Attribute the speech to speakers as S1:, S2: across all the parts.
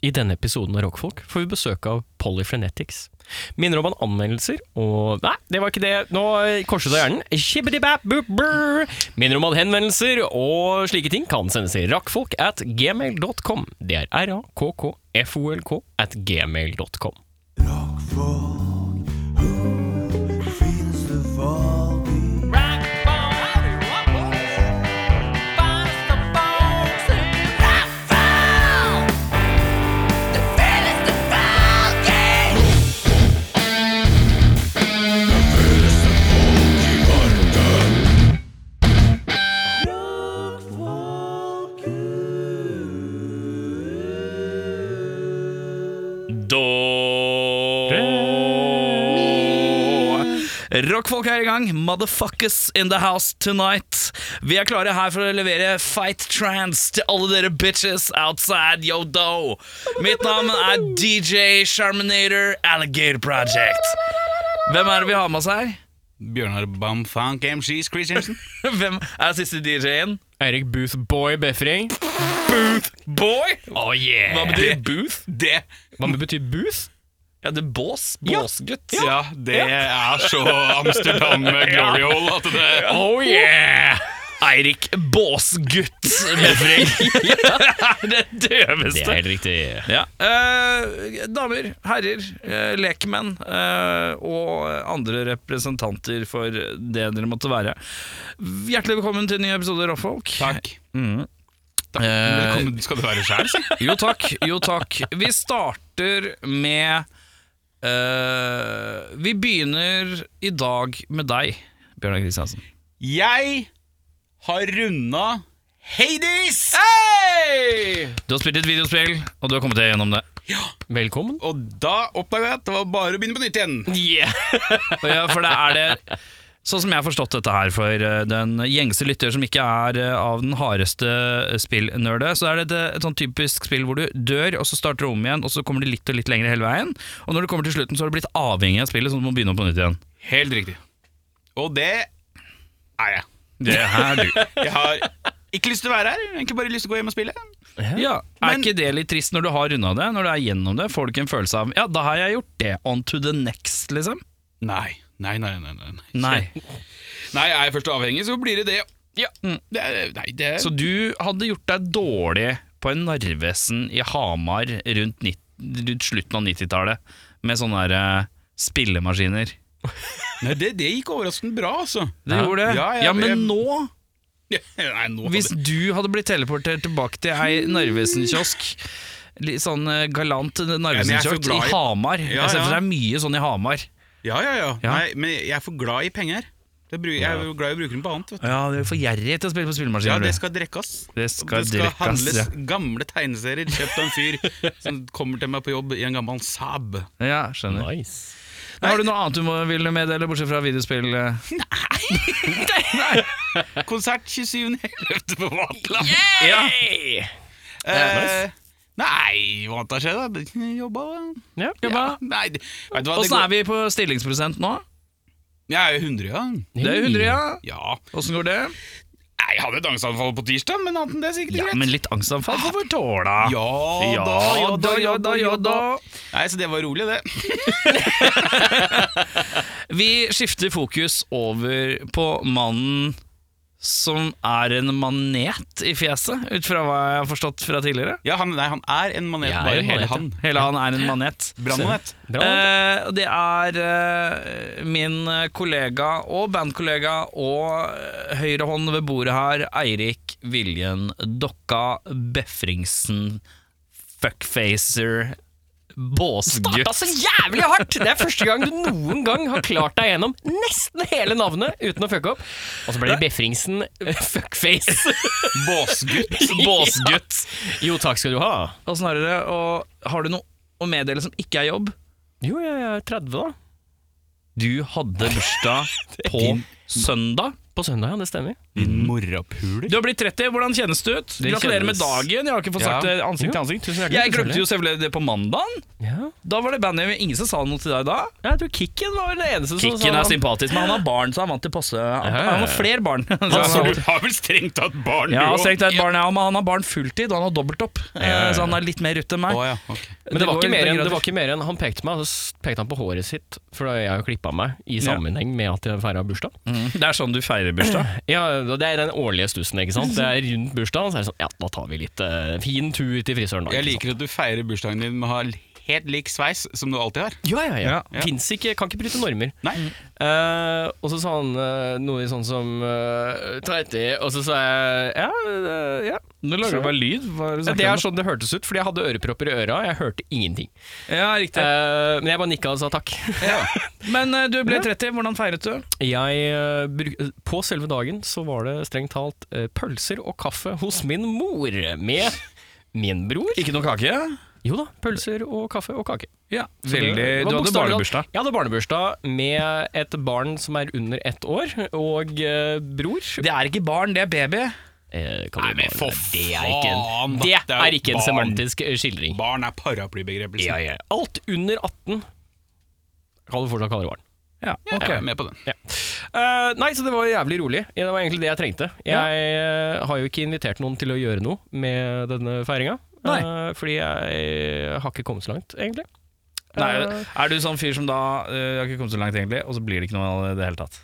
S1: I denne episoden av Rockfolk får vi besøk av Polyfrenetics. Minner om en anmeldelser og Nei, det var ikke det. Nå korset av hjernen. Shibbidi-bap, bup-brr. Minner om at henvendelser og slike ting kan sendes til rakkfolk at gmail.com. Det er r-a-k-k-f-o-l-k at gmail.com.
S2: Rockfolk er i gang. Motherfuckers in the house tonight. Vi er klare her for å levere fight trance til alle dere bitches outside yo do. Mitt navn er DJ Charminator Alligator Project. Hvem er det vi har med oss her?
S3: Bjørnar Bamfunk MCs Chris Jensen.
S2: Hvem er siste DJ-en?
S1: Eirik Booth-boy Befring.
S2: Boy!
S1: Oh yeah!
S2: Hva betyr booth?
S3: Det
S1: Hva betyr booth?
S2: Ja, det er bås.
S1: Ja.
S2: Båsgutt.
S3: Ja, det er så Amsterdam Glory Hole at det
S1: Oh yeah!
S2: Eirik Båsgutt Befring. det er det
S1: Det
S2: døveste.
S1: er helt riktig.
S2: Ja. Eh, damer, herrer, eh, lekmenn eh, og andre representanter for det dere måtte være. Hjertelig velkommen til en ny episode av Rockfolk.
S3: Takk.
S2: Mhm.
S3: Takk. Velkommen skal du være sjæl, si.
S2: Jo takk, jo takk. Vi starter med eh, Vi begynner i dag med deg, Bjørnar Kristiansen.
S3: Jeg har runda Hades!
S2: Du har spilt et videospill, og du har kommet deg gjennom det.
S1: Velkommen.
S3: Og da oppdaga jeg at det var bare å begynne på nytt igjen.
S2: Og Ja, for det er det Sånn som jeg har forstått dette her for eh, den gjengse lytter som ikke er eh, av den hardeste spillnørdet, så er det et, et sånn typisk spill hvor du dør, og så starter du om igjen, og så kommer du litt og litt lenger hele veien. Og når du kommer til slutten, så har du blitt avhengig av spillet, så du må begynne på nytt igjen.
S3: Helt riktig. Og det er jeg.
S2: Det er du.
S3: Jeg har ikke lyst til å være her, egentlig bare lyst til å gå hjem og spille.
S2: Ja, Er
S3: Men-
S2: ikke det litt trist når du har runda det? Når du er gjennom det, får du ikke en følelse av Ja, da har jeg gjort det. On to the next, liksom.
S3: Nei. Nei, nei, nei. nei, nei.
S2: Nei.
S3: nei er jeg først avhengig, så blir det det. Ja. Det er, nei, det er
S2: Så du hadde gjort deg dårlig på en Narvesen i Hamar rundt, nitt- rundt slutten av 90-tallet med sånne der, eh, spillemaskiner.
S3: Nei, det, det gikk overraskende bra, altså.
S2: Det gjorde det.
S3: Ja, jeg-
S2: ja men
S3: jeg-
S2: nå,
S3: Ja, Nei, nå
S2: hvis du hadde blitt teleportert tilbake til ei Narvesen-kiosk Litt sånn eh, galant
S3: jeg er så
S2: Narvesen-kiosk
S3: glad
S2: i
S3: i-
S2: Hamar.
S3: Ja,
S2: Jeg ser for
S3: ja.
S2: deg mye sånn i Hamar.
S3: Ja, ja, ja.
S2: Ja.
S3: Nei, men jeg er for glad i penger. Jeg, bru- jeg er jo glad i å bruke dem på annet. Vet du.
S2: Ja, du er for gjerrig til å spille på
S3: Ja,
S2: spillemaskiner.
S3: det
S2: du.
S3: skal drekkes.
S2: Det skal
S3: det skal
S2: drekkes,
S3: handles
S2: ja.
S3: gamle tegneserier kjøpt av en fyr som kommer til meg på jobb i en gammel Saab.
S2: ja, skjønner.
S1: Nice.
S2: Har du noe annet du må, vil meddele, bortsett fra videospill? eh?
S3: Konsert 27.11. på Vatland.
S2: Ja.
S3: Eh, nei, hva annet har skjedd? da? Det- Jobba
S1: Ja.
S3: Ja, Nei, det- vet du hva,
S2: Åssen er vi på stillingsprosent nå?
S3: Jeg er jo 100, ja.
S2: Det er 100, ja.
S3: ja.
S2: Åssen går det?
S3: Nei, Jeg hadde et angstanfall på tirsdag, men annet enn det er sikkert greit.
S2: men litt angstanfall får vi tåle.
S3: Ja
S2: Ja
S3: da, ja da, ja da, ja da.
S2: da.
S3: Nei, så det var rolig, det.
S2: Vi skifter fokus over på mannen som er en manet i fjeset, ut fra hva jeg har forstått fra tidligere.
S3: Ja, han, nei, han er en manet,
S1: Jeg er
S3: bare
S1: en
S3: hele
S1: manet,
S3: han.
S2: Hele han er en manet.
S3: Brannmanet.
S1: Bra.
S2: Eh, og det er eh, min kollega og bandkollega og eh, høyrehånd ved bordet her, Eirik Viljen Dokka Befringsen Fuckfacer
S1: Starta
S2: Båsgutt.
S1: så altså, jævlig hardt! Det er første gang du noen gang har klart deg gjennom nesten hele navnet uten å fucke opp. Og så ble det Befringsen eh, fuckface.
S3: Båsgutt.
S2: Båsgutt.
S1: Jo, takk skal du ha.
S2: Og snarere, og har du noe å meddele som ikke er jobb?
S1: Jo, jeg er 30, da.
S2: Du hadde bursdag på søndag.
S1: På søndag, ja. Det stemmer.
S3: Din morapuler.
S2: Du har blitt 30, hvordan kjennes det ut?
S3: Det
S2: Gratulerer med
S3: kjennes-
S2: dagen. Jeg har ikke fått sagt
S3: Ja.
S2: det ansikt til
S1: Jo,
S2: ansikt.
S1: tusen hjertelig,
S2: Jeg glemte
S1: selvfølgelig.
S2: jo selvfølgelig det på mandagen.
S1: Ja.
S2: Da var det bandet Ingen som sa noe til deg da.
S1: Jeg tror Kikken var vel det eneste som
S2: Kikken
S1: sa
S2: er sympatisk, men han har barn, så han er vant til passe. Han,
S1: ja, ja.
S2: han har flere barn. Så han
S1: sa
S2: har-
S1: du-
S3: har vel strengt tatt barn,
S2: altså. ja,
S3: også?
S2: så jeg tenkte et barn, ja, men han har barn fulltid, og han har dobbelt opp. Eh, Så han er litt mer rutt enn meg.
S3: Å, ja, ok.
S1: Men det var,
S2: går
S1: ikke
S2: litt
S1: mer enn, det
S2: grader.
S1: var ikke mer enn Han pekte meg, og så s- pekte han på håret sitt, for da jeg har jo klippa meg i sammenheng med at jeg feira bursdag.
S2: Mm. Det er sånn du feirer bursdag.
S1: Ja, og Det er den årlige stussen, ikke sant. Det er rundt bursdagen, så er det sånn Ja, da tar vi litt eh, fin tur til frisøren, da.
S3: Jeg
S1: ikke sant?
S3: liker at du feirer bursdagen din med å ha helt lik sveis som du alltid har.
S1: Ja, ja, ja.
S2: Ja,
S3: ja.
S1: Fins ikke, kan ikke bryte normer.
S3: Nei,
S1: Eh, og så sa han eh, noe sånn som eh, 30, og så sa jeg ja, eh, ja.
S2: Nå lager du bare lyd. Hva er det du
S1: Det
S2: snakker
S1: er
S2: om?
S1: sånn det hørtes ut, fordi jeg hadde ørepropper i øra, og jeg hørte ingenting.
S2: Ja, riktig.
S1: Eh, men jeg bare nikka og sa takk.
S2: Men eh, du ble 30, hvordan feiret du?
S1: Jeg, eh, bruk- på selve dagen så var det strengt talt eh, pølser og kaffe hos min mor med min bror.
S2: Ikke noe kake?
S1: Jo da, pølser og kaffe og kake.
S2: Ja,
S1: Så det-
S2: veldig,
S1: det var
S2: Du hadde
S1: bokstavelig
S2: barnebursdag.
S1: talt- Jeg hadde barnebursdag med et barn som er under ett år, og eh, bror.
S2: Det er ikke barn, det er baby.
S1: Eh, kan
S3: Nei,
S1: du
S3: men
S1: bare-
S3: for
S1: det er ikke en,
S3: faen, da.
S1: det
S3: Det er
S1: er
S3: jo
S1: ikke en
S3: barn.
S1: semantisk eh, skildring.
S3: barn er paraplybegrepelsen.
S1: Ja, ja. Alt under 18 kan du fortsatt kalle det barn.
S2: Ja,
S3: Jeg
S2: ok.
S3: er med på den.
S1: Eh, nei, så det var jævlig rolig. Det var egentlig det jeg trengte. Jeg eh, har jo ikke invitert noen til å gjøre noe med denne feiringa.
S2: Nei.
S1: eh, fordi jeg har ikke kommet så langt, egentlig.
S2: Nei,
S1: Eh.
S2: er du sånn fyr som da eh, Jeg har ikke kommet så langt, egentlig, og så blir det ikke noe av det i det hele tatt?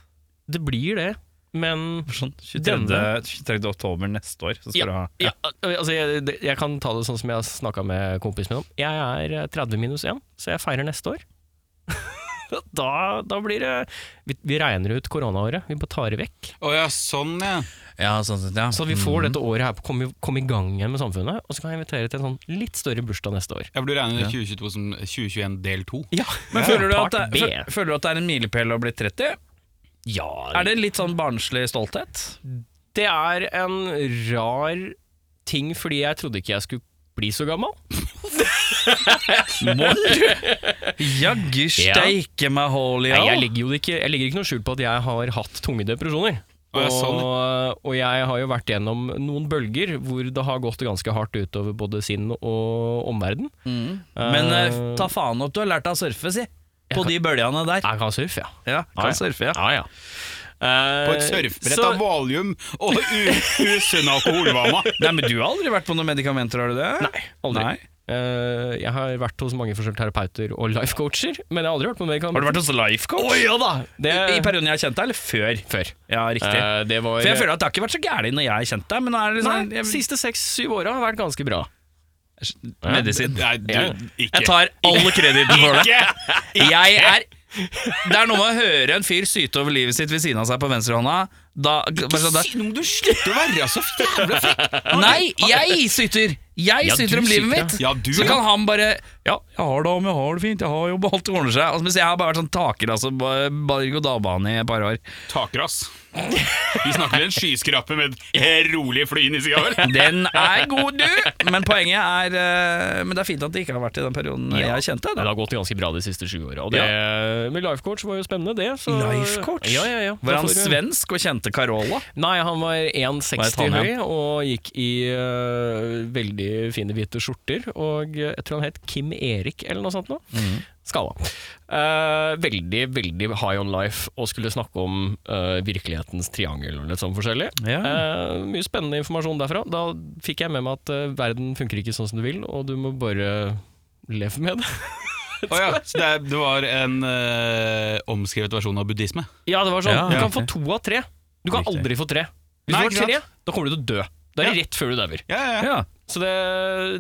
S1: Det blir det, men
S2: Sånn 23.
S1: Denne-
S2: 23. oktober neste år, så skal
S1: Ja,
S2: du ha
S1: ja, altså, jeg, det- jeg kan ta det sånn som jeg snakka med kompisen min om. Jeg er eh, 30 minus 1, så jeg feirer neste år. da, da blir det Vi, vi regner ut koronaåret. Vi bare tar det vekk.
S3: Å ja, sånn ja.
S2: Ja, sånn sett, ja.
S1: Så vi får dette året her på å komme i- komme i gang igjen med samfunnet, og så kan jeg invitere til en sånn litt større bursdag neste år.
S3: Jeg burde regne 2022 som 2021 del 2.
S1: Ja,
S2: Men føler du, at
S1: Part
S2: det,
S1: B.
S2: fø- føler du at det er en milepæl å bli 30?
S1: Ja,
S2: Er det litt sånn barnslig stolthet?
S1: det er en rar ting, fordi jeg trodde ikke jeg skulle bli så gammel.
S2: Moll? Jaggu steike meg hål i
S1: Nei, jeg
S2: all.
S1: legger jo ikke, jeg legger ikke noe skjul på at jeg har hatt tunge depresjoner.
S3: Å, ja, sånn.
S1: og, og jeg har jo vært gjennom noen bølger hvor det har gått ganske hardt utover både sinn og omverden.
S2: Men eh, ta faen opp, du har lært deg å surfe, si. På de bølgene der.
S1: Jeg kan surfe, ja.
S2: Ja,
S1: Ja, ja.
S2: kan surfe, ja.
S1: ja, ja. Eh,
S3: På et surfbrett
S1: så-
S3: av valium og u- usunn alkoholvana.
S2: Nei, men du har aldri vært på noen medikamenter, har du det? Nei,
S1: aldri. Eh, jeg har vært hos mange forskjellige terapeuter og lifecoacher, men jeg har aldri vært på medikamenter.
S2: Har du vært hos Lifecoach?
S1: Å, ja da! Ah, Det,
S2: I, I perioden jeg har kjent deg, eller før?
S1: før.
S2: Ja, riktig.
S1: Eh, det var
S2: For jeg føler at det har ikke vært så gærent når jeg har kjent deg, men nå er det
S1: Nei,
S2: liksom jeg,
S1: siste seks-syv åra har vært ganske bra.
S2: Medisin.
S3: Nei, du, ikke.
S2: Jeg tar all kreditten for det.
S3: Ikke!
S2: Jeg er Det er noe med å høre en fyr syte over livet sitt ved siden av seg på venstrehånda. Da, bare sånn der.
S3: Si noe om du slutter å være så jævla frekk!
S2: Nei, jeg syter! Jeg
S1: Ja,
S2: syter
S1: du
S2: om livet
S1: syter, ja.
S2: mitt!
S3: Ja, du,
S2: så
S3: ja.
S2: kan han bare Ja, jeg har det om, jeg har det fint, jeg har jobb, alt ordner seg. Altså, mens jeg har bare vært sånn taker, altså. bare- Bare gå dabane i et par år.
S3: Takras. Vi snakker til en skyskraper med et rolig fly inni seg. vel?
S2: Den er god, du! Men poenget er eh, Men det er fint at det ikke har vært i den perioden jeg har kjent
S1: Men
S2: deg.
S1: det
S2: da.
S1: har gått ganske bra de siste sju åra. Og det, Men lifecoach var jo spennende, det. Så,
S2: Lifecoach?
S1: Ja, ja, ja.
S2: Var han
S1: Derfor-
S2: svensk og kjente Carola?
S1: Nei, han var 1,60
S2: Var
S1: høy
S2: jeg
S1: og gikk i eh, veldig fine hvite skjorter. Og eh, jeg tror han het Kim Erik eller noe sånt nå.
S2: Mm.
S1: Skala. Eh, veldig, veldig high on life og skulle snakke om eh, virkelighetens triangel og litt sånn forskjellig. Eh, mye spennende informasjon derfra. Da fikk jeg med meg at eh, verden funker ikke sånn som du vil, og du må bare leve med det.
S3: Å ja, så det, er- det var en eh, omskrevet versjon av buddhisme.
S1: Ja, det var sånn.
S2: Ja,
S1: du kan
S2: ok.
S1: få to av tre. Du kan
S2: Riktig.
S1: aldri få tre. Hvis du
S3: Nei, ikke
S1: får
S3: sant?
S1: tre, da kommer du til å dø. Det er det rett før du dauer.
S3: Ja, ja, ja.
S2: Ja.
S1: Så det,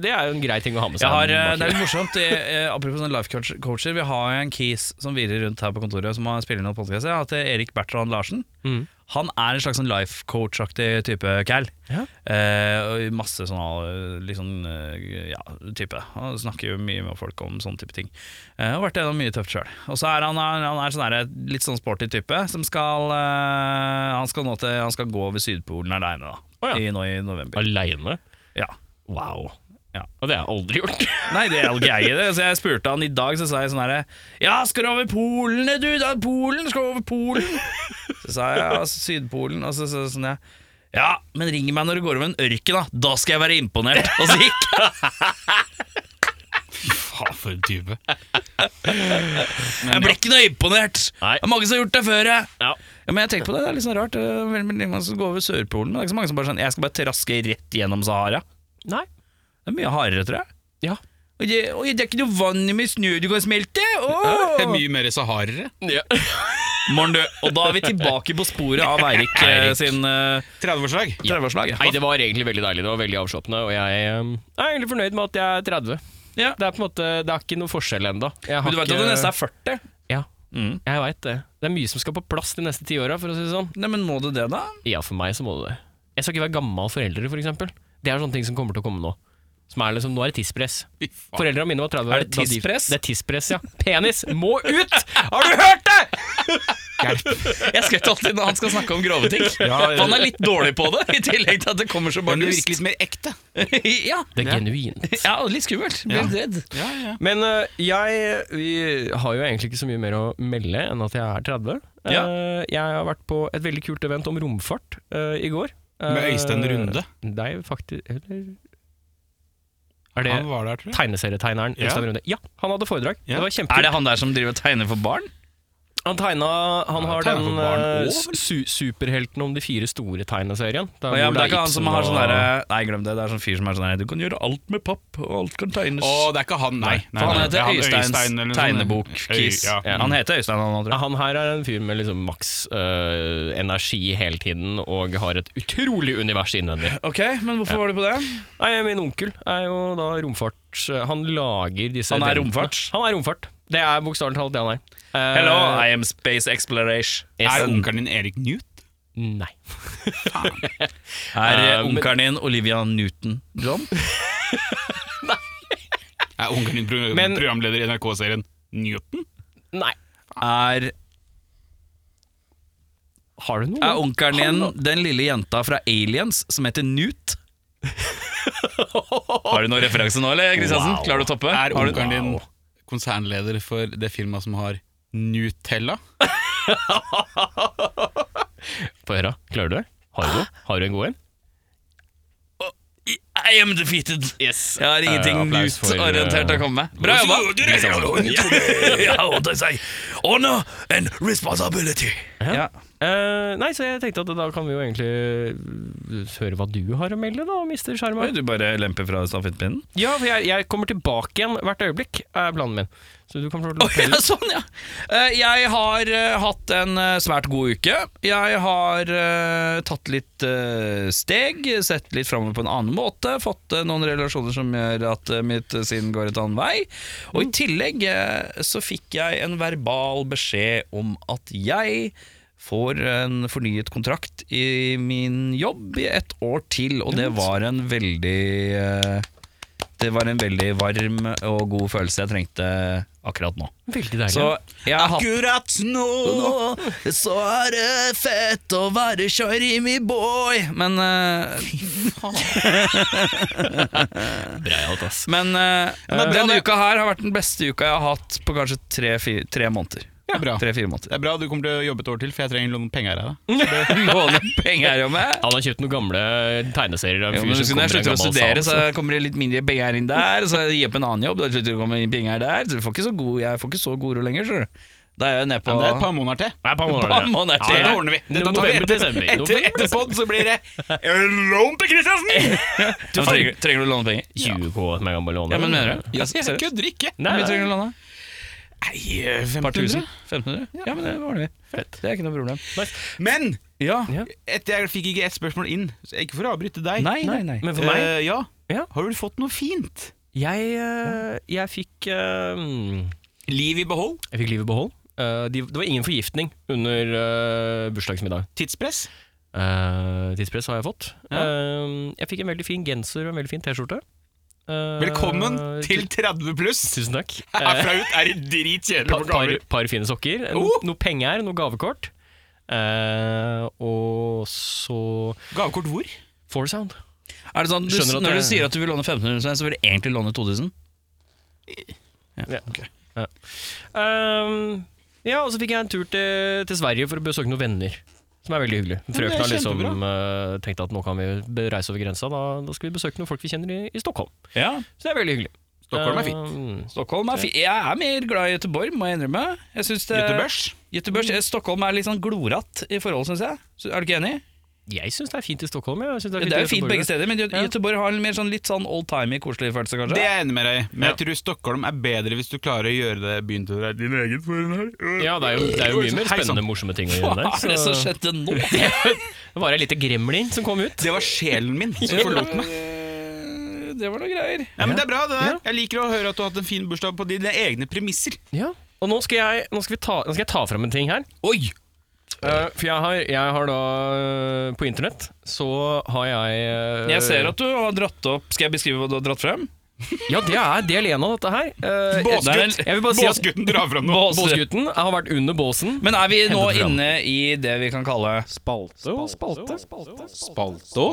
S1: det er jo en grei ting å ha med seg.
S2: Jeg har, eh, det er litt morsomt, eh, eh, apropos sånne life coach- coacher, vi har jo en kis som virrer rundt her på kontoret, som har spiller inn noen podcaster, at det er Erik Bertrand Larsen.
S1: Mm.
S2: Han er en slags sånn life coach-aktig type kall.
S1: Ja.
S2: Eh, og masse sånn liksom, eh, ja, type. Han snakker jo mye med folk om sånne type ting. Eh, og vært gjennom mye tøft sjøl. Og så er han, han er sånn der, litt sånn sporty type som skal, eh, han, skal nå til, han skal gå ved Sydpolen aleine, da.
S1: Å ja.
S2: I, nå i november.
S1: Aleine?
S2: Ja.
S1: Wow.
S2: Ja.
S1: Og det har jeg aldri gjort.
S2: Nei, det hadde ikke jeg i det. Så jeg spurte han i dag, så sa jeg sånn herre Ja, skal du over Polen, du? Da, Polen skal over Polen. Så sa jeg ja, Sydpolen, og så sa jeg sånn ja. Ja, men ring meg når du går over en ørken, da. Da skal jeg være imponert. Og så gikk jeg.
S3: Faen, for en type.
S2: Jeg ble ikke noe imponert.
S1: Nei.
S2: Det er mange som har gjort det før. Jeg.
S1: Ja.
S2: Ja, men jeg tenker på det, det er litt sånn rart. Det er veldig veldig mange som går over Sørpolen. men Det er ikke så mange som bare sånn, jeg skal bare traske rett gjennom Sahara.
S1: Nei.
S2: Det er mye hardere, tror jeg.
S1: Ja.
S2: Og det, oi, det er ikke noe vann med snø du kan smelte!
S3: Det er
S2: Åh!
S3: mye mer saharere.
S2: Morn, du. Og da er vi tilbake på sporet av Eirik eh, sin eh,
S3: 30-årsdag.
S2: 30-årslag.
S1: Nei, det var egentlig veldig deilig. Det var veldig avslappende. Og jeg eh, er egentlig fornøyd med at jeg er 30.
S2: Ja.
S1: Det er på en måte, det er ikke noe forskjell ennå.
S2: Men du vet at det neste er 40?
S1: Ja,
S2: Mm.
S1: jeg veit det. Det er mye som skal på plass de neste ti åra, for å si det sånn.
S2: Nei, men må du det, da?
S1: Ja, for meg så må det det. Jeg skal ikke være gammel foreldre, for eksempel. Det er sånne ting som kommer til å komme nå. Som er liksom, Nå er det tidspress.
S3: Fy faen.
S1: Foreldra mine var 30
S2: Er det
S1: da de-
S2: tidspress?
S1: Det er tidspress, ja. Penis må ut! Har du hørt det?!
S2: Jeg skvetter alltid når han skal snakke om grove ting. For han er litt dårlig på det, i tillegg til at det kommer så
S3: Men det
S2: bare
S3: virker litt mer ekte.
S2: ja.
S1: Det er genuint.
S2: ja, og litt skummelt. Blir litt redd.
S3: Ja, ja.
S1: Men øh, jeg vi har jo egentlig ikke så mye mer å melde enn at jeg er 30. Eh,
S2: Ja.
S1: jeg har vært på et veldig kult event om romfart eh, i går.
S3: Med
S1: Eh,
S3: Øystein Runde.
S1: Nei, faktisk Eller Er det
S3: Han var der, tror jeg.
S1: tegneserietegneren
S3: Ja.
S1: Øystein Runde? Ja, han hadde foredrag.
S3: Ja.
S1: Det var kjempekult.
S2: Er det han der som driver og tegner for barn?
S1: Han tegna Han
S3: Ja,
S1: har den
S3: tegnet for barn
S1: eh,
S3: også, vel?
S1: su superhelten om de fire store tegneserien. Der
S2: Å ja,
S1: hvor
S2: men det er ikke han
S1: Ibsen
S2: som har sånn
S1: og-
S2: derre Nei, glem det. Det er sånn fyr som er sånn her Du kan gjøre alt med papp, og alt kan tegnes.
S3: Å, det er ikke han, nei. nei,
S2: For han
S3: nei. Det er
S2: heter Øysteins
S3: eller noe sånt.
S2: tegnebok-kis.
S3: Øy- ja.
S2: Han heter Øystein, han nå,
S1: Ja,
S2: tror jeg.
S1: han her er en fyr med liksom maks eh, energi hele tiden og har et utrolig univers innvendig.
S2: Ok, men hvorfor var du på det?
S1: Nei, Min onkel er jo da romfarts... Han lager disse
S2: Han er
S1: eventene.
S2: romfart?
S1: Han er romfart. Det er bokstavelig talt det han er. Eh,
S2: Hello, I am Space Exploration.
S3: Er
S1: yes.
S3: onkelen din Erik Newt?
S1: Nei.
S2: Er eh,
S1: Eh, men-
S2: onkelen din Olivia Newton-John?
S3: Er onkelen din pro
S1: Men-
S3: programleder i NRK-serien Newton?
S1: Nei.
S2: Er
S1: Har du noe?
S2: Er onkelen din den lille jenta fra Aliens som heter Newt? Har du noen referanse nå, eller, Kristiansen?
S1: Wow.
S2: Klarer du å toppe?
S3: Er
S2: Har du-
S3: onkelen din
S2: Wow.
S3: konsernleder for det firmaet som har Nutella?
S1: Få høre. Klarer du det? Har du noe? Har du en god en?
S2: I am defeated!
S1: Yes.
S2: Jeg har ingenting
S1: Eh, applaus for,
S2: Newt-orientert å komme med. Bra jobba! Honor and responsibility. Ja.
S1: Eh, nei, så jeg tenkte at da kan vi jo egentlig eh, høre hva du har å melde, da, mister
S2: Oi,
S1: Skjermøy.
S2: du bare lemper fra stafettpinnen?
S1: Ja, for jeg, jeg kommer tilbake igjen hvert øyeblikk, er planen min. Så du kan få lov
S2: Å,
S1: til
S2: ja, sånn, ja. Eh, Jeg har eh, hatt en eh, svært god uke. Jeg har eh, tatt litt eh, steg, sett litt framover på en annen måte, fått eh, noen relasjoner som gjør at eh, mitt sinn går et annet vei. Og i tillegg eh, så fikk jeg en verbal beskjed om at jeg får en fornyet kontrakt i min jobb i et år til, og det var en veldig eh, det var en veldig varm og god følelse jeg trengte akkurat nå.
S1: Veldig deilig.
S2: Så jeg har hatt
S3: Akkurat nå!
S2: Så er det fett å være Sharimi boy Men, eh,
S1: bra jalt, ass.
S2: men eh,
S3: men bra,
S2: denne
S3: det.
S2: uka her har vært den beste uka jeg har hatt på kanskje tre-fire tre måneder.
S3: Ja, bra. Det
S2: Tre-fire måneder.
S3: er bra du kommer til å jobbe et år til, for jeg trenger noen penger av deg.
S2: Låne penger her jo med.
S1: Han har kjøpt noen gamle tegneserier av
S2: Jo,
S1: en
S2: men
S1: fyr
S2: husk,
S1: som
S2: når jeg
S1: kommer i en
S2: slutter å
S1: gammel
S2: studere, så
S1: sal.
S3: altså.
S2: kommer det litt mindre penger inn der. Så jeg gir opp en annen jobb, da slutter det å komme inn penger der. Så jeg får ikke så god, jeg får ikke så god råd lenger, skjønner du. Da er jeg nede på
S3: Men det er et par måneder til.
S1: Nei, et par
S2: Par måneder
S1: Ja,
S2: til.
S3: Dette ordner vi. Dette tar vi
S1: November, desember.
S3: Etter, etter podd så blir det Lån til Kristiansen!
S2: Ja, trenger, trenger du låne penger?
S1: 20 K som jeg kan bare låne.
S2: Ja, men mener du?
S3: Ja,
S2: Altså,
S3: jeg
S2: seriøst?
S3: kødder ikke.
S1: Nei,
S2: Hvor mye
S1: nei.
S2: trenger du å låne?
S3: Nei, eh,
S2: Par
S3: 1500?
S2: tusen? 1500? Ja, men det ordner vi.
S1: Fett.
S2: Det er ikke noe problem.
S3: Men
S2: Ja.
S1: Ja.
S3: etter jeg fikk ikke ett spørsmål inn, så ikke for å avbryte deg.
S2: Nei, nei, nei.
S1: Men for meg
S3: Eh, ja.
S1: Ja.
S3: Har du fått noe fint?
S1: Jeg, eh, jeg fikk eh, mm,
S3: Liv i behold?
S1: Jeg fikk livet i behold. Eh, de, det var ingen forgiftning under eh, bursdagsmiddag.
S3: Tidspress?
S1: Eh, tidspress har jeg fått.
S3: Ja.
S1: Eh, jeg fikk en veldig fin genser og en veldig fin T-skjorte. Eh,
S3: Velkommen til 30 pluss!
S1: Tusen takk. Eh,
S3: Herfra ut er det dritkjedelig
S1: par,
S3: på
S1: par,
S3: gaver.
S1: par fine sokker. No,
S3: Oh!
S1: Noe penger, noe gavekort. Eh, og så
S3: Gavekort hvor?
S1: Four Sound.
S2: Er det sånn, du,
S1: Skjønner at
S2: Når
S1: jeg-
S2: du sier at du vil låne 1500, så vil du egentlig låne 2000?
S1: Ja, Eh, ja. Ehm, ja, og så fikk jeg en tur til, til Sverige for å besøke noen venner. Som er veldig hyggelig.
S3: det er
S1: Frøken har liksom
S3: kjempebra.
S1: eh, tenkt at nå kan vi be- reise over grensa, da, da skal vi besøke noen folk vi kjenner i, i Stockholm.
S2: Ja.
S1: Så det er veldig hyggelig.
S3: Stockholm er
S1: fint.
S2: Stockholm er fint. Jeg er mer glad i Göteborg, må jeg innrømme. Jeg synes det,
S3: Göteborgs?
S2: Göteborgs. Eh, Stockholm er litt sånn gloratt i forhold, syns jeg. Så, er du ikke enig?
S1: Jeg syns det er fint i Stockholm. Jeg synes det, er
S2: Det
S1: fint
S2: er
S1: i
S2: jo fint
S1: Göteborg.
S2: begge steder, men Gö-
S1: Ja.
S2: Göteborg har en mer sånn litt sånn old-timey, koselig følelse, kanskje.
S3: Det er jeg enig med deg i, men
S1: Ja.
S3: jeg tror Stockholm er bedre hvis du klarer å gjøre det byen til deg din egen for den her.
S1: Ja, det er jo, det er jo mye mer
S3: Hei sånn. sann.
S1: spennende, morsomme ting å
S2: Hva
S1: gjøre der.
S2: er det som skjedde nå?
S1: Det var ei lite gremlin som kom ut.
S3: Det var sjelen min som forlot meg.
S2: Det var noe greier.
S3: Ja, men Det er bra, det der. Jeg liker å høre at du har hatt en fin bursdag på dine egne premisser.
S1: Ja. Og nå skal, jeg, nå, skal vi ta, nå skal jeg ta fram en ting her.
S3: Oi!
S1: Eh, for jeg har, jeg har da eh, På internett så har jeg eh,
S2: Jeg ser at du har dratt opp Skal jeg beskrive hva du har dratt frem?
S1: Ja, det er del én av dette her. Eh, jeg-
S2: Båsgutt.
S1: det er en- Jeg vil bare si at
S3: Båsgutten drar fram noe.
S2: Bås-
S1: Båsgutten har vært under båsen.
S2: Men er vi nå
S1: Hentet fram.
S2: inne i det vi kan kalle
S4: Spalte og spalte. Spalte og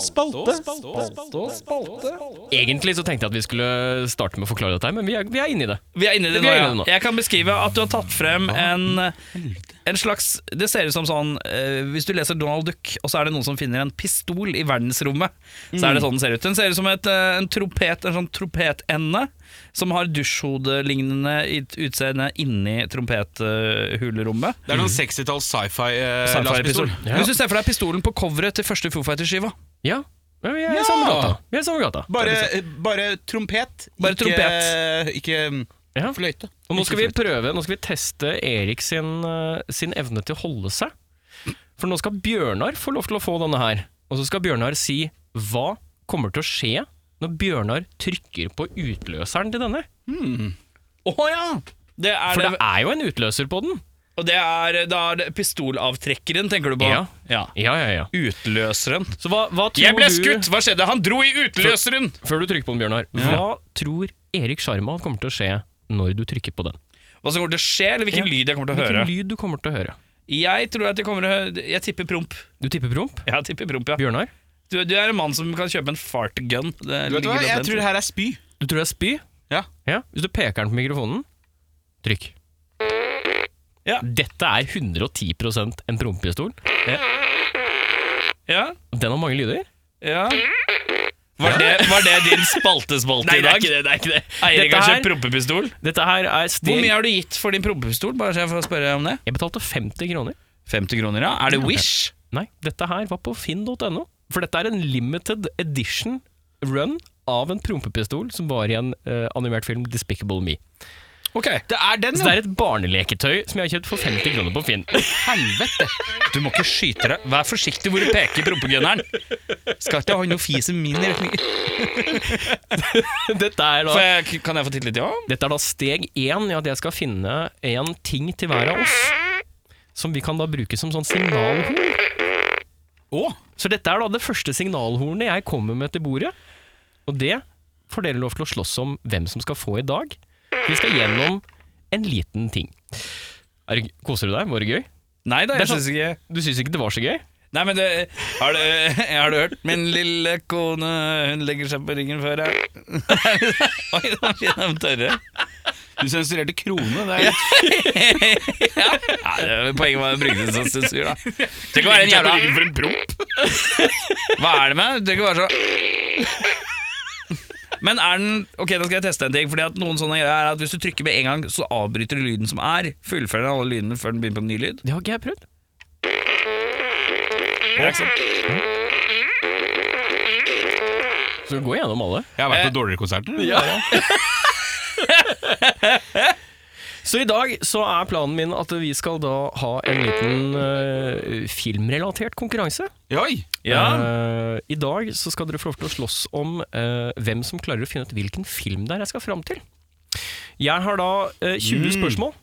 S4: spalte. Spalte og spalte.
S1: Egentlig så tenkte jeg at vi skulle starte med å forklare dette, her, men vi er, vi er inne i det.
S2: Vi er inne i det
S1: Vi
S2: nå,
S1: er
S2: ja.
S1: inne i det nå.
S2: Jeg kan beskrive at du har tatt frem en, en slags Det ser ut som sånn eh, Hvis du leser Donald Duck, og så er det noen som finner en pistol i verdensrommet, så
S1: Mm.
S2: er det sånn den ser ut. Den ser ut som et, eh, en trompet, en sånn trompetende som har dusjhodelignende ut- utseende inni trompethulerommet.
S3: Det er noen 60-talls sci-fi eh,
S2: Sci-fi-pistol.
S3: lastepistol.
S1: Ja.
S2: Hvis du ser for deg pistolen på coveret til første Foo Fighters-skiva
S1: Ja, men vi er
S3: Ja.
S1: i samme gata. Vi er i samme gata.
S3: Bare, eh, bare trompet,
S2: Bare
S3: ikke,
S2: trompet.
S3: ikke mm,
S1: Ja.
S3: fløyte.
S1: Og nå skal vi prøve, nå skal vi teste Erik sin, eh, sin evne til å holde seg. For nå skal Bjørnar få lov til å få denne her. Og så skal Bjørnar si hva kommer til å skje når Bjørnar trykker på utløseren til denne.
S2: Å ja! Det er
S1: For
S2: det,
S1: det er jo en utløser på den.
S2: og det er da er det pistolavtrekkeren, tenker du på?
S1: Ja. Ja, ja, ja.
S2: Utløseren.
S1: Så hva, hva tror
S2: Jeg ble
S1: du,
S2: skutt! Hva skjedde? Han dro i utløseren!
S1: Før du trykker på den, Bjørnar, hva tror Erik Sjarma kommer til å skje når du trykker på den?
S2: Hva som kommer til å skje, eller hvilken
S1: Ja.
S2: lyd jeg kommer til å høre?
S1: Hvilken lyd du kommer til å høre?
S2: Jeg tror at jeg kommer til å høre Jeg tipper promp.
S1: Du tipper promp?
S2: Jeg tipper promp, ja.
S1: Bjørnar?
S2: Du, du er en mann som kan kjøpe en fartgun.
S3: Du
S2: Det
S3: vet
S2: ligger
S3: hva,
S2: blant
S3: jeg
S2: dem.
S3: tror det her er spy.
S1: Du tror det er spy?
S3: Ja.
S1: Ja, Hvis du peker den på mikrofonen, trykk.
S2: Ja.
S1: Dette er 110 en prompepistol.
S2: ja,
S1: Den har mange lyder.
S2: ja. Var det, var det din spaltespalte i dag?
S1: det. det, er ikke det.
S2: Eirik
S1: Dette,
S2: har kjøpt
S1: her,
S2: prompepistol.
S1: dette her er steg
S2: Hvor mye har du gitt for din prompepistol? Bare så jeg får spørre om det.
S1: Jeg betalte 50 kroner.
S2: 50 kroner, ja. Er det Wish?
S1: Nei, dette her var på finn.no. For dette er en limited edition run av en prompepistol som var i en eh, animert film Despicable Me.
S2: Ok.
S3: Det er den,
S1: Så det er et barneleketøy som jeg har kjøpt for 50 kroner på Finn.
S2: Helvete! Du må ikke skyte deg. Vær forsiktig hvor du peker prompegunneren. Skal ikke ha noe fis i min retning.
S1: dette, er da,
S2: Får jeg- Kan jeg få titte litt, ja?
S1: dette er da steg én i at jeg skal finne én ting til hver av oss. Som vi kan da bruke som sånn signalhorn.
S3: Å,
S1: Så dette er da det første signalhornet jeg kommer med til bordet. Og det får dere lov til å slåss om hvem som skal få i dag. Vi skal gjennom en liten ting. Er, det- koser du deg? Var det gøy?
S2: Nei da,
S1: Det er sånn-
S2: jeg syns ikke
S1: Du syns ikke det var så gøy?
S2: Nei, men det, har, du, har du hørt? Min lille kone, hun legger seg på ryggen før jeg Oi, da blir de tørre.
S3: du sensurerte krone. Det er
S2: Nei, det- poenget var å bruke det som sensur, da. Tenk å være en jævla
S3: for en promp.
S2: Hva er det med? Tenk å være så men er den Ok, da skal jeg teste en ting. Fordi at noen sånne greier er at Hvis du trykker med en gang, så avbryter du lyden som er. Fullfører den alle lydene før den begynner på en ny lyd.
S1: Det har ikke jeg prøvd. Mm. Så vi går gjennom alle.
S3: Jeg har vært på dårligere konserter.
S1: Så i dag så er planen min at vi skal da ha en liten eh, filmrelatert konkurranse.
S3: Oi!
S1: Eh, I dag så skal dere få lov til å slåss om eh, hvem som klarer å finne ut hvilken film det er jeg skal fram til. Jeg har da eh, 20 spørsmål.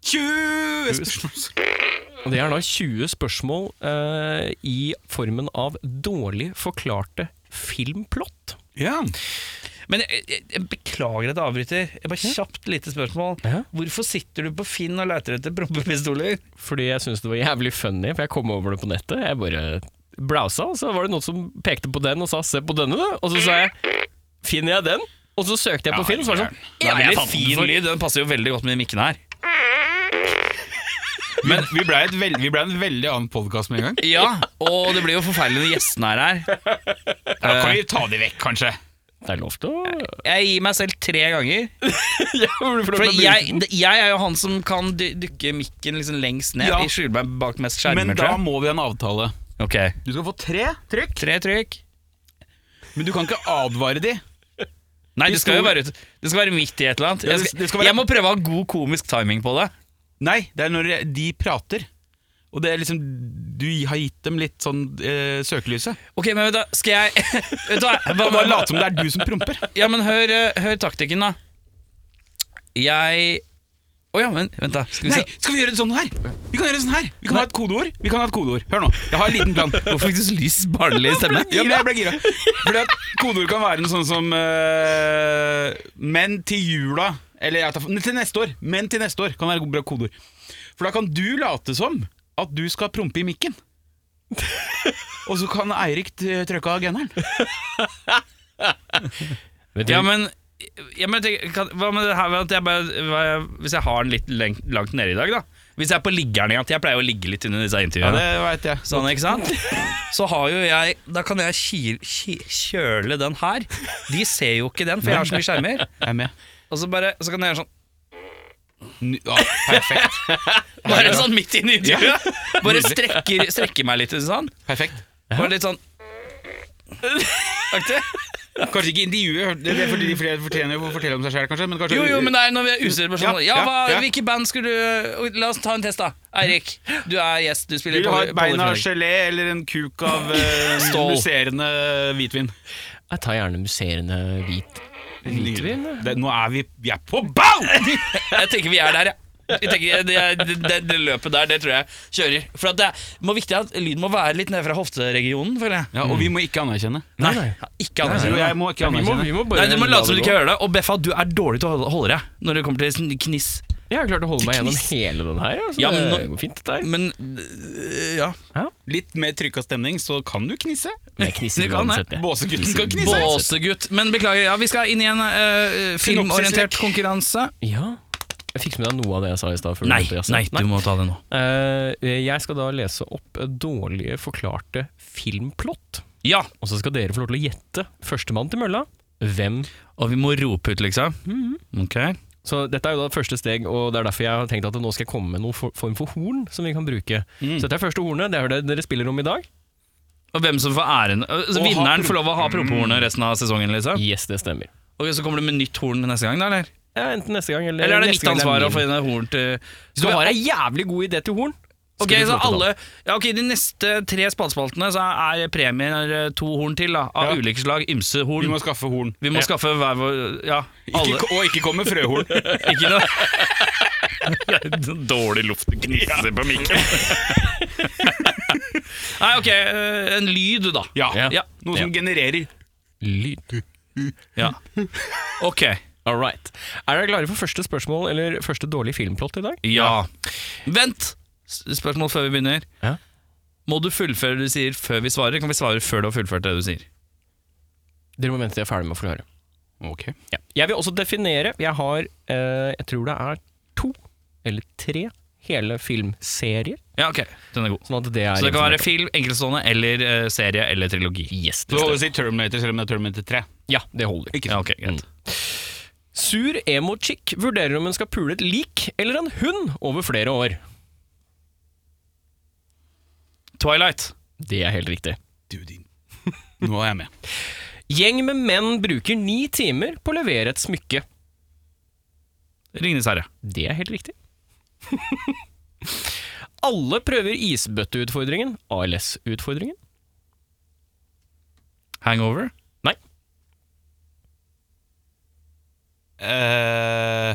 S3: 20 spørsmål.
S1: Og det er da 20 spørsmål eh, i formen av dårlig forklarte filmplott.
S3: Ja.
S2: Men jeg, jeg, jeg beklager at jeg avbryter. Jeg bare Kjapt lite spørsmål.
S1: Ja.
S2: Hvorfor sitter du på Finn og leter etter prompepistoler?
S1: Fordi jeg syns det var jævlig funny, for jeg kom over det på nettet. Jeg bare browsa, og så var det noen som pekte på den og sa 'se på denne', du. Og så sa jeg 'finner jeg den'? Og så søkte jeg på
S3: Ja,
S1: Finn, og så var det
S3: gæren.
S1: sånn jævlig fin lyd.
S2: Den passer jo veldig godt med mikken her.
S3: Men vi ble, et veld, vi ble en veldig annen podkast med en gang.
S2: Ja, og det blir jo forferdelig når gjestene er her.
S3: Da kan vi ta de vekk, kanskje.
S1: Det er lov til å
S2: Jeg gir meg selv tre ganger.
S1: ja, for
S2: For jeg, d- jeg er jo han som kan dy- dykke mikken liksom lengst ned.
S3: Ja.
S2: Jeg skjuler meg bak mest skjermer,
S3: Men da
S2: tror jeg.
S3: må vi ha en avtale.
S2: Ok,
S3: Du skal få tre trykk,
S2: Tre trykk.
S3: men du kan ikke advare de.
S2: Nei, det skal jo være, ut- det skal være midt i et eller annet.
S3: Ja,
S2: Jeg,
S3: det-
S2: skal,
S3: det skal være-
S2: jeg må prøve å ha god komisk timing på det.
S3: Nei, det er når de prater. Og det er liksom Du har gitt dem litt sånn eh, søkelyset.
S2: Ok, men vet du, hva, skal jeg Vet du hva? hva,
S3: Bare
S2: hva,
S3: late som det er du som promper.
S2: Ja, men hør, eh, hør taktikken, da. Jeg Å ja, men vent, da. Skal vi
S3: Nei,
S2: se.
S3: skal vi gjøre det sånn her? Vi kan gjøre det sånn her. Vi kan ha et kodeord. Vi kan ha et kodeord. Hør nå. Jeg har en liten plan.
S2: Nå fikk du så lys, barnlig stemme.
S3: Ja, men jeg ble gira. Fordi at kodeord kan være noe sånn som eh, Men til jula Eller jeg tar, nei, til neste år. Men til neste år kan være bra kodeord. For da kan du late som at du skal prompe i mikken. Og så kan Eirik eh, trykke av genneren.
S1: Vet du,
S2: Ja, men, ja, men tenk, kan, Hva med det her med at jeg bare hva- Hvis jeg har den litt lengt, langt nede i dag, da. Hvis jeg er på liggeren igjen, at jeg pleier å ligge litt under disse
S3: Ja,
S2: intervjuene.
S3: det veit jeg.
S2: Sånn, ikke sant? Så har jo jeg Da kan jeg kil, ki, kjøle den her. De ser jo ikke den, for jeg har så mye skjermer.
S3: Jeg er med.
S2: Og så, bare, så kan jeg gjøre sånn
S3: N- Ja, perfekt.
S2: Bare sånn midt inn i intervjuet. Bare strekker, strekker meg litt. Sånn.
S3: perfekt.
S2: Bare litt sånn Aktig.
S3: Kanskje ikke intervjuet, det er fordi de flere fortjener jo å fortelle om seg sjøl, kanskje. Men kanskje
S2: Jo, jo, men det er når vi er usikre personer. Ja,
S3: Ja, ja,
S2: hva,
S3: ja.
S2: hvilke band skulle du La oss ta en test, da. Eirik, du er gjest. Du spiller
S3: Vil du ha
S2: Poly-
S3: et bein av
S2: Polyphonic.
S3: gelé eller en kuk av eh,
S2: Stål.
S3: musserende hvitvin?
S1: jeg tar gjerne musserende hvit hvitvin. jeg.
S3: Det, nå er vi Vi er på ball!
S2: Jeg tenker vi er der, ja. Jeg tenker, eh, det, det, det, det løpet der, det tror jeg kjører. For at det er må viktig at lyden må være litt nede fra hofteregionen, føler jeg.
S3: Ja, Og vi må ikke anerkjenne.
S1: Nei, nei.
S2: Ikke
S3: Du og
S2: anerkjenne.
S3: jeg må ikke
S1: Vi må, vi
S3: anerkjenne.
S1: må bare
S2: Nei, Du må
S1: la
S2: late som du
S1: det
S2: ikke
S1: gå.
S2: hører det. Og Beffa, du er dårlig til å holde- holde deg når det kommer til sånn kniss.
S1: Jeg har klart å holde meg gjennom hele den her. Altså,
S2: Ja, men
S1: det går fint, det der.
S2: Men øh, ja.
S3: Litt mer trykk av stemning, så kan du knisse.
S1: Men jeg knisser
S2: Du kan det.
S1: uansett, jeg.
S3: Båsegutten skal knisse.
S2: Båsegutt. Men beklager, ja, vi skal inn i en øh, filmorientert konkurranse.
S1: Ja. Jeg fikk med deg noe av det altså. jeg sa i stad. før vi
S2: Nei,
S1: begynte å jazze.
S2: nei, du må ta det nå.
S1: Eh, jeg skal da lese opp dårlige forklarte filmplott.
S2: Ja,
S1: Og så skal dere få lov til å gjette førstemann til mølla. Hvem?
S2: og vi må rope ut, liksom. Ok.
S1: Så dette er jo da første steg, og det er derfor jeg har tenkt at nå skal jeg komme med noen for- form for horn som vi kan bruke.
S2: Mm.
S1: Så dette er første hornet, det er det dere spiller om i dag.
S2: Og hvem som får æren. Altså,
S3: Og ha
S2: vinneren
S3: pro-
S2: får lov å ha prompehornet resten av sesongen, liksom.
S1: Yes, det stemmer.
S2: Ok, Så kommer det med nytt horn neste gang, da, eller?
S1: Ja, enten neste gang eller
S2: Eller er det
S1: neste gang
S2: mitt ansvar å
S1: min.
S2: få inn et horn til
S1: Hvis du har ei jævlig god idé til horn
S2: Ok,
S1: skal du få
S2: så
S1: lov til å ta
S2: alle Ja, ok, de neste tre spaltespaltene så er premier eh, to horn til, da. Av
S3: Ja.
S2: ulike slag. Ymse horn.
S3: Vi må skaffe horn.
S2: Vi må skaffe hver vår Ja, alle.
S3: Ikke, og ikke komme frøhorn.
S2: Ikke noe Det er sånn Dårlig luft det gnisser på mikken. Nei, ok, eh, en lyd, da.
S3: Ja.
S2: Ja.
S3: Noe som genererer.
S1: lyd.
S2: Ja. Ok.
S1: All right. Er dere klare for første spørsmål eller første dårlig filmplott i dag?
S2: Ja. Vent! S- Spørsmål før vi begynner.
S1: Ja.
S2: Må du fullføre det du sier før vi svarer? Kan vi svare før du har fullført det du sier?
S1: Dere må vente til jeg er ferdig med å forklare.
S3: Ok
S1: Ja. Jeg vil også definere Jeg har, eh, jeg tror det er to eller tre hele filmserier.
S2: Ja, ok. Den er god.
S1: Sånn at det er
S2: Så det kan
S1: informert
S2: være
S1: om.
S2: film, enkeltstående eller eh, serie eller trilogi.
S1: Yes,
S3: Du
S1: det stemmer.
S3: holder å si Terminator selv om det er Terminator 3.
S1: Ja, det holder.
S2: Ja, ok, greit.
S1: Sur emo-chick vurderer om hun skal pule et lik eller en hund over flere år.
S2: Twilight.
S1: Det er helt riktig.
S3: Du din. Nå er jeg med.
S1: Gjeng med menn bruker ni timer på å levere et smykke.
S2: Ringenes herre.
S1: Det er helt riktig. Alle prøver isbøtteutfordringen, ALS-utfordringen.
S2: Hangover.
S1: Nei,
S3: Eh,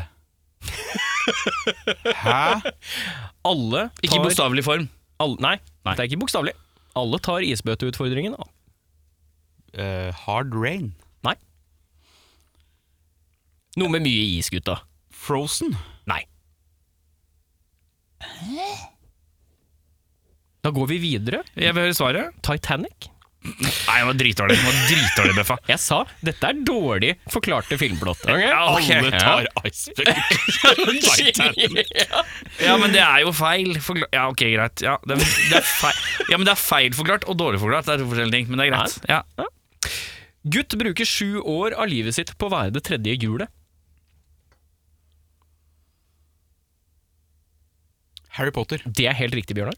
S3: Hæ?
S1: alle tar
S2: Ikke i bokstavelig form.
S1: alle, nei,
S2: Nei.
S1: det er ikke bokstavelig. Alle tar isbøtteutfordringen.
S3: Eh, hard Rain.
S1: Nei. Noe med mye is, gutta.
S3: Frozen.
S1: Nei. Da går vi videre.
S2: Jeg vil høre svaret.
S1: Titanic.
S2: Nei, den var dritdårlig. Den var dritdårlig, Beffa.
S1: Jeg sa dette er dårlig forklarte filmplott. ok?
S2: Ja, ok.
S1: Alle tar
S2: Ja, men det er jo feil forklart. Ja, ok, greit. Ja, det, det er feil. ja, men det er feil forklart og dårlig forklart. Det er to forskjellige ting, men det er greit. Ja.
S1: Gutt bruker sju år av livet sitt på å være det tredje hjulet.
S3: Harry Potter.
S1: Det er helt riktig, Bjørnar.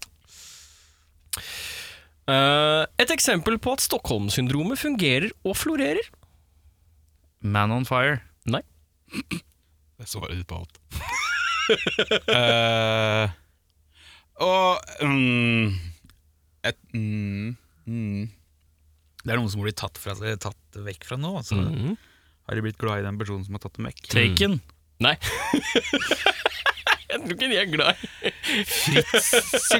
S1: Eh, et eksempel på at Stockholm-syndromet fungerer og florerer.
S2: Man on fire.
S1: Nei.
S3: Det er svaret ditt på alt. Eh, og mm, et, mm, mm. Mm.
S5: Det er noen som blir tatt, fra, tatt vekk fra nå. Så
S2: Mhm.
S5: har de blitt glad i den personen som har tatt dem vekk.
S2: Taken.
S1: Nei. jeg tror ikke de er glad i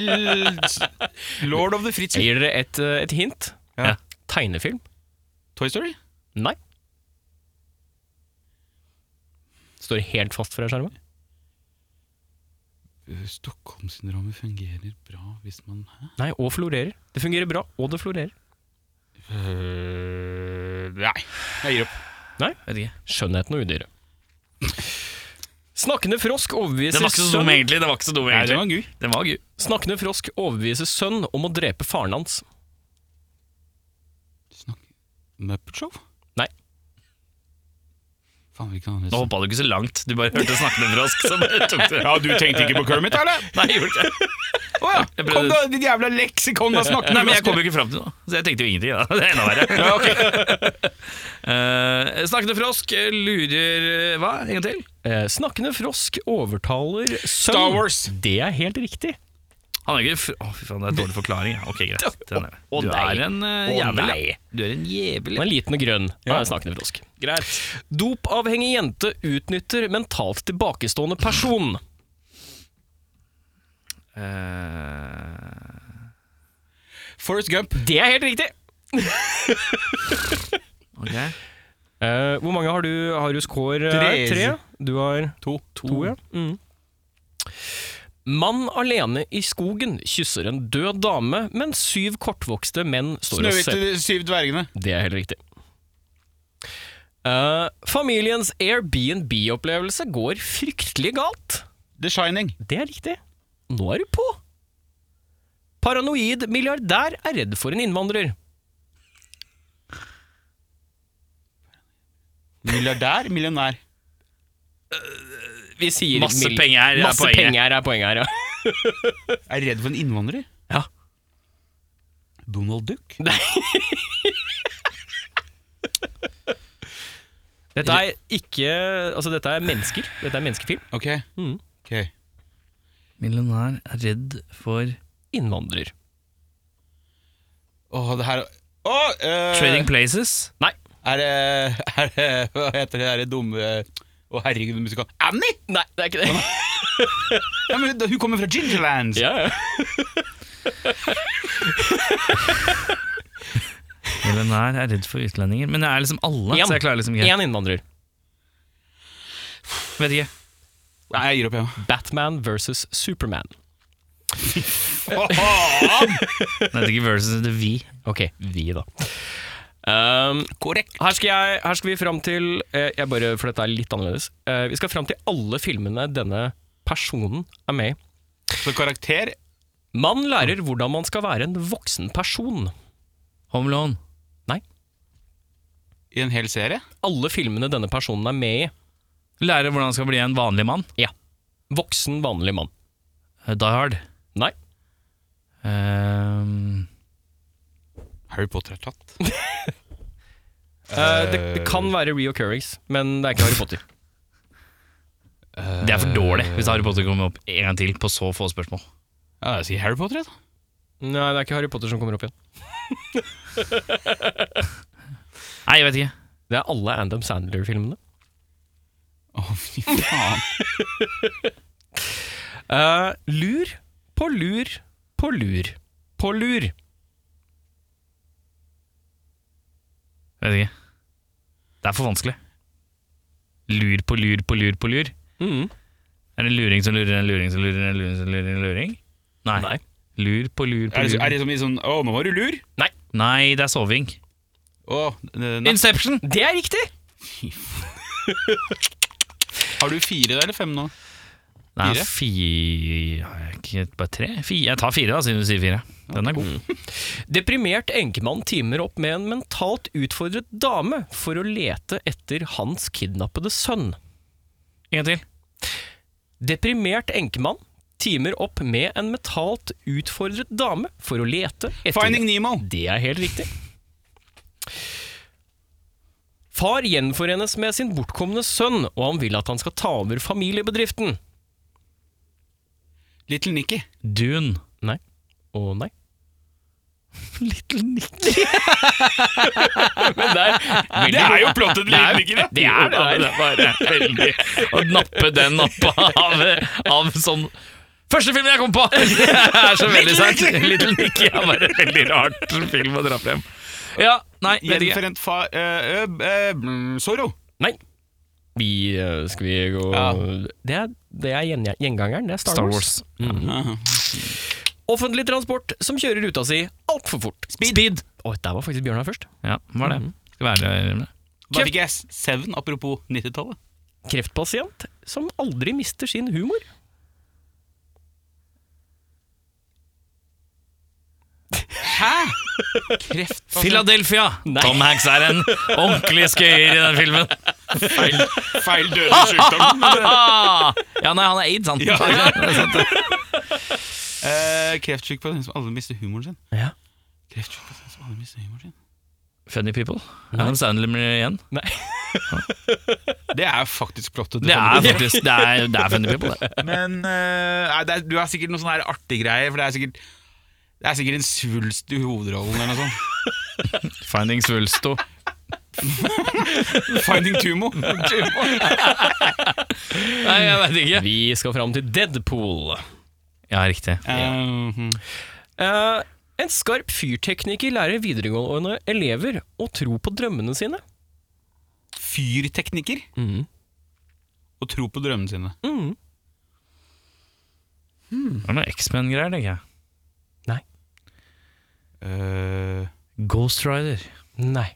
S3: Lord of the Fritz.
S1: Jeg gir dere et, eh, et hint.
S5: Ja.
S1: Tegnefilm?
S3: Toy Story?
S1: Nei. Står helt fast fra skjermen.
S3: Stockholm-syndromet fungerer bra hvis man Hæ?
S1: Nei, og florerer. Det fungerer bra, og det florerer.
S5: Eh,
S3: nei, jeg gir opp.
S2: Vet ikke.
S1: Skjønnheten og udyret. Snakkende frosk overbeviser
S2: Den var ikke så dum,
S1: sønn-
S2: egentlig. Den var ikke så dum,
S3: Nei, det
S2: egentlig.
S3: var gøy.
S2: Den var gøy.
S1: Snakkende frosk overbeviser sønn om å drepe faren hans.
S3: Snakk Muppet Show?
S1: Nei.
S3: Faen, hvilken
S2: Nå
S3: andre
S2: hoppa du ikke så langt. Du bare hørte snakkende frosk, så bare tok du
S3: Ja, du tenkte ikke på Kermit, eller?
S2: Nei, jeg gjorde ikke det.
S3: Å ja!
S2: Jeg prøvde-
S3: Kom da, ditt jævla leksikon! Da snakker
S2: Nei, men jeg kom jo ikke fram til noe, så jeg tenkte jo ingenting. Da. Det er enda verre. Eh, snakkende frosk lurer Hva, en gang til?
S1: Eh, snakkende frosk overtaler sønn
S3: Star Wars.
S1: Det er helt riktig.
S2: Han er ikke fr... Å, fy faen, det er dårlig forklaring. ja. Ok, greit. Den er-
S1: Å,
S2: Du
S1: nei.
S2: er en eh,
S1: Å,
S2: jævel.
S1: nei.
S2: ja. Du er en jævel.
S1: Den
S2: ja.
S1: er liten og grønn. Ja. Er snakkende frosk.
S3: Greit.
S1: Dopavhengig jente utnytter mentalt tilbakestående person.
S2: Eh,
S3: Forrest Gump.
S1: Det er helt riktig!
S2: ok.
S1: Eh, hvor mange har du, har du score?
S3: Tre.
S1: eh, Tre? Du har To. ja. Mm. Mann alene i skogen kysser en død dame, mens syv kortvokste menn står og ser
S3: Snøhvite de syv dvergene.
S1: Det er helt riktig. Eh, familiens Airbnb-opplevelse går fryktelig galt.
S3: The Shining.
S1: Det er riktig. Nå er du på! Paranoid milliardær er redd for en innvandrer.
S3: Milliardær? Millionær.
S1: Vi sier
S2: Masse
S1: mil-
S2: penger er
S1: masse
S2: poenget.
S1: penger er poenget her, ja.
S3: Er redd for en innvandrer?
S1: Ja.
S3: Donald Duck?
S1: Dette er ikke Altså, dette er mennesker. Dette er menneskefilm.
S3: Ok.
S1: Mhm.
S3: Ok.
S2: Millionær er redd for
S1: Innvandrer.
S3: Åh, det her Åh! eh,
S2: Trading Places.
S1: Nei.
S3: Er det Er det Hva heter det derre dumme Å, herregud, musikal Annie!
S1: Nei, det er ikke det.
S3: Ja, men Hun kommer fra Gingerland!
S1: Ja, ja.
S2: Millionær er redd for utlendinger. Men det er liksom alle,
S1: En.
S2: så jeg klarer liksom ikke
S1: Én innvandrer.
S2: Vet ikke.
S3: Nei, jeg gir opp, jeg.
S1: Batman versus Superman.
S2: Det heter ikke versus the V.
S1: Ok, vi, da. Um,
S3: Korrekt.
S1: her, skal jeg, her skal vi fram til eh, jeg bare, For dette er litt annerledes. Eh, vi skal fram til alle filmene denne personen er med i.
S3: Så karakter
S1: Man lærer hvordan man skal være en voksen person.
S2: Home Loan.
S3: i en hel serie?
S1: Alle filmene denne personen er med i.
S2: Lære hvordan han skal bli en vanlig mann.
S1: Voksen, vanlig mann.
S2: Eh, Die Hard.
S1: Nei.
S2: Ehm,
S3: Harry Potter er tatt.
S1: Eh, det, det kan være Rio Currings, men det er ikke Harry Potter.
S2: det er for dårlig hvis Harry Potter kommer opp en gang til på så få spørsmål.
S3: Ja, jeg sier Harry Potter, jeg, da.
S1: Nei, det er ikke Harry Potter som kommer opp igjen.
S2: Nei, jeg vet ikke.
S1: Det er alle Andam Sandler-filmene.
S3: Å, fy faen.
S1: Eh, lur på lur på lur på lur.
S2: Vet ikke. Det er for vanskelig. Lur på lur på lur på lur.
S1: Mhm.
S2: Er det en luring som lurer, en luring som lurer, en luring som lurer, en luring? Nei.
S1: Nei.
S2: Lur på lur på
S3: Er det,
S2: lur.
S3: er det som i sånn Å, nå var du lur!
S2: Nei, det er soving.
S3: Å, eh, nei.
S2: Inception!
S1: Det er riktig!
S3: Har du fire der, eller fem nå?
S2: Nei, fire ikke, Bare tre? Fire. Jeg tar fire, da, siden du sier fire. Den er
S3: Mm.
S2: god.
S1: Deprimert enkemann timer opp med en mentalt utfordret dame for å lete etter hans kidnappede sønn.
S2: En gang til.
S1: Deprimert enkemann timer opp med en mentalt utfordret dame for å lete etter
S3: Finding Nemo!
S1: Det er helt riktig. Far gjenforenes med sin bortkomne sønn, og han vil at han skal ta over familiebedriften.
S3: Little Nicky.
S2: Dune.
S1: Nei. Å nei.
S2: Little Nicky.
S1: Men der,
S2: Det er jo
S1: plottet til Little Nicky, det. er det der.
S2: bare veldig Å nappe den opp av, av sånn Første filmen jeg kom på! Det er så veldig sært. Little Nicky er bare en veldig rart film å dra frem. Ja, nei, vet ikke.
S3: Gjenforent fa... eh, eh, eh, mm, Zorro.
S1: Nei. Vi eh, Skal vi gå
S3: Ja.
S1: Det er, det er gjen, gjengangeren. Det er Star,
S2: Star
S1: Wars. Mm.
S2: Wars.
S1: Offentlig transport som kjører ruta si altfor fort. Speed. Å, der var faktisk Bjørnar først.
S2: Ja, hva er det? Skal være med det.
S3: Da fikk jeg Seven, apropos 90-tallet.
S1: Kreftpasient som aldri mister sin humor.
S3: Kreft.
S2: Philadelphia! Tom Hanks er en ordentlig skøyer i den filmen.
S3: Feil, feil dødelig sykdom.
S2: Ah! Ja, nei, han er aids, han.
S3: Eh, Kreftsyk på den som aldri mister humoren sin.
S1: Ja.
S3: Kreftsyk på den som aldri mister humoren sin.
S2: Funny people. Adam Sandler igjen.
S3: Det er faktisk plottet. til
S2: Det er
S3: Family Guy.
S2: faktisk det er, det er funny people, det.
S5: Men eh, nei, det er, du har sikkert noen sånne her artige greier, for det er sikkert
S3: det er sikkert en svulst i hovedrollen eller noe sånt.
S2: Finding Svulsto.
S3: Finding Tumo.
S2: Nei, jeg vet ikke.
S1: Vi skal fram til Deadpool.
S2: Ja, riktig.
S3: Eh,
S1: Eh, en skarp fyrtekniker lærer videregående elever å tro på drømmene sine.
S3: Fyrtekniker.
S2: Mm.
S3: Og tro på drømmene sine.
S1: Mm.
S2: Det er noe X-Men-greier, tenker jeg.
S3: Eh,
S2: Ghost Rider.
S1: Nei.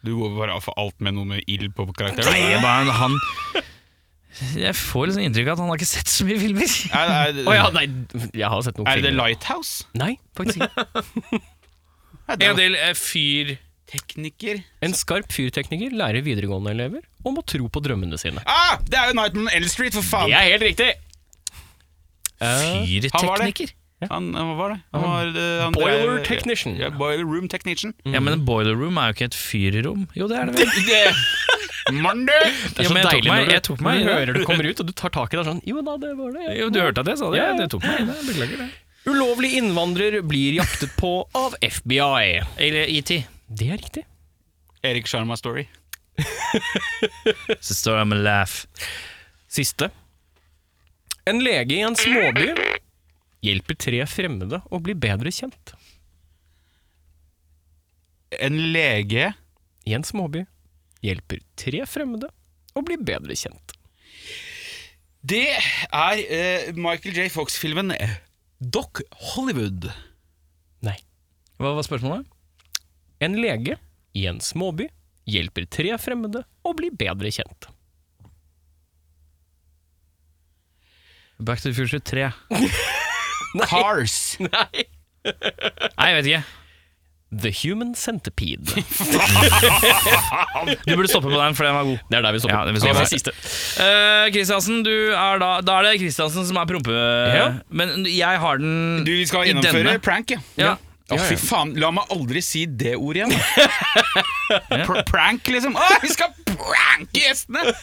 S3: du går bare av for alt med noe med ild på karakteren.
S2: Nei, jeg bare han Jeg får liksom inntrykk av at han har ikke sett så mye filmer.
S3: Er, er,
S1: Å ja, nei, jeg har sett noen
S3: er det
S1: filmer.
S3: Lighthouse?
S1: Nei, faktisk ikke.
S2: En del
S1: eh,
S2: fyr
S3: Tekniker
S1: En skarp fyrtekniker lærer videregående elever om å tro på drømmene sine.
S3: ah, Det er jo Nightman on L Street, for faen!
S1: Det er helt riktig!
S3: han var det.
S2: Fyrteknikker?
S3: Han, hva var det? Han var, eh, han
S1: Boiler
S3: drev-
S1: technician.
S3: Ja, boiler room technician.
S2: Ja, men en boiler room er jo ikke et fyrrom. Jo, det er det vel.
S3: Mann, du!
S1: Det
S2: Ja, men jeg tok meg- jeg tok meg
S1: når
S2: i
S1: du
S2: det.
S1: hører du kommer ut, og du tar tak i det sånn Jo da, det var det.
S2: Jo, du hørte at jeg sa det?
S1: Ja, ja.
S2: Det tok meg i det. Beklager det.
S1: Ulovlig innvandrer blir jaktet på av FBI.
S2: Eller ET.
S1: Det er riktig.
S3: Erik Sharma Story.
S2: Så står jeg med laugh.
S1: Siste. En lege i en småby hjelper tre fremmede å bli bedre kjent.
S3: En lege
S1: I en småby hjelper tre fremmede å bli bedre kjent.
S3: Det er eh, Michael J. Fox-filmen eh, Doc Hollywood.
S1: Nei.
S2: Hva var spørsmålet?
S1: En lege i en småby hjelper tre fremmede å bli bedre kjent.
S2: Back to the Future 3.
S3: Cars.
S1: Nei.
S2: Nei, jeg vet ikke.
S1: The Human Centipede.
S2: Du burde stoppe på den, for den var god.
S1: Det er der vi stopper.
S2: Ja, det er vi
S1: Det
S2: stopper.
S1: var siste.
S2: Eh, Kristiansen, du er da Da er det Kristiansen som er prompe... Men jeg har den
S3: Du, vi skal
S2: i
S3: gjennomføre
S2: denne.
S3: prank, ja.
S2: Ja.
S3: Å, fy faen. La meg aldri si det ordet igjen. Pr prank, liksom. Å, vi skal pranke gjestene!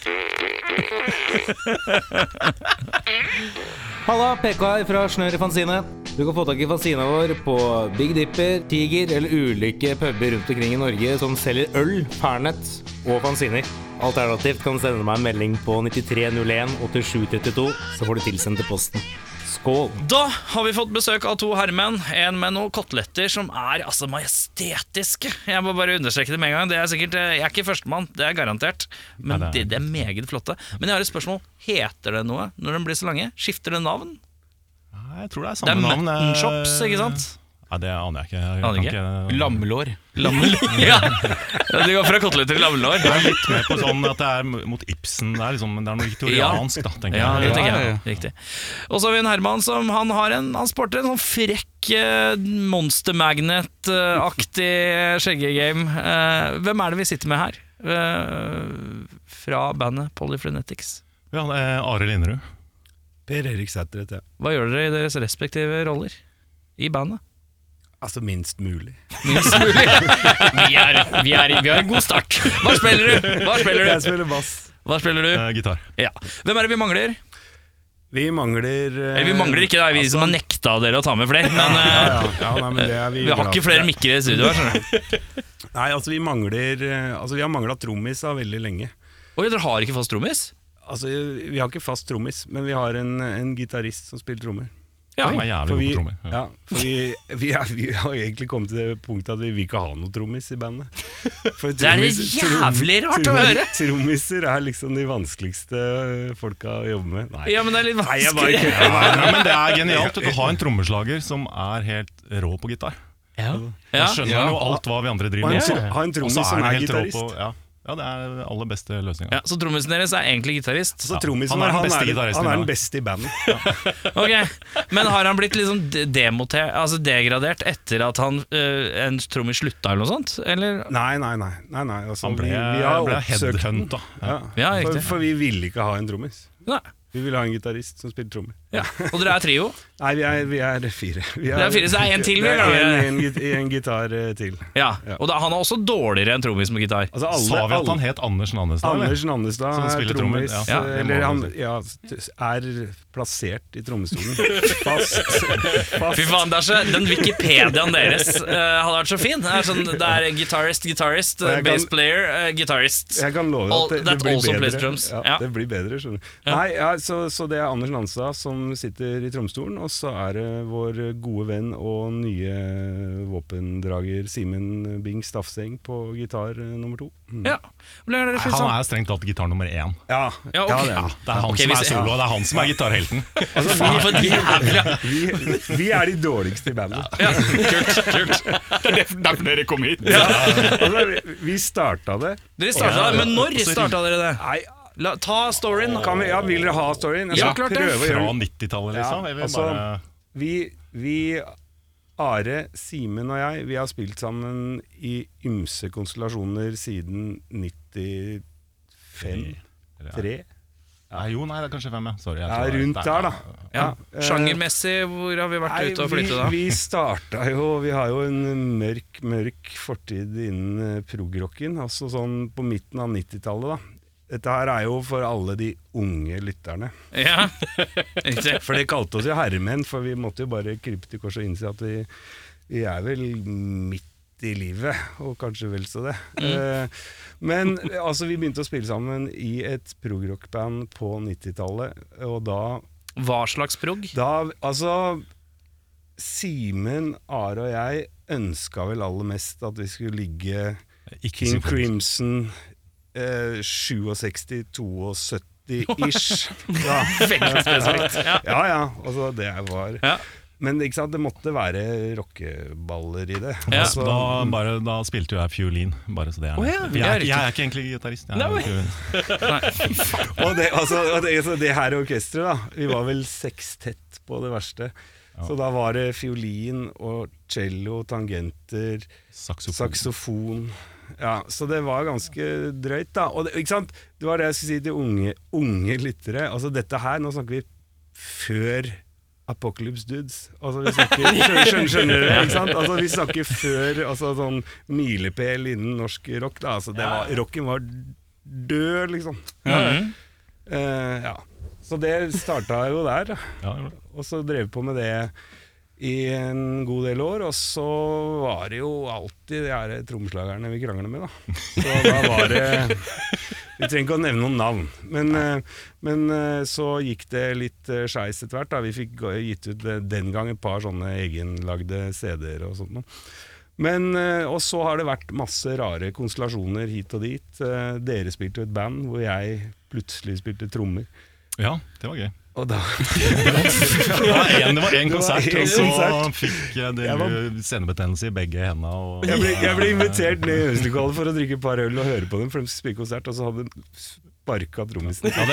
S6: Halla, PK her fra Snør i Fanzine. Du kan få tak i fanzina vår på Big Dipper, Tiger eller ulike puber rundt omkring i Norge som selger øl, Fernet og fanziner. Alternativt kan du sende meg en melding på 9301 8732, så får du tilsendt til posten. Skål!
S2: Da har vi fått besøk av to herremenn. En med noen koteletter som er altså majestetiske. Jeg må bare understreke det med en gang. Det er sikkert, eh, jeg er ikke førstemann, det er garantert. Men det, det er meget flotte. Men jeg har et spørsmål. Heter det noe når de blir så lange? Skifter det navn?
S7: Nei, jeg tror det er
S2: Det
S7: samme
S2: er
S7: navn. jeg-
S2: Mutton-shops, ikke sant?
S7: Nei, det aner jeg ikke. Jeg
S2: Aner
S7: kan ikke.
S3: Lammelår.
S2: Lammelår. ja. Det går fra koteletter til lammelår.
S7: Jeg er litt med på sånn at det er mot Ibsen. Det er, liksom, det er noe viktoriansk, da, tenker
S2: Ja, det
S7: jeg.
S2: tenker
S3: Ja,
S2: jeg. Riktig. Og så har vi en Herman som han har en Han sporter en sånn frekk eh, Monster Magnet-aktig skjeggegame. Eh, hvem er det vi sitter med her? Eh, fra bandet Polyphrenetics.
S7: Ja, det er Are Linderud.
S8: Per Erik Sæter heter jeg.
S2: Hva gjør dere i deres respektive roller i bandet?
S8: Altså minst mulig.
S1: Vi, er, vi, er, vi har en god start.
S2: Hva spiller du? Hva spiller
S8: Jeg
S2: du?
S8: spiller bass.
S2: Hva spiller du?
S7: Eh, gitar.
S2: Ja. Hvem er det vi mangler?
S8: Vi mangler eh,
S2: Eller vi mangler ikke, det er vi som har nekta dere å ta med flere. Men
S8: Ja,
S2: eh,
S8: ja. ja nei, men det er vi,
S2: vi har
S8: glad
S2: ikke
S8: for.
S2: flere mikker i studio her. skjønner du.
S8: Nei, altså vi mangler eh, Altså vi har mangla trommis da veldig lenge.
S2: Oi, dere har ikke fast trommis?
S8: Altså Vi har ikke fast trommis, men vi har en, en gitarist som spiller trommer.
S2: Ja.
S7: Jeg er jævlig
S8: For
S7: god
S8: vi,
S7: på trommer. Ja.
S8: ja, for vi, vi, er, vi har egentlig kommet til det punktet at vi vil ikke ha noe trommis i bandet. For
S2: Det er
S8: trommis-
S2: jævlig
S8: trom-
S2: rart å
S8: trom-
S2: høre!
S8: Trommiser er liksom de vanskeligste folka å jobbe med. Nei,
S2: Ja, men det er litt
S8: Nei jeg bare
S2: vanskelig.
S8: kødder.
S7: Nei, nei, men det er genialt. Du har en trommeslager som er helt rå på gitar.
S2: Ja.
S7: Han skjønner jo alt hva vi andre driver
S8: Ha en,
S7: med.
S8: tro- ha
S7: Og
S8: en
S7: så
S8: trommis
S7: er
S8: som
S7: han
S8: er
S7: helt rå på
S8: gitarist.
S7: ja. ja, det er den aller beste løsninga.
S2: Ja, så trommisen deres er egentlig gitarist.
S8: Så trommis,
S7: Han er den
S8: han,
S7: beste
S8: er,
S7: gitaristen
S8: han
S7: i bandet.
S8: er den beste i bandet.
S2: Ok, Men har han blitt liksom de- demoter, altså degradert etter at han, eh, en trommis slutta, eller noe sånt? Eller?
S8: Nei, nei, nei. nei, nei altså,
S7: Han ble,
S8: vi, vi har
S7: ble
S8: oppsøkt den.
S7: headhunta.
S8: Ja.
S2: Ja,
S8: for,
S2: riktig.
S8: for vi ville ikke ha en trommis.
S2: Nei.
S8: Vi ville ha en gitarist som spiller trommer.
S2: Ja. Og dere er trio?
S8: Nei, vi er, vi er fire. Vi
S2: Dere er fire, så det er en til,
S8: Det er
S2: vi, eller?
S8: en, en, git- en gitar eh, til.
S2: Ja. Og da, han er også dårligere enn trommis med gitar.
S8: Altså, alle,
S7: Sa vi at han
S8: alle-
S7: het Anders Nannestad? eller?
S8: Anders Nannestad
S7: Som
S8: er
S7: spiller trommer, ja.
S8: trommis. eh,
S7: Ja, det må
S8: Eller han
S7: man si.
S8: ja, t- er plassert i trommestolen. Fast.
S2: Fy
S8: fast.
S2: faen, det er så, Den Wikipediaen deres eh, hadde vært så fin. Det er, sånn, det er gitarist, gitarist,
S8: Og jeg kan-
S2: bass player, eh, gitarist.
S8: Jeg kan love
S2: All-
S8: at det, det
S2: that
S8: blir
S2: also plays
S8: bedre.
S2: drums.
S8: Ja,
S2: Ja.
S8: Det blir bedre, skjønner du. Nei, ja, så, så det er Anders Nanstad som sitter i trommestolen, og så er det vår gode venn og nye våpendrager Simen Bing Stafseng på gitar eh, nummer to. Mm.
S2: Ja. Hvordan er dere
S7: Nei,
S2: fylt
S7: han
S2: sammen?
S7: er strengt tatt gitar nummer én.
S8: Ja,
S2: Ja, ok.
S8: det er han.
S7: Det er han
S2: Ok,
S7: som
S2: hvis-
S7: er solo, og det er han som er gitarhelten.
S8: Altså,
S2: Faen, for et jævla
S8: Vi, vi er de dårligste i bandet.
S3: Derfor dere kom hit.
S8: Altså, vi- vi starta det.
S2: Dere starta det, men når
S8: Altså,
S2: starta dere det?
S8: Nei,
S2: La, ta storyen.
S8: kan vi, ja, vil dere ha storyen? Jeg
S2: Ja,
S8: skal
S2: klart det.
S8: prøve å
S7: Fra
S8: gjøre den
S7: 90-tallet,
S8: Ja,
S7: liksom. Jeg vil
S8: altså,
S7: bare-
S8: Vi, vi Are, Simen og jeg, vi har spilt sammen i ymse konstellasjoner siden 95
S7: Eller, ja.
S8: 3
S7: Nei, jo, nei, det er kanskje fem, ja. Sorry. jeg
S8: Ja,
S7: tror det er-
S8: rundt
S7: det er-
S8: der, da.
S2: Ja.
S8: eh,
S2: Sjangermessig, hvor har vi vært
S8: Nei,
S2: ute og
S8: vi,
S2: flyttet da?
S8: vi starta jo Vi har jo en mørk, mørk fortid innen eh, prog-rocken. Altså sånn på midten av 90-tallet, da. Dette her er jo for alle de unge lytterne.
S2: Ja, riktig.
S8: For de kalte oss jo herremenn, for vi måtte jo bare krype til korset og innse at vi, vi er vel midt i livet, og kanskje vel så det. Eh, Men altså, vi begynte å spille sammen i et progrockband på 90-tallet, og da,
S2: Hva slags prog?
S8: da Altså, Simen, Are og jeg ønska vel aller mest at vi skulle ligge
S7: Ikke
S8: King
S7: symfonisk.
S8: Crimson eh, 67-72-ish. Ja.
S2: Veldig spesifikt. Ja.
S8: Ja, ja. Altså, det var
S2: Ja.
S8: Men ikke sant, det måtte være rockeballer i det.
S2: Ja.
S8: Altså,
S7: Da, bare, da spilte jo jeg fiolin, bare så det er
S2: Å ja,
S7: jeg, er,
S2: det er
S7: jeg er ikke egentlig gitarist. Jeg, er
S1: Nei,
S7: fiolin.
S8: og det, altså, og det, altså, det her orkesteret, da. Vi var vel sekstett på det verste. Så da var det fiolin og cello, tangenter,
S7: Saksofon.
S8: saksofon Ja, Så det var ganske drøyt, da. Og det, ikke sant? det var det jeg skulle si til unge, unge lyttere. Altså dette her, nå snakker vi før Apocalypse Dudes. Altså vi snakker, skjønner, skjønner, skjønner dere? Ikke sant? Altså vi snakker før altså, sånn milepæl innen norsk rock. Da. Altså, det var, rocken var død, liksom. Eh, ja. Så det starta jo der. da.
S7: Ja, det gjorde det.
S8: Og så drev vi på med det i en god del år, og så var det jo alltid de her trommeslagerne vi krangler med, da. Så da var det Vi trenger ikke å nevne noen navn. Men, eh, men eh, så gikk det litt eh, skeis etter hvert. da. Vi fikk gå- gitt ut eh, den gang et par sånne egenlagde CD-er og sånt noe. Men, eh, og så har det vært masse rare konstellasjoner hit og dit. Eh, Dere spilte jo et band hvor jeg plutselig spilte trommer.
S7: ja, det var gøy.
S8: Og da
S7: Det var en- det var én konsert,
S8: Det
S7: og
S8: var en
S7: så
S8: konsert.
S7: fikk jeg
S8: Jeg var-
S7: det senebetennelse i begge hendene. Og,
S8: Jeg ble, jeg ble invitert ned i øvingslokalet for å drikke et par øl og høre på dem, for de skulle spille konsert, og så hadde de sparka trommisen.
S7: Ja,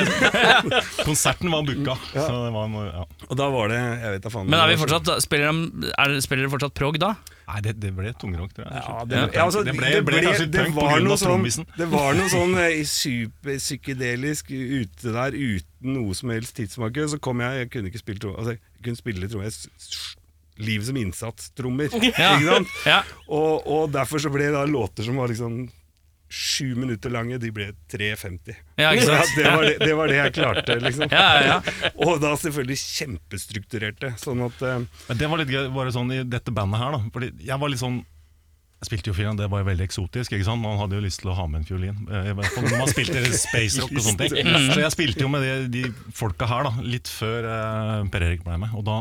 S7: det, konserten var booka. Så det var, noe- ja.
S8: Og da var det Jeg vet da faen.
S2: Men er vi fortsatt, spiller, de, er, spiller dere fortsatt prog da?
S7: Nei, det, det ble tungrock, tror jeg.
S8: Ja, det, ja, altså,
S7: det ble, ble kanskje
S8: det
S7: punk
S8: var
S7: pga. Sånn,
S8: noe sånn,
S7: trommisen.
S8: det var noe sånn eh, superpsykedelisk ute der uten noe som helst tidsmakke. Så kom jeg, jeg kunne ikke spille trom- altså, jeg kunne spille trommer. jeg s- Livet som innsattstrommer.
S2: Ja.
S8: Ikke sant?
S2: Ja.
S8: Og, og derfor så ble da låter som var liksom sju minutter lange, de ble 3,50.
S2: Ja, ikke
S8: Så
S2: sant?
S8: det, var det, det var det jeg klarte, liksom.
S2: Ja, ja,
S8: Og da selvfølgelig kjempestrukturerte. Sånn at eh,
S7: Men det var litt gøy, bare sånn i dette bandet her, da. Fordi jeg var litt sånn jeg spilte jo fiolin, det var jo veldig eksotisk. ikke sant? Man hadde jo lyst til å ha med en fiolin. eh, i hvert fall Når man spilte space rock og sånne ting. Så jeg spilte jo med de, de folka her, da, litt før eh, Per Erik ble med. Og da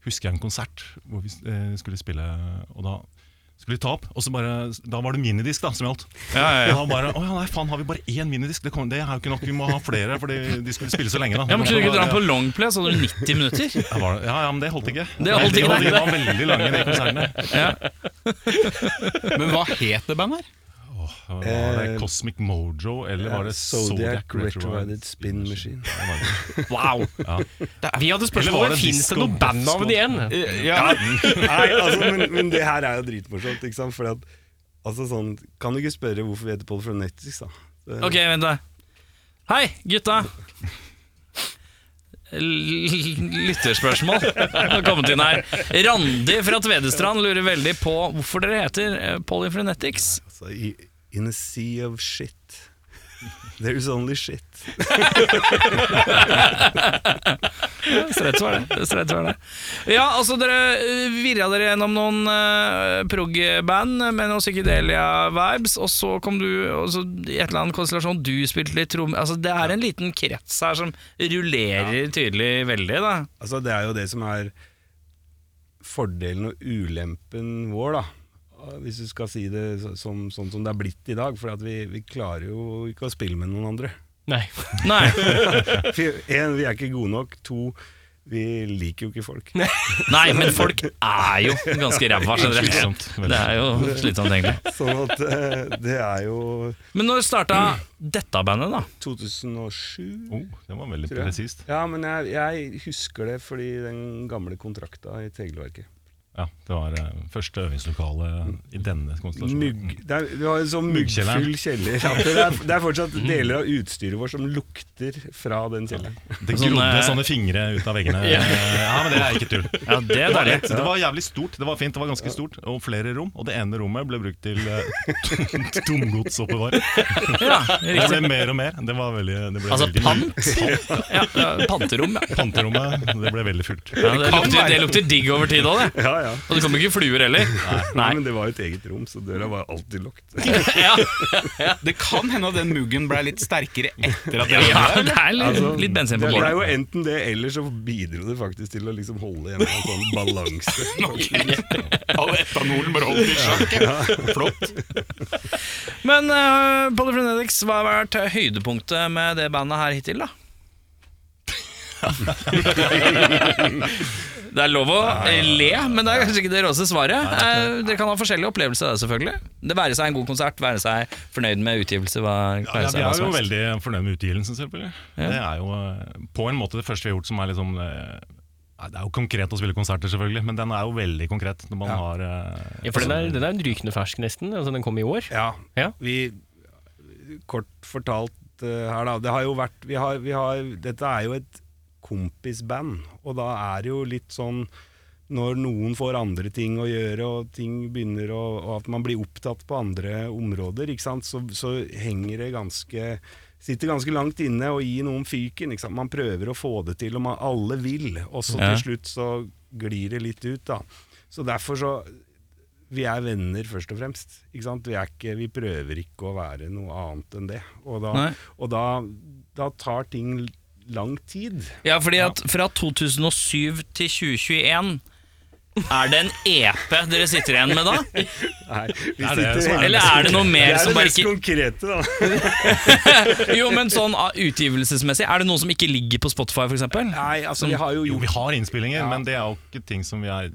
S7: husker jeg en konsert hvor vi eh, skulle spille, og da skulle vi ta opp, og så bare, Da var det minidisk da, som gjaldt. Og da bare, Å ja, nei, faen, har vi bare én minidisk? Det, kom, det er jo ikke nok, vi må ha flere, fordi de skulle spille så lenge. da.
S2: Ja, men Kunne du ikke
S7: Da
S2: dra den
S7: var det-
S2: på longplay, så hadde du 90 minutter?
S7: ja, var det- ja, ja, men det holdt ikke.
S2: Det holdt ikke,
S7: de,
S2: nei.
S7: var veldig lange, de konsertene.
S3: Men hva het det bandet her?
S8: Eh,
S7: Var det Cosmic Mojo, eller var det Zodiac Retroided
S8: Spin Machine.
S1: Wow! Vi hadde
S7: Eller var
S1: spørsmålet
S7: det
S1: Fins det
S7: disco-
S1: noe bandnavn igjen.
S8: Nei, altså, men, men det her er jo dritmorsomt, ikke sant? Fordi at, altså, sånn, kan du ikke spørre hvorfor vi heter Paul Fronetics, da? Det-
S2: Ok, vent da. Hei, gutta! L- Lytterspørsmål har kommet inn her. Randi fra Tvedestrand lurer veldig på hvorfor dere heter eh, Polyphrenetics.
S8: Altså, i, in a sea of shit. There's only shit.
S2: Streit svar, det. Streit svar, det. Ja, altså, dere eh, virra dere gjennom noen eh, prog-band med noen psykedelia-vibes, og så kom du og så i et eller annet konstellasjon Du spilte litt trom... Altså, det er en liten krets her som rullerer tydelig veldig, da.
S8: Altså, det er jo det som er fordelen og ulempen vår, da. Hvis du skal si det så- som, sånn som det er blitt i dag. For at vi, vi klarer jo ikke å spille med noen andre.
S1: Nei.
S2: Nei.
S8: For, en, vi er ikke gode nok. To, vi liker jo ikke folk.
S2: Nei, men folk er jo ganske ræva generelt.
S7: Slitsomt,
S2: Det er jo slitsomt, egentlig.
S8: Sånn at eh, det er jo
S2: Men når starta dette bandet, da?
S8: 2007
S7: Oh, det var veldig
S8: Tror jeg.
S7: presist.
S8: Ja, men jeg, jeg husker det fordi den gamle kontrakta i Tegelverket.
S7: Ja, det var eh, første øvingslokale i denne konstellasjonen.
S8: Mugg, det er, vi har en sånn
S7: Muggkjelleren.
S8: muggfull kjeller. Ja, det, er, det er fortsatt deler av utstyret vårt som lukter fra den kjelleren.
S7: Det
S2: Sånn,
S7: grodde
S2: eh,
S7: sånne fingre ut av veggene. Eh, Ja, men det er ikke tull.
S2: Ja, det er
S7: Det var,
S2: deilig.
S7: lett. det var jævlig stort, det var fint, det var ganske stort, og flere rom. Og det ene rommet ble brukt til eh, tom- tomgodsoppbevaring.
S2: Ja,
S7: Det
S2: riktig.
S7: ble mer og mer. Det var veldig det ble
S2: Altså
S7: veldig mye.
S2: pant? Ja, ja, panterom, ja.
S7: Panterommet det ble veldig fullt.
S2: ja det, lukter, det lukter digg over tid òg, det.
S8: Ja, ja.
S2: Og det kommer ikke fluer heller. Nei.
S8: Men det var jo et eget rom, så døra var alltid lukket.
S2: Ja,
S3: Det kan hende at den muggen ble litt sterkere etter at
S2: ja,
S3: jeg
S2: ja det er Altså, litt, litt bensin
S8: Altså, det,
S2: på
S8: det er
S2: bålet.
S8: jo enten det, eller så bidro det faktisk til å liksom holde en sånn balanse.
S3: All etanolen ble holdt i sjakk.
S2: Men uh, Polyphrenetics, hva har vært eh, høydepunktet med det bandet her hittil, da? Det er lov å eh, le, men det er kanskje ikke det råeste svaret. Eh, Dere kan ha forskjellige opplevelser av det, selvfølgelig. Det være seg en god konsert, være seg fornøyd med utgivelse, hva,
S7: Ja,
S2: være
S7: vi
S2: seg hva
S7: er jo
S2: som helst.
S7: veldig fornøyd med utgivelsen, selvfølgelig. Det er jo eh, på en måte det første vi har gjort som er liksom eh, nei, Det er jo konkret å spille konserter, selvfølgelig, men den er jo veldig konkret når man har eh,
S1: Ja, for den er, den er rykende fersk, nesten. Altså, den kom i år.
S8: Ja,
S1: Ja.
S8: vi Kort fortalt eh, her, da. Det har jo vært vi har, vi har, Dette er jo et kompisband, og da er det jo litt sånn når noen får andre ting å gjøre, og ting begynner å Og at man blir opptatt på andre områder, ikke sant, så, så henger det ganske Sitter ganske langt inne og gir noen fyken. Ikke sant? Man prøver å få det til, og man, alle vil. Og så
S2: Ja.
S8: til slutt så glir det litt ut, da. Så derfor så vi er venner først og fremst. Ikke sant? Vi, er ikke, vi prøver ikke å være noe annet enn det. Og da,
S2: Nei.
S8: og da, da tar ting l- lang tid.
S2: Ja, fordi at fra 2007 til 2021 Er det en EP dere sitter igjen med da?
S8: Nei, vi
S7: er det
S8: sitter-
S7: som er
S2: Eller er det noe
S8: Det
S2: mer
S8: er
S2: som
S8: det
S2: bare
S8: mest
S2: ikke
S8: konkrete, da.
S2: Jo, men sånn ah, utgivelsesmessig, er det noe som ikke ligger på Spotify, for eksempel?
S8: Nei, altså, vi har jo
S7: Jo,
S8: gjort
S7: vi har innspillinger, men det er jo ikke ting som vi er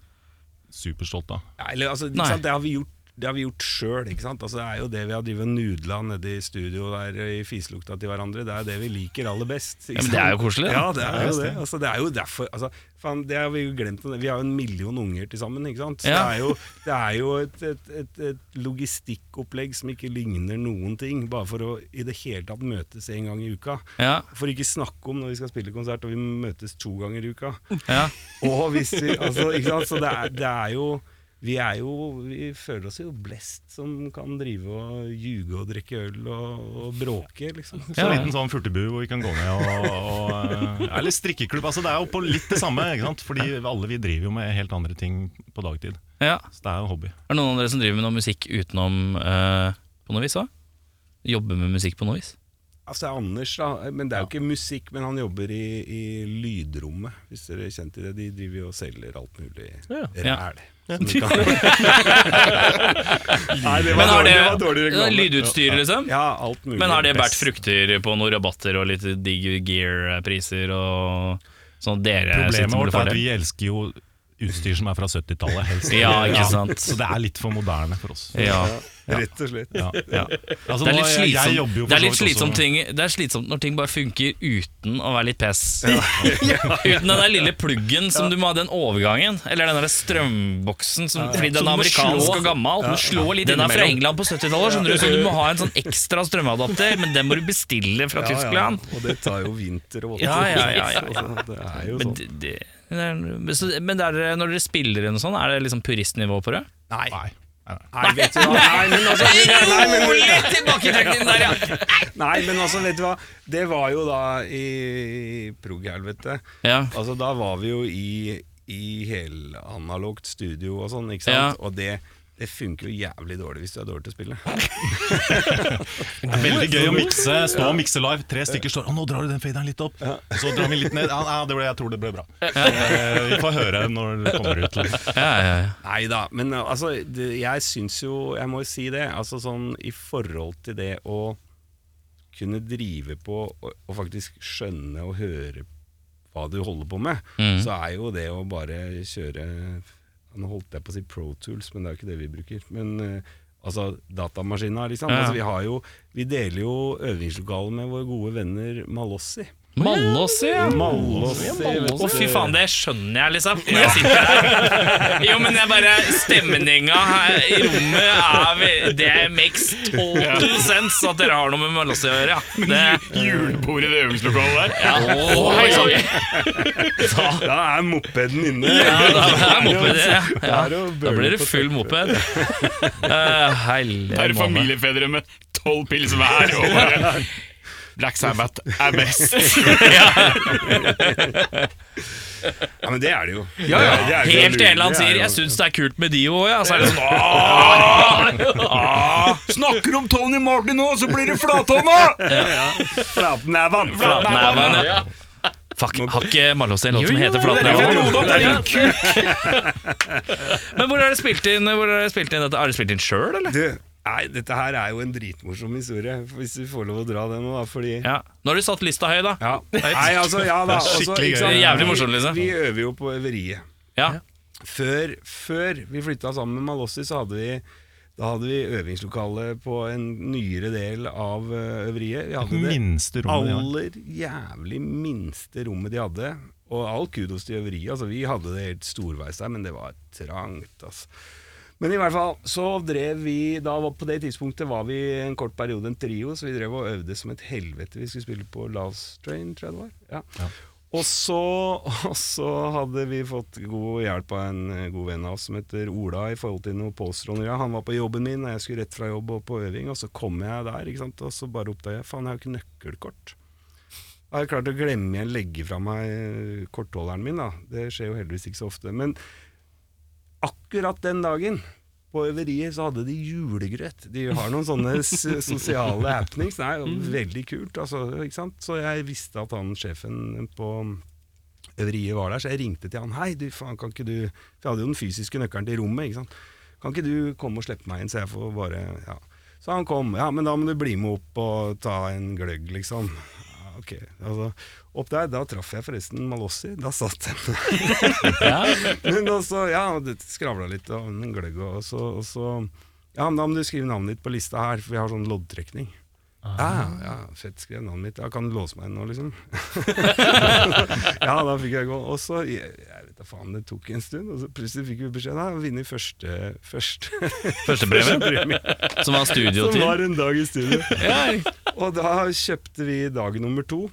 S7: superstolte av.
S8: Nei, Eller, altså, ikke
S2: Nei.
S8: sant? Det har vi gjort det har vi gjort sjøl. Altså, det er jo det vi har drevet og nudla nede i studio der i fiselukta til hverandre. Det er jo det vi liker aller best.
S2: Ja,
S8: ikke
S2: men
S8: sant?
S2: det er jo koselig, da.
S8: Ja, det er jo det. Altså, det er jo derfor altså, faen, Det har vi jo glemt. Vi har jo en million unger til sammen, ikke sant. Så
S2: Ja.
S8: det er jo, det er jo et, et, et, et logistikkopplegg som ikke ligner noen ting, bare for å i det hele tatt møtes en gang i uka.
S2: Ja,
S8: For ikke snakke om når vi skal spille konsert og vi møtes to ganger i uka.
S2: ja.
S8: Og hvis vi, altså, ikke sant? Så det er, det er jo vi, er jo vi føler oss jo blest som kan drive og ljuge og drikke øl og, og bråke, liksom.
S7: Så en liten sånn furtebu hvor vi kan gå ned og, og eh, Eller strikkeklubb. Altså, det er jo på litt det samme, ikke sant? fordi alle vi driver jo med helt andre ting på dagtid.
S2: ja.
S7: Så det er jo hobby.
S2: Er det noen av dere som driver med noe musikk utenom eh, på noe vis da? Jobber med musikk på noe vis?
S8: Altså det er Anders, da, men det er jo ikke musikk, men han jobber i, i lydrommet, hvis dere er kjent i det. De driver jo og selger alt mulig ræl. som vi kan- Nei, det
S2: Men har
S8: var dårlig,
S2: det,
S8: det var dårlig
S2: det er
S8: reklame.
S2: lydutstyr, liksom?
S8: Ja, alt mulig.
S2: Men har det båret
S8: Best.
S2: frukter på noen rabatter og litt digg gear-priser og sånn dere
S7: Problemet
S2: synes blir
S7: vårt er at
S2: fordel?
S7: vi elsker jo utstyr som er fra 70-tallet, helst.
S2: Ja, ikke sant?
S7: Så det er litt for moderne for oss.
S2: Ja.
S8: Rett og slett.
S7: Ja. Altså,
S2: Det er litt
S7: nå- jeg- jeg
S2: slitsomt,
S7: jobber jo for
S2: det er
S7: så
S2: litt
S7: vidt også-
S2: slitsomt, ting, det er slitsomt når ting bare funker uten å være litt pes. Uten den der lille pluggen som du må ha den overgangen, eller den der strømboksen som, fordi den er amerikansk og gammel. Den er fra England på 70-tallet, skjønner du, så du må ha en sånn ekstra strømadapter, men den må du bestille fra Tyskland.
S8: Og det tar jo vinter og våter.
S2: Ja, ja, ja, ja.
S8: Altså, Det er jo
S2: Men,
S8: sånn.
S2: det, det, det er, men så- men det er, når dere spiller eller noe sånt, er det liksom puristnivå på det?
S7: Nei. Nei. nei.
S8: Nei, vet du hva? Nei, men altså, nei, men,
S2: Litt tilbaketrekning der, ja!
S8: nei, men altså, vet du hva? Det var jo da i prog-helvete.
S2: ja.
S8: Altså, da var vi jo i, i helanalogt studio og sånn, ikke
S2: Ja.
S8: sant? Og det, det funker jo jævlig dårlig hvis du er dårlig til å spille.
S7: Veldig gøy å mikse. Stå og mikse live. Tre stykker står Å, 'Nå drar du den faderen litt opp', så drar vi litt ned. Ja, ja, det ble, jeg tror det ble bra. Eh, Vi får høre når det kommer ut. liksom.
S2: Ja, ja, ja.
S8: Nei da, men uh, altså, det, jeg syns jo Jeg må jo si det. Altså sånn i forhold til det å kunne drive på og, og faktisk skjønne og høre hva du holder på med,
S2: Mm.
S8: så er jo det å bare kjøre Nå holdt jeg på å si Pro Tools, men det er jo ikke det vi bruker. Men uh, altså datamaskina, liksom.
S2: Ja.
S8: Altså, vi, har jo, vi deler jo øvingslokalet med våre gode venner Malossi.
S2: Malås, ja.
S8: Malossi, vet
S2: Å,
S8: du.
S2: fy faen, det skjønner jeg, liksom. Når jeg sitter her. Jo, men jeg bare Stemninga her i rommet er ve- Det makes total sense at dere har noe med Malås å gjøre, ja. Det,
S1: Julebordet ved øvingslokalet der.
S2: ja. Å, hei sann!
S8: Da er mopeden inne.
S2: Ja, da er moped, ja. ja.
S8: Det er jo
S2: Da blir det
S8: bøler på
S2: full moped. Uh, Hellige
S1: Det er
S2: måned.
S1: familiefedre med tolv pils hver. Og bare Black Sabbath er best.
S8: Ja, men det er det jo. Det er jo
S2: Helt til en eller annen
S8: det er
S2: sier
S8: jo-
S2: 'jeg syns det er kult med de òg', ja. Så er det sånn «Åh,
S3: Snakker om Tony Martin nå, så blir det flathånda!
S8: Flatnæven!
S2: Flatnæven. ja. Fuck, har ikke Malås en låt som heter
S3: Det er derfor jeg dro
S2: Flatnæven?
S3: det opp, det er din kuk!
S2: Men hvor har dere spilt inn Hvor har dere spilt inn dette? Har dere spilt inn sjøl, eller?
S8: Du, nei, dette her er jo en dritmorsom historie, hvis vi får lov å dra den nå, da, fordi
S2: Ja. Nå har du satt lista høy, da.
S8: Ja. Nei, altså, ja da. altså,
S7: skikkelig
S8: ikke sant?
S2: gøy. Det er jævlig morsomt, liksom.
S8: Vi, vi øver jo på øveriet.
S2: Ja.
S8: Før, før vi flytta sammen med Malossi, så hadde vi da hadde vi øvingslokale på en nyere del av eh, øveriet. Vi hadde det
S7: Minste rommet. ja.
S8: aller jævlig minste rommet de hadde. Og all kudos til øveriet. Altså, vi hadde det helt storveis der, men det var trangt. Altså. Men i hvert fall, så drev vi da var- På det tidspunktet var vi en kort periode en trio, så vi drev og øvde som et helvete. Vi skulle spille på Last Train, tror jeg det var. Ja. Og, så, og så hadde vi fått god hjelp av en eh, god venn av oss som heter Ola, i forhold til noe påstrående. Ja, han var på jobben min, og jeg skulle rett fra jobb og på øving, og så kom jeg der, ikke sant? og så bare oppdaga jeg faen, jeg har jo ikke nøkkelkort. Jeg har klart å glemme igjen legge fra meg eh, kortholderen min, da. Det skjer jo heldigvis ikke så ofte. Men akkurat den dagen på øveriet så hadde de julegrøt. De har noen sånne s- sosiale happenings. Det er jo veldig kult, altså, ikke sant? Så jeg visste at han sjefen på øveriet var der, så jeg ringte til han. Hei, du faen, kan ikke du For jeg hadde jo den fysiske nøkkelen til rommet. ikke sant? Kan ikke du komme og slippe meg inn, så jeg får bare ja. Så han kom. Ja, men da må du bli med opp og ta en gløgg, liksom. Ja, Ok, altså, Opp der, da traff jeg forresten Malossi. Da satt jeg med men også, ja, det skravla litt og en gløgg, og så, og så Ja, men da må du skrive navnet ditt på lista her, for vi har sånn loddtrekning.
S2: Ah.
S8: Ja, ja, fett, skrev navnet mitt. Ja, kan du låse meg inn nå, liksom? ja, da fikk jeg gå. Og så, jeg, jeg vet da faen, det tok en stund, og så plutselig fikk vi beskjed om å vinne første, første,
S2: Første premie,
S8: premie,
S2: som var studio
S8: som
S2: til.
S8: var en dag i studio. Og da kjøpte vi dag nummer to.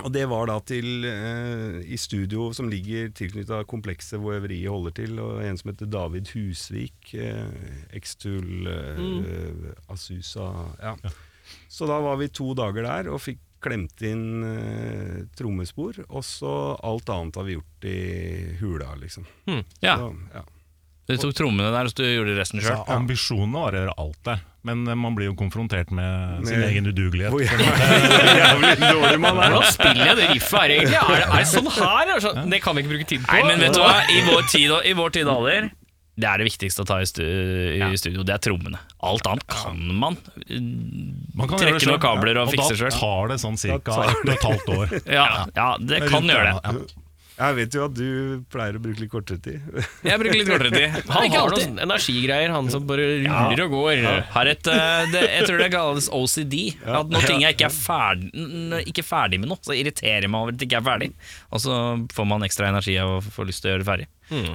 S8: Og det var da til eh, i studio som ligger tilknytta komplekset hvor øveriet holder til, og en som heter David Husvik. Eh, Extul eh, Asusa ja. Så da var vi to dager der og fikk klemt inn eh, trommespor. Og så alt annet har vi gjort i hula, liksom.
S2: Hmm, ja,
S8: Så, ja.
S2: Du tok trommene der, så du gjorde resten
S7: Så
S2: sjøl.
S7: Altså, ambisjonene var å gjøre alt der, men eh, man blir jo konfrontert med sin
S8: Med-
S7: egen udugelighet.
S8: Hvor jævlig dårlig man er.
S1: Hvordan spiller jeg det riffet her, egentlig? Er det, er det sånn her? Er det sånn? Det kan vi ikke bruke tid på.
S2: Nei, men vet du hva? I vår tid og, i vår tid og alder det er det viktigste å ta i, stu, i studio, det er trommene. Alt annet kan man. eh,
S7: Man kan
S2: Trekke
S7: gjøre det selv.
S2: noen kabler og
S7: Ja,
S2: fikse
S7: da
S2: selv.
S7: tar det sånn ca.
S8: tar
S7: ett og et halvt år.
S2: Ja, ja det kan
S7: Rundt
S2: gjøre det.
S7: der,
S8: Jeg vet jo at du pleier å bruke litt kortere tid.
S2: Jeg bruker litt kortere tid.
S1: Han har noen sånne energigreier, han som bare ruller og går.
S2: Har et, eh, det, jeg tror det kalles OCD. At når ting jeg ikke er ferdig, n- n- ikke ferdig med noe, så irriterer jeg meg over at jeg ikke er ferdig. Og så får man ekstra energi av å få lyst til å gjøre det ferdig.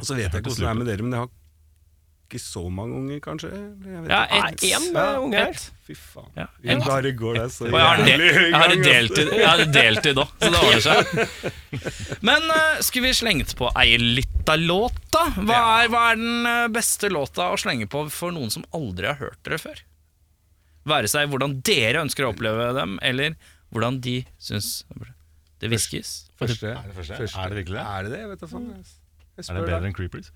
S8: Og så vet jeg ikke hvordan det er med dere, men jeg har ikke så mange unger, kanskje? eller Jeg vet
S2: Ja,
S8: ikke.
S2: ett.
S8: Nei,
S1: Én
S8: ja,
S1: unge her.
S8: ett. Fy faen.
S2: Ja,
S8: Vi bare går der så
S2: Og jeg har, en del,
S8: jævlig høy
S2: jeg har
S8: gang,
S2: en
S8: altså.
S2: deltid Jeg har en deltid òg, så det ordner seg. Men eh, skulle vi slengt på ei lita låt, da? Hva er, hva er den eh, beste låta å slenge på for noen som aldri har hørt dere før? Være seg hvordan dere ønsker å oppleve dem, eller hvordan de syns det hviskes.
S8: Første.
S7: Er det første? Er det virkelig det?
S8: Er det det? Jeg vet da faen. jeg-
S7: Er
S8: Jeg
S7: det
S8: spør
S7: bedre
S8: deg.
S7: enn Creepers?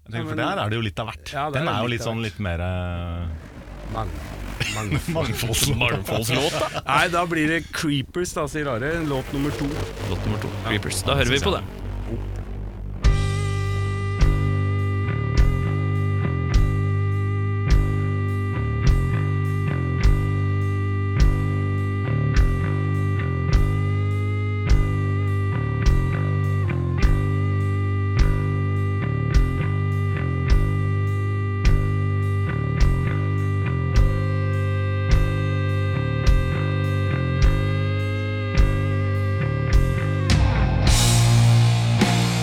S7: Jeg tenker,
S8: Ja, men-
S7: for der er det jo litt av hvert.
S8: Ja, der
S7: Den
S8: er
S7: er jo
S8: litt
S7: litt
S8: av
S7: sånn
S8: hvert.
S7: litt mer eh,
S8: Mange. Mange.
S2: Mangfoldslåt, da.
S8: Nei, da blir det Creepers, da, sier Are. Låt nummer to.
S2: Låt nummer to, Creepers. Da hører vi på det.
S9: Thank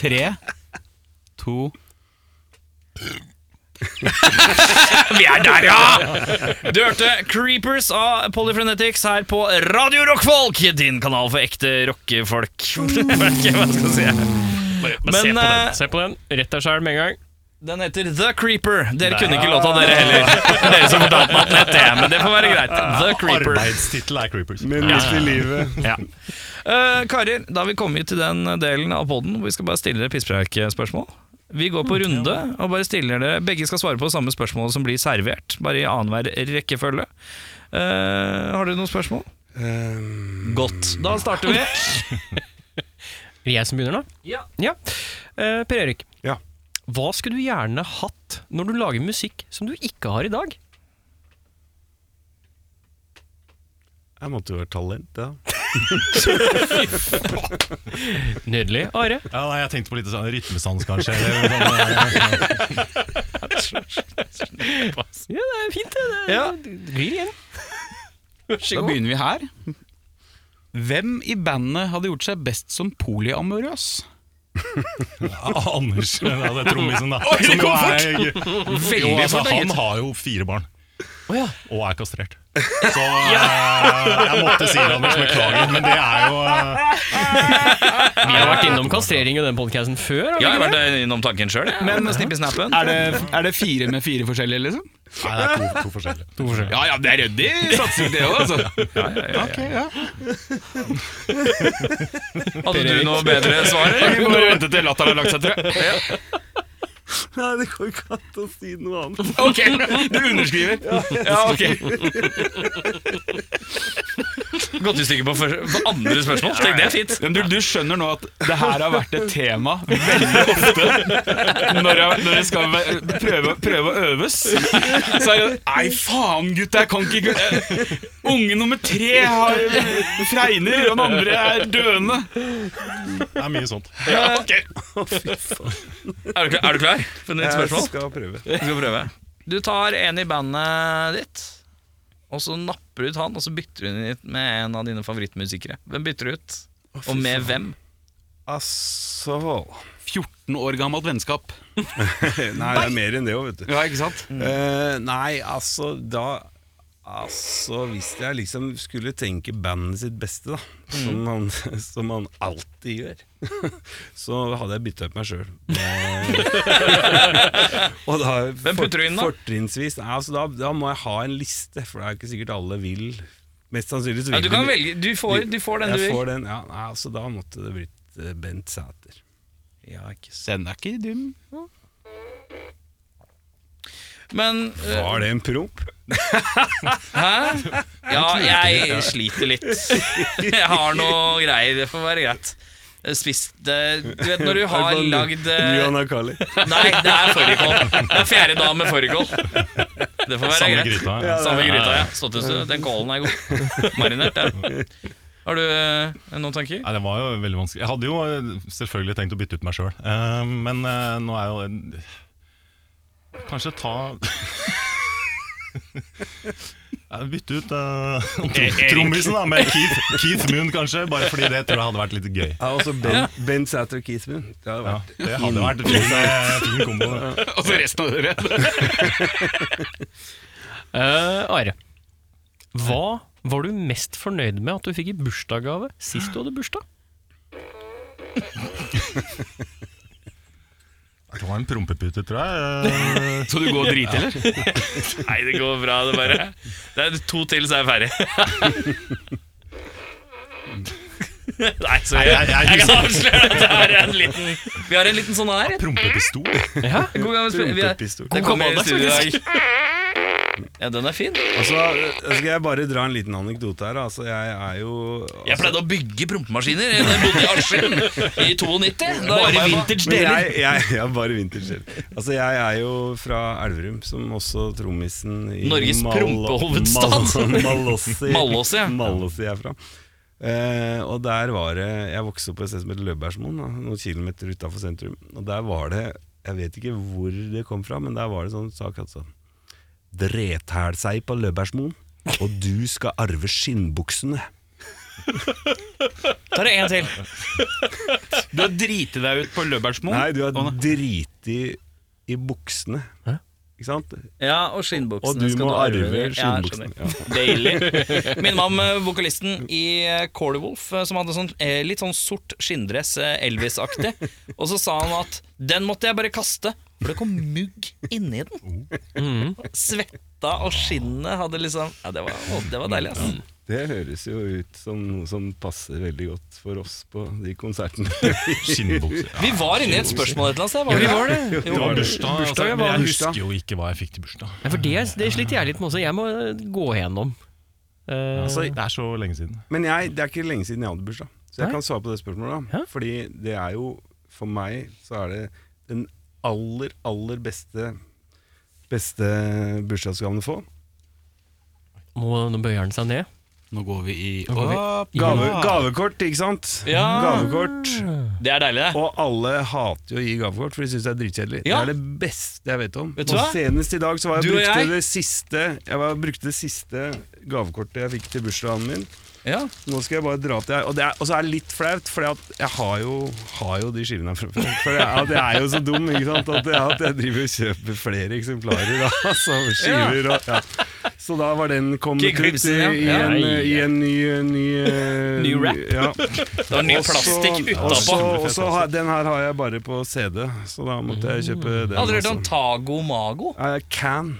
S3: Tre, to
S2: Vi er der, ja! Du hørte Creepers av Polyfrenetics her på Radio Rockfolk, din kanal for ekte rockefolk. Hva skal jeg si?
S1: Men se på
S2: Men, eh,
S1: den. Se på den. Rett deg sjæl med en gang.
S2: Den heter The Creeper. Dere kunne ikke låta dere heller. Dere som fortalte meg at den het det, men det får være greit. The Creeper.
S7: Arbeidstittel er Creepers.
S8: Men midt i livet.
S2: Eh, karer, da har vi kommet til den delen av podden hvor vi skal bare stille dere pisspreikespørsmål. Vi går på runde og bare stiller dere Begge skal svare på samme spørsmål som blir servert, bare i annenhver rekkefølge. Eh, har dere noen spørsmål?
S3: Ehm,
S2: Godt. Da starter vi.
S1: Er det jeg som begynner nå? Ja. Eh, per Erik,
S8: Ja.
S1: hva skulle du gjerne hatt når du lager musikk som du ikke har i dag?
S8: Jeg måtte jo være talent, da.
S1: Nydelig. Are?
S7: Ja, nei, jeg tenkte på litt sånn rytmesans, kanskje. Eller sånn, eh,
S1: Ja, det er fint, det. det
S2: Ja.
S1: det Glir igjen.
S3: Da begynner vi her. Hvem i bandet hadde gjort seg best som polyamorøs?
S7: Ah, Anders, ja, det er trommisen, da. Som jo er, jo, altså, han har jo fire barn. Og er kastrert. Så eh, jeg måtte si det, Anders. Beklager. Men det er jo eh,
S1: Vi har vært innom kastrering i den podkasten før. har vi
S2: Ja, jeg
S1: ikke
S2: har
S1: det?
S2: vært innom tanken sjøl, men snippi-snappen
S3: Er det, er det fire med fire forskjellige, liksom?
S7: Nei, det er to, to forskjellige.
S3: Ja ja, det er ryddig satsing, det òg, altså. Ok, ja.
S2: Hadde du noe bedre svar? eller?
S3: Vi må vente til latteren har lagt seg, tror jeg.
S8: Nei, det går ikke an å si noe annet.
S3: Ok, Du underskriver? Ja, ok.
S2: Gått i stykker på, første- på andre spørsmål? Tenk, det er fint.
S3: Men du, du skjønner nå at det her har vært et tema veldig ofte når jeg, når jeg skal være- prøve, prøve å øves. Så er det Nei, faen, gutt, jeg kan ikke gu- eh, Unge nummer tre har fregner, og den andre er døende.
S7: Det er mye sånt.
S2: Er du klar? Er du klar? For nytt
S8: Jeg
S2: spørsmål?
S8: skal prøve.
S2: Vi skal prøve. Du tar en i bandet ditt, og så napper du ut han, og så bytter du den ut med en av dine favorittmusikere. Hvem bytter du ut? Og med hvem?
S8: Altså
S3: 14 år gammelt vennskap.
S8: Nei, det er mer enn det òg, vet du.
S3: Ja, ikke sant?
S2: Mm.
S8: Eh, nei, altså da Altså, hvis jeg liksom skulle tenke bandet sitt beste, da,
S2: Mm.
S8: som, man, som man alltid gjør, så hadde jeg bytta ut meg sjøl. Og da
S2: Hvem putter du inn, da?
S8: Fortrinnsvis. Nei, altså, da, da må jeg ha en liste, for det er jo ikke sikkert alle vil. Mest sannsynlig så vil
S2: Ja, du kan velge. Du får, du får den du
S8: Jeg
S2: vil.
S8: får den, ja, nei, altså, da måtte det blitt eh, Bent Sæter.
S3: Den er ikke dum.
S2: Men eh,
S8: Var det en promp?
S2: Hæ? Ja, jeg sliter litt. Jeg har noe greier. Det får være greit. Spist eh, Du vet når du har lagd eh,
S8: Luana Kali.
S2: Nei, det er fårikål. Det er fjerde dag med fårikål. Det får være
S7: Samme
S2: greit.
S7: gryta.
S8: Ja,
S7: Ja.
S8: det-
S2: Samme gryta, ja. Stått en stund. Den kålen er god. Marinert, ja. Har du eh, noen tanker?
S7: Nei, det var jo veldig vanskelig. Jeg hadde jo eh, selvfølgelig tenkt å bytte ut meg sjøl, men eh, nå er jo en- Kanskje ta Ja, Bytte ut eh, trommisen da, med Keith, Keith Moon, kanskje. Bare fordi det tror jeg hadde vært litt gøy.
S8: Ja, også Ben, ben Sæter og Keithman. Det hadde
S7: Ja, det
S8: vært
S7: hadde vært en fin, eh, fin kombo. det.
S3: Og så resten av dere.
S1: Eh, Are, hva var du mest fornøyd med at du fikk i bursdagsgave sist du hadde bursdag?
S7: Det var en prompepute, tror jeg. Eh,
S3: Skal du gå og drite, eller?
S2: Nei, det går bra. Det bare Det er to til, så er jeg ferdig. Nei, så jeg,
S7: Nei, jeg- jeg-
S2: jeg kan avsløre at det her er en liten Vi har en liten sånn her.
S7: Prompepistol?
S2: God gang å spille- vi er-
S8: rumpepistol.
S2: Den kommer i studio i dag. Ja, den er fin.
S8: Altså, jeg skal jeg bare dra en liten anekdote her. Altså, jeg er jo
S2: Jeg pleide å bygge prompemaskiner da jeg bodde i Askim i 92. Da var jeg vintage.
S8: Men jeg, jeg, jeg er bare vintage selv. Altså, jeg er jo fra Elverum, som også trommisen i
S2: Norges prompehovedstad.
S8: Mal- Malossi.
S2: Malås, ja.
S8: Malåsi er fra. Eh, og der var det Jeg vokste opp på et sted som het Løbergsmoen, da, noen kilometer utafor sentrum. Og der var det Jeg vet ikke hvor det kom fra, men der var det sånn sak altså Drethæl seg på Løbergsmoen, og du skal arve skinnbuksene.
S2: Da er det en til.
S3: Du har driti deg ut på Løbertsmoen.
S8: Nei, du har driti i buksene. Ikke sant?
S2: Ja, og skinnbuksene.
S8: Og du
S2: skal
S8: må
S2: arve.
S8: arve
S2: Ja, jeg skjønner.
S8: skinnbuksene. Ja.
S2: Deilig. Minner meg om eh, vokalisten i eh, Cordiwolf, eh, som hadde sånn, eh, litt sånn sort skinndress, eh, Elvis-aktig. Og så sa han at 'den måtte jeg bare kaste', for det kom mugg inni den. Svetta og skinnet hadde liksom Ja, det var, å, det var deilig, ass.
S8: Det høres jo ut som noe som passer veldig godt for oss på de konsertene.
S7: Skinnbukser. Ja.
S2: Vi var inne i et spørsmål et eller annet sted. Var vi var det?
S7: Det var
S2: Jo.
S7: bursdag, altså, men jeg husker jo ikke hva jeg fikk til bursdag.
S1: Ja, for det, det sliter jeg litt med også. Jeg må eh, gå gjennom. Eh,
S7: Altså, det er så lenge siden.
S8: Men jeg, det er ikke lenge siden jeg hadde bursdag, så jeg kan svare på det spørsmålet.
S1: Ja.
S8: da Fordi det er jo, for meg, så er det den aller, aller beste Beste bursdagsgaven å få.
S1: må, nå bøyer han seg ned.
S3: Nå går vi i
S1: går vi
S3: opp.
S8: Gave, gavekort, ikke sant?
S2: Ja.
S8: Gavekort.
S2: Det er deilig, det.
S8: Og alle hater jo å gi gavekort, for de syns det er dritkjedelig.
S2: Ja.
S8: Det er det beste jeg vet om.
S2: Vet du
S8: og
S2: hva?
S8: senest i dag så var jeg
S2: Du og
S8: brukte
S2: jeg?
S8: det siste Jeg var, brukte det siste gavekortet jeg fikk til bursdagen min.
S2: Ja.
S8: Nå skal jeg bare dra til Og, det er, og så er det litt flaut, for jeg har jo, har jo de skivene her fra før. For jeg, at jeg er jo så dum ikke sant? At, jeg, at jeg driver og kjøper flere eksemplarer av sånne skiver. Og, ja. Så da var den kommet
S2: Kick
S8: ut i,
S2: Ibsen, ja.
S8: i,
S2: Ja.
S8: en, i en ny Ny, eh,
S1: Ny rap.
S8: Ja.
S2: Det var ny
S8: Og så-
S2: plastikk
S8: og så-
S2: utapå.
S8: Og så har- den her har jeg bare på CD, så da måtte jeg kjøpe den.
S2: Hadde du Mm. hørt om
S8: altså.
S2: Tago Mago?
S8: Eh, Can.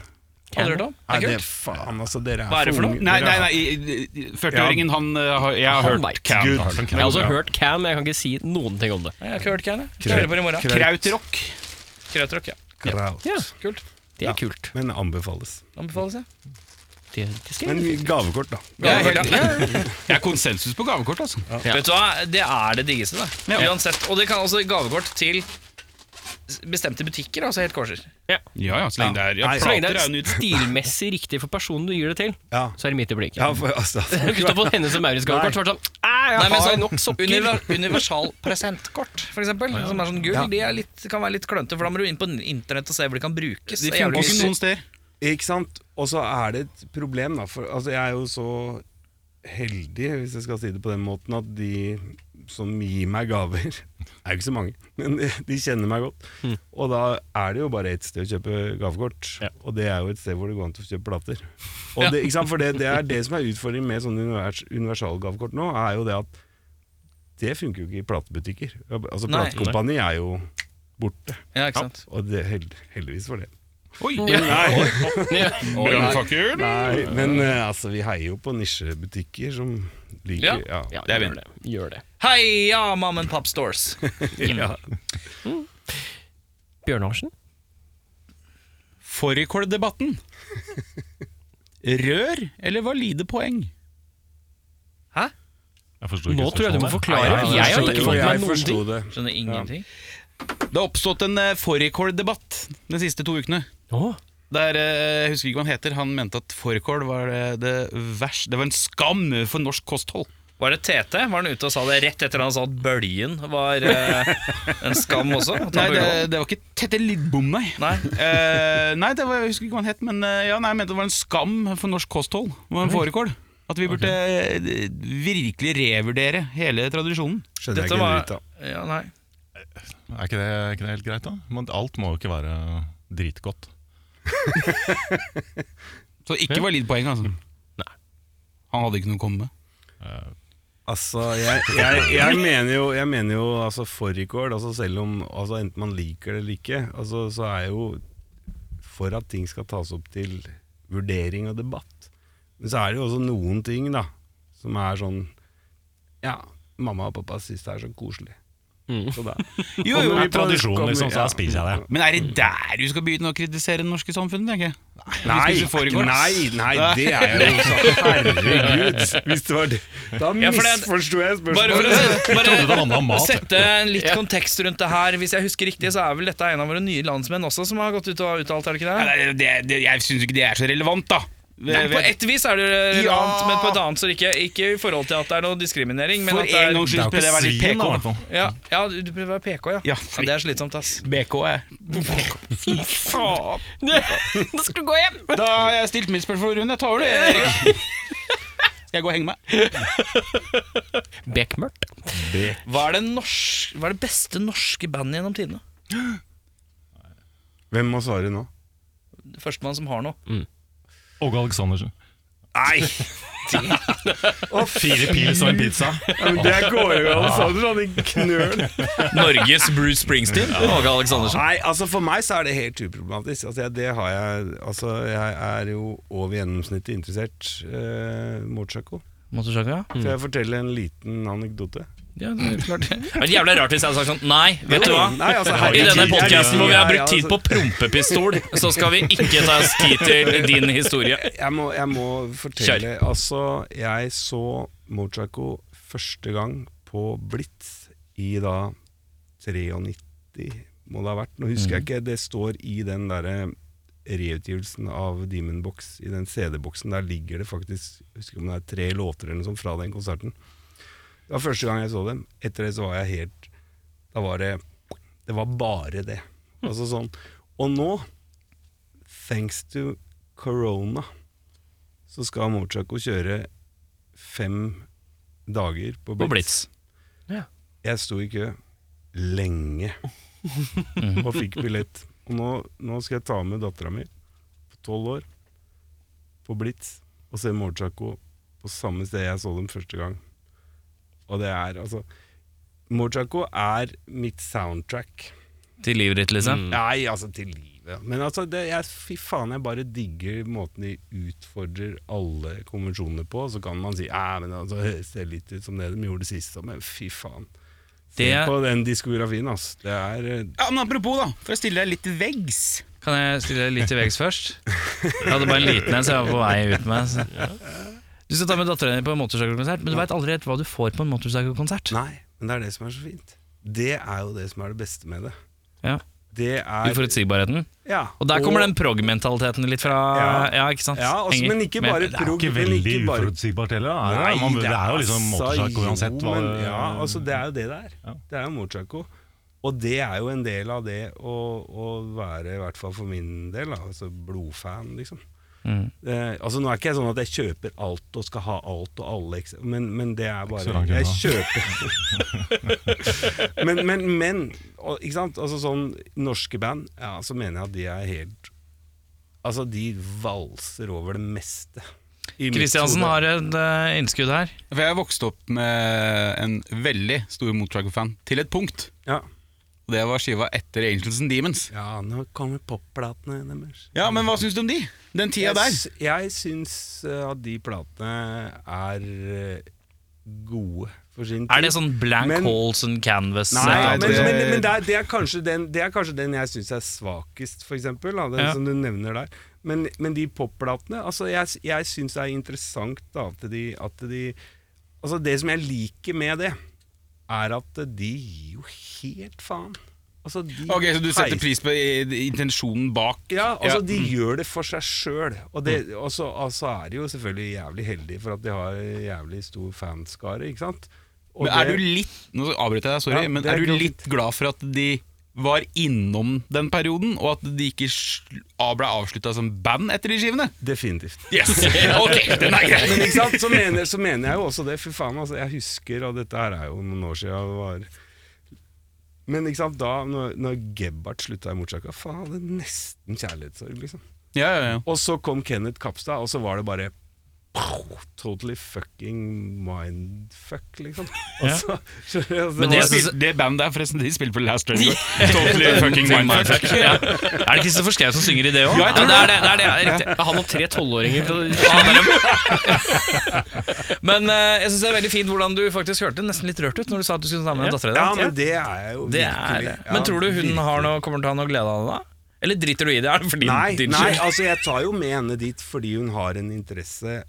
S2: Hadde du hørt om?
S8: Nei, det
S2: Ekkelt?
S8: faen, altså, dere er
S2: Hva er det for noe?
S8: unge.
S3: Nei, nei,
S8: Dere er-
S3: nei i- i- 40-åringen, han eh, har Jeg har
S1: Han
S3: hørt
S1: vet.
S3: Can.
S7: Gud.
S1: Jeg har også hørt Can, men jeg kan ikke si noen ting om det.
S2: Nei, Jeg har ikke hørt det, jeg. Skal høre på det i morgen.
S3: Krautrock.
S2: Krautrock, ja.
S8: Kraut.
S1: Ja.
S2: Kult.
S1: Det er kult.
S8: Men anbefales.
S2: Anbefales, jeg.
S1: Det, det skal
S8: Men
S1: jeg gjøre.
S8: gavekort, da.
S2: Ja, helt, ja.
S3: Jeg er konsensus på gavekort, altså.
S2: Vet du hva, det er det diggeste, det.
S3: Ja.
S2: Uansett. Og det kan også gavekort til s- bestemte butikker, altså helt korser.
S3: Ja, ja, så lenge det er ja,
S8: Nei,
S1: Så lenge
S3: plater
S1: det
S3: er jo
S1: er
S3: nytt.
S1: stilmessig riktig for personen du gir det til,
S8: Ja.
S1: så er det midt i blikket.
S8: Ja, for, altså,
S1: Ikke på henne som Maurits gavekort, så var det sånn «Æ, jeg
S2: Nei, men
S1: har
S2: sånn
S1: nok sokker.
S2: univer- universal presentkort, for eksempel, som er sånn gull, de er litt, kan være litt klønete, for da må du inn på internett og se hvor de kan brukes.
S3: De
S2: Det er
S3: funker
S2: jævlig
S3: ikke
S2: mye-
S3: noen steder.
S8: ikke sant? Og så er det et problem, da. For altså, jeg er jo så heldig, hvis jeg skal si det på den måten, at de som gir meg gaver Det er jo ikke så mange, men de, de kjenner meg godt.
S2: Hmm.
S8: Og da er det jo bare ett sted å kjøpe gavekort, og det er jo et sted hvor det går an til å kjøpe plater. Og det, ikke sant? For det, det er det som er utfordringen med sånne univers, universalgavekort nå, er jo det at det funker jo ikke i platebutikker. Altså
S2: Nei.
S8: Platekompani er jo borte,
S2: Ja, ikke sant.
S8: og det, held, heldigvis for det.
S3: Oi!
S8: Brannfakkel? Nei, men eh, altså, vi heier jo på nisjebutikker som liker
S2: Ja.
S8: ja.
S1: Ja,
S3: Det er
S1: gjør det. Gjør det.
S2: Heia mom and pop stores!
S1: Bjørnarsen?
S3: Fårikåldebatten. Rør eller valide poeng?
S7: Jeg forstår ikke sånn.
S1: Nå tror jeg du må
S7: spørsmålet.
S1: forklare. Jeg har ikke
S8: Jo,
S1: fått meg
S8: jeg
S1: noen
S8: forsto
S1: ting.
S8: det.
S2: Skjønner ingenting.
S3: Det har oppstått en eh, fårikåldebatt de siste to ukene.
S1: Å,
S3: Der, eh, jeg husker ikke hva han heter, han mente at fårikål var eh, det verste Det var en skam for norsk kosthold.
S2: Var det Tete? Var han ute og sa det rett etter han sa at bølgen var eh, en skam også? At han
S3: Nei, det,
S2: bølgen-
S3: det var ikke Tette Lidbom, nei.
S2: Nei.
S3: Eh, nei, det var, jeg husker ikke hva han het, men eh, ja, nei, jeg mente det var en skam for norsk kosthold. Det var en fårikål. At vi burde eh, virkelig revurdere hele tradisjonen.
S8: Skjønner
S2: Dette
S8: jeg ikke en
S2: var-
S8: dritt av.
S2: Ja, nei.
S7: Er ikke det, er ikke det helt greit, da? Men alt må jo ikke være dritgodt.
S3: Så ikke valid poeng, altså.
S7: Mm.
S3: Han hadde ikke noe å komme med.
S8: Altså, jeg, jeg, jeg mener jo, jeg mener jo altså, fårikål, altså, selv om altså, enten man liker det eller ikke, altså, så er jo for at ting skal tas opp til vurdering og debatt. Men så er det jo også noen ting da, som er sånn Ja, mamma og pappa syns det er så koselig. Så da,
S3: Jo, jo,
S7: Det
S8: vi
S7: er tradisjon,
S8: kommer-
S7: liksom, så
S8: ja.
S7: da spiser jeg det.
S3: Men er det der du skal begynne å kritisere det norske samfunnet? tenker jeg?
S8: Nei,
S3: spiser fårikål.
S8: nei, nei, det er jo så Herregud, hvis det var det. Da
S2: Ja, for det-
S8: misforsto jeg
S2: Bare for
S8: spørsmålet.
S2: å se-
S7: Det
S2: bare
S7: handler om mat.
S2: sette en litt kontekst rundt det her. Hvis jeg husker riktig, så er vel dette en av våre nye landsmenn også som har gått ut og uttalt, er det ikke det?
S3: Nei, det, det, jeg syns ikke det er så relevant, da.
S2: Nei, på ett vis er det relevant,
S3: Ja.
S2: men på et annet så er det ikke. Ikke i forhold til at det er noe diskriminering, men
S3: For
S2: at det er
S3: en gangs
S7: Det
S3: skyld
S7: er jo
S3: prøvde jeg å
S7: ikke
S3: være litt
S7: svin, da, i
S3: PK.
S7: hvert fall.
S2: Ja, ja du du prøver å være PK, ja.
S3: Ja,
S2: ja. Det er slitsomt, ass.
S3: BK er
S1: Nå skal du gå hjem!
S3: Da har jeg stilt mitt spørsmål, Rune. Jeg tar over det. Erik. Jeg går og henger meg.
S1: Bekmørkt.
S2: Hva er det, norsk, hva er det beste norske bandet gjennom tidene?
S8: Hvem må svare nå?
S2: Førstemann som har noe.
S7: Åge Aleksandersen.
S8: Å, fire
S7: Pils og en pizza.
S8: Ja, men det går jo Alexander sånn i knøl.
S2: Norges Bruce Springsteen. Åge Aleksandersen.
S8: Nei, altså for meg så er det helt uproblematisk. Altså jeg, det har jeg, altså jeg er jo over gjennomsnittet interessert eh, motorcycle.
S2: Motorsjaka?
S8: Får jeg fortelle en liten anekdote?
S2: Ja, det er klart. Det er jævlig rart hvis jeg hadde sagt sånn Nei, vet du hva?
S8: Nei, altså,
S2: I
S8: herregud,
S2: denne
S8: jeg-
S2: podcasten hvor vi har brukt
S8: jeg-
S2: tid på
S1: altså.
S2: prompepistol, så skal vi ikke ta oss tid til din historie.
S8: jeg må, jeg må fortelle Altså, jeg så Mochako første gang på Blitz i da 93 må det ha vært. Nå husker jeg ikke, det står i den derre reutgivelsen av Demon Box. I den CD-boksen der ligger det faktisk jeg husker ikke om det er tre låter eller noe sånt fra den konserten. Det var første gang jeg så dem. Etter det så var jeg helt Da var det Det var bare det. Altså sånn. Og nå, thanks to corona, så skal Mochako kjøre fem dager på
S2: På
S8: Blitz.
S2: Blitz.
S8: Jeg sto i kø lenge og fikk billett. Og nå, nå skal jeg ta med dattera mi på tolv år på Blitz og se Mochako på samme sted jeg så dem første gang. Og det er altså Mochako er mitt soundtrack.
S2: Til livet ditt, liksom.
S8: Nei, altså til livet. Men altså, det, jeg, fy faen, jeg bare digger måten de utfordrer alle konvensjonene på. Så kan man si ja, men altså, det ser litt ut som det de gjorde sist, så, men fy faen. Se
S2: Det-
S8: på den diskografien, ass. Det er eh,
S3: Ja, men apropos, da, for å stille deg litt til veggs.
S2: Kan jeg stille litt til veggs først? Jeg hadde bare en liten en, så jeg var på vei ut med. Så. Du skal ta med datteren din på en motorsagkonsert, men du veit aldri helt hva du får på en motorsagkonsert.
S8: Nei, men det er det som er så fint. Det er jo det som er det beste med det.
S2: Ja.
S8: Det er
S2: Uforutsigbarheten.
S8: ja,
S2: Og der kommer den prog-mentaliteten litt fra.
S8: Ja.
S2: Ja, ikke sant?
S8: ja, også,
S2: Henger
S8: Men ikke
S2: med.
S8: bare prog.
S7: Ikke
S8: men
S7: veldig
S8: ikke bare-
S7: uforutsigbart heller. da, Er det? Man, det er jo liksom
S8: altså,
S7: motorsag uansett.
S8: jo,
S7: Hva,
S8: men, ja, altså, det er jo det det er.
S7: Ja.
S8: Det er jo motorsaco. Og det er jo en del av det å, å være, i hvert fall for min del, da, altså blodfan, liksom.
S2: Mm.
S8: Eh, altså Nå er ikke jeg sånn at jeg kjøper alt og skal ha alt og alle, eks- men, men det er
S7: så
S8: bare
S7: langt
S8: Jeg kjøper Men, men, men og, ikke sant? Altså sånn norske band, ja, så mener jeg at de er helt Altså, de valser over det meste. i mitt
S2: Kristiansen
S8: hode.
S2: har et eh, innskudd her.
S3: For jeg vokste opp med en veldig stor Motorcycle-fan til et punkt.
S8: ja.
S3: Og det var skiva etter Angels and Demons.
S8: ja, nå kommer popplatene deres.
S3: Ja, men hva syns du om de? Den tida
S8: jeg,
S3: der.
S8: s- jeg syns eh, at de platene er eh, gode for sin
S2: Er det sånn blank
S8: Men-
S2: holes and canvas?
S8: Nei,
S2: eh,
S8: men,
S3: det-
S8: men, men det, er, det, er kanskje den, det er kanskje den jeg syns er svakest, for eksempel. Da, den
S2: Ja.
S8: som du nevner der. Men, men de popplatene altså Jeg, s- jeg syns det er interessant da, at, de, at de Altså Det som jeg liker med det, er at de gir jo helt faen. Altså, de
S3: Ok, Så du setter
S8: heiser-
S3: pris på i- i- intensjonen bak?
S8: Ja, altså
S3: Ja.
S8: de gjør det for seg sjøl. Og, det- og så og så er de jo selvfølgelig jævlig heldige for at de har jævlig stor fanskare, ikke sant. Og
S3: Men er
S8: det-
S3: du litt Nå avbryter jeg deg, sorry.
S8: Ja,
S3: men
S8: det er
S3: er du
S8: ikke noe
S3: litt glad for at de var innom den perioden, og at de ikke sl- av- ble avslutta som band etter de skivene?
S8: Definitivt.
S3: Yes! ok, den er grei.
S8: Men ikke sant, så mener, så mener jeg jo også det. Fy faen, altså. Jeg husker, og dette her er jo noen år siden det var Men ikke sant, da når, når Gebhardt slutta i Mochaka, faen, hadde nesten kjærlighetssorg, liksom.
S3: Ja, ja, ja.
S8: Og så kom Kenneth Kapstad, og så var det bare Totally fucking mindfuck, liksom. Og så, altså,
S2: Men det
S3: Det,
S2: jeg synes-
S3: spil, det bandet der, forresten, de spiller på Last Train. Totally fucking mindfuck.
S2: Ja. Er det Kristoffer Schau som synger i det òg?
S3: Ja, jeg tror
S2: det er det. det, er det ja, riktig.
S1: Han og tre tolvåringer.
S2: Men eh, jeg syns det er veldig fint hvordan du faktisk hørte nesten litt rørt ut når du sa at du skulle ta med datteren
S8: Ja,
S2: din.
S8: men det er jeg jo
S2: det er
S8: virkelig.
S2: det.
S8: Ja,
S2: Men tror du hun
S8: virkelig.
S2: har noe, kommer til å ha noe glede av det da? Eller driter du i det? Er det fordi
S8: Nei,
S2: din
S8: nei,
S2: skyld?
S8: altså jeg tar jo med henne dit fordi hun har en interesse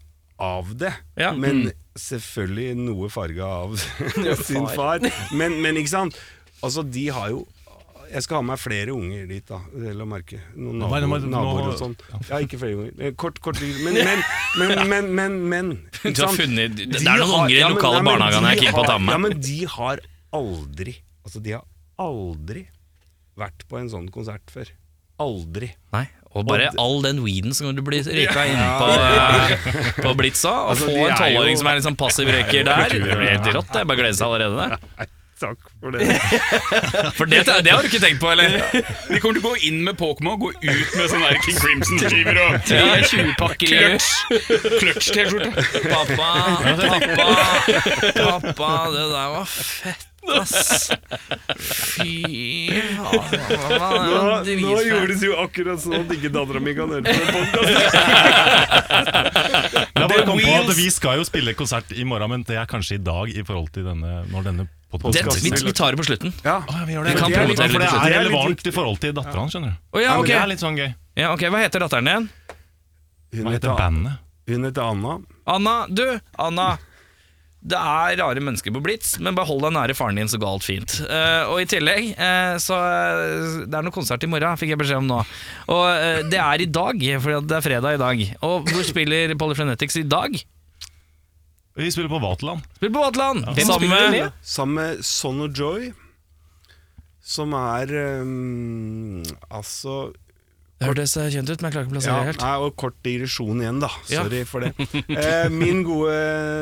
S8: av det.
S2: Ja.
S7: Mm.
S8: Men selvfølgelig noe farga av sin far. Men, men ikke sant? Altså, de har jo jeg skal ha med meg flere unger dit, da. Vel å merke. Noen
S7: Nei,
S8: naboer,
S7: nå må- nå-
S8: naboer og sånn. Ja, ikke flere unger. Eh, Kort, kort liv. Men, men, men, men, men, men ikke
S2: Du har
S8: sant?
S2: funnet- det- det
S8: De
S2: er noen
S8: har-
S2: unger i
S8: ja, men-
S2: lokale
S8: ja, men
S2: barnehagen
S8: de
S2: jeg er keen på å ta
S8: har-
S2: med.
S8: Ja, men de har aldri Altså, de har aldri vært på en sånn konsert før. Aldri.
S2: Nei. Og bare all den weeden som du blir røyka inn på, eh, på Blitza. Og
S8: Altså,
S2: få
S8: de
S2: en
S8: er jo-
S2: tolvåring som er litt sånn passiv røyker der. Det blir helt rått. det. Jeg bare gleder seg allerede.
S8: Takk for det.
S2: For det, det har du ikke tenkt på, eller?
S3: De kommer til å gå inn med Pokémon og gå ut med sånn der King Crimson-skiver og
S2: Ja, 20 pakker i rødt.
S3: kløtsj-T-skjorte.
S2: Pappa, pappa, pappa, det der var fett, ass. Fy
S8: Nå,
S2: faen. det
S8: nå
S2: var en dritfett.
S8: gjordes jo akkurat sånn at ikke dattera mi kan høre på en podcast.
S7: Jeg bare kom på at
S3: Wheels.
S7: Vi skal jo spille konsert i morgen, men det er kanskje i dag i forhold til denne, når denne
S2: Det,
S7: podkasten
S2: vi, vi tar det på slutten.
S8: Ja.
S7: Ja, vi gjør
S2: Vi
S7: det.
S2: kan
S7: Ja,
S2: promotere litt
S7: for det
S2: på
S7: er
S8: slutten.
S7: relevant i forhold til datteren, skjønner du.
S2: Å ja,
S7: Ja, men
S2: ok.
S7: Det er litt sånn gøy.
S2: ja, ok. Hva heter datteren din?
S8: Hun
S7: Hva
S8: heter,
S7: heter bandet?
S8: hun heter Anna.
S2: Anna, du, Anna det er rare mennesker på Blitz, men bare hold deg nære faren din så galt fint. Eh, og i tillegg, eh, så eh, Det er noe konsert i morgen, fikk jeg beskjed om nå. Og eh, det er i dag, for det er fredag i dag. Og hvor spiller Polyphrenetics i dag?
S7: Vi spiller på Vaterland.
S2: Spiller på Vaterland!
S7: Hvem spiller de med?
S8: Sammen med Son og Joy, som er ehm, Altså
S2: Hørtes eh, kjent ut, men jeg klarer ikke å plassere
S8: ja,
S2: det helt.
S8: nei, Og kort digresjon igjen, da.
S2: Ja.
S8: Sorry for det. Eh, min gode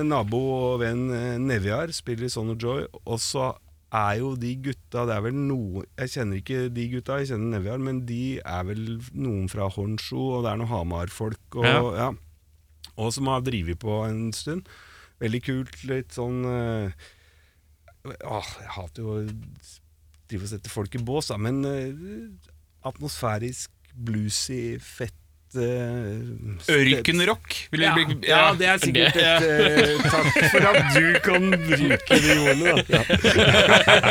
S8: nabo og venn eh, Nevjar spiller i Son og Joy, og så er jo de gutta Det er vel noe Jeg kjenner ikke de gutta, jeg kjenner Nevjar, men de er vel noen fra Honsjo, og det er noen Hamar-folk og,
S2: Ja.
S8: ja. og som har drevet på en stund. Veldig kult, litt sånn eh, Åh, jeg hater jo å drive og sette folk i bås, da, men eh, atmosfærisk, bluesy, fett eh,
S3: Ørkenrock. Vil
S8: Ja,
S3: du bli
S8: ja, det er sikkert et eh, Takk for at du kan bruke de ordene, da. Ja.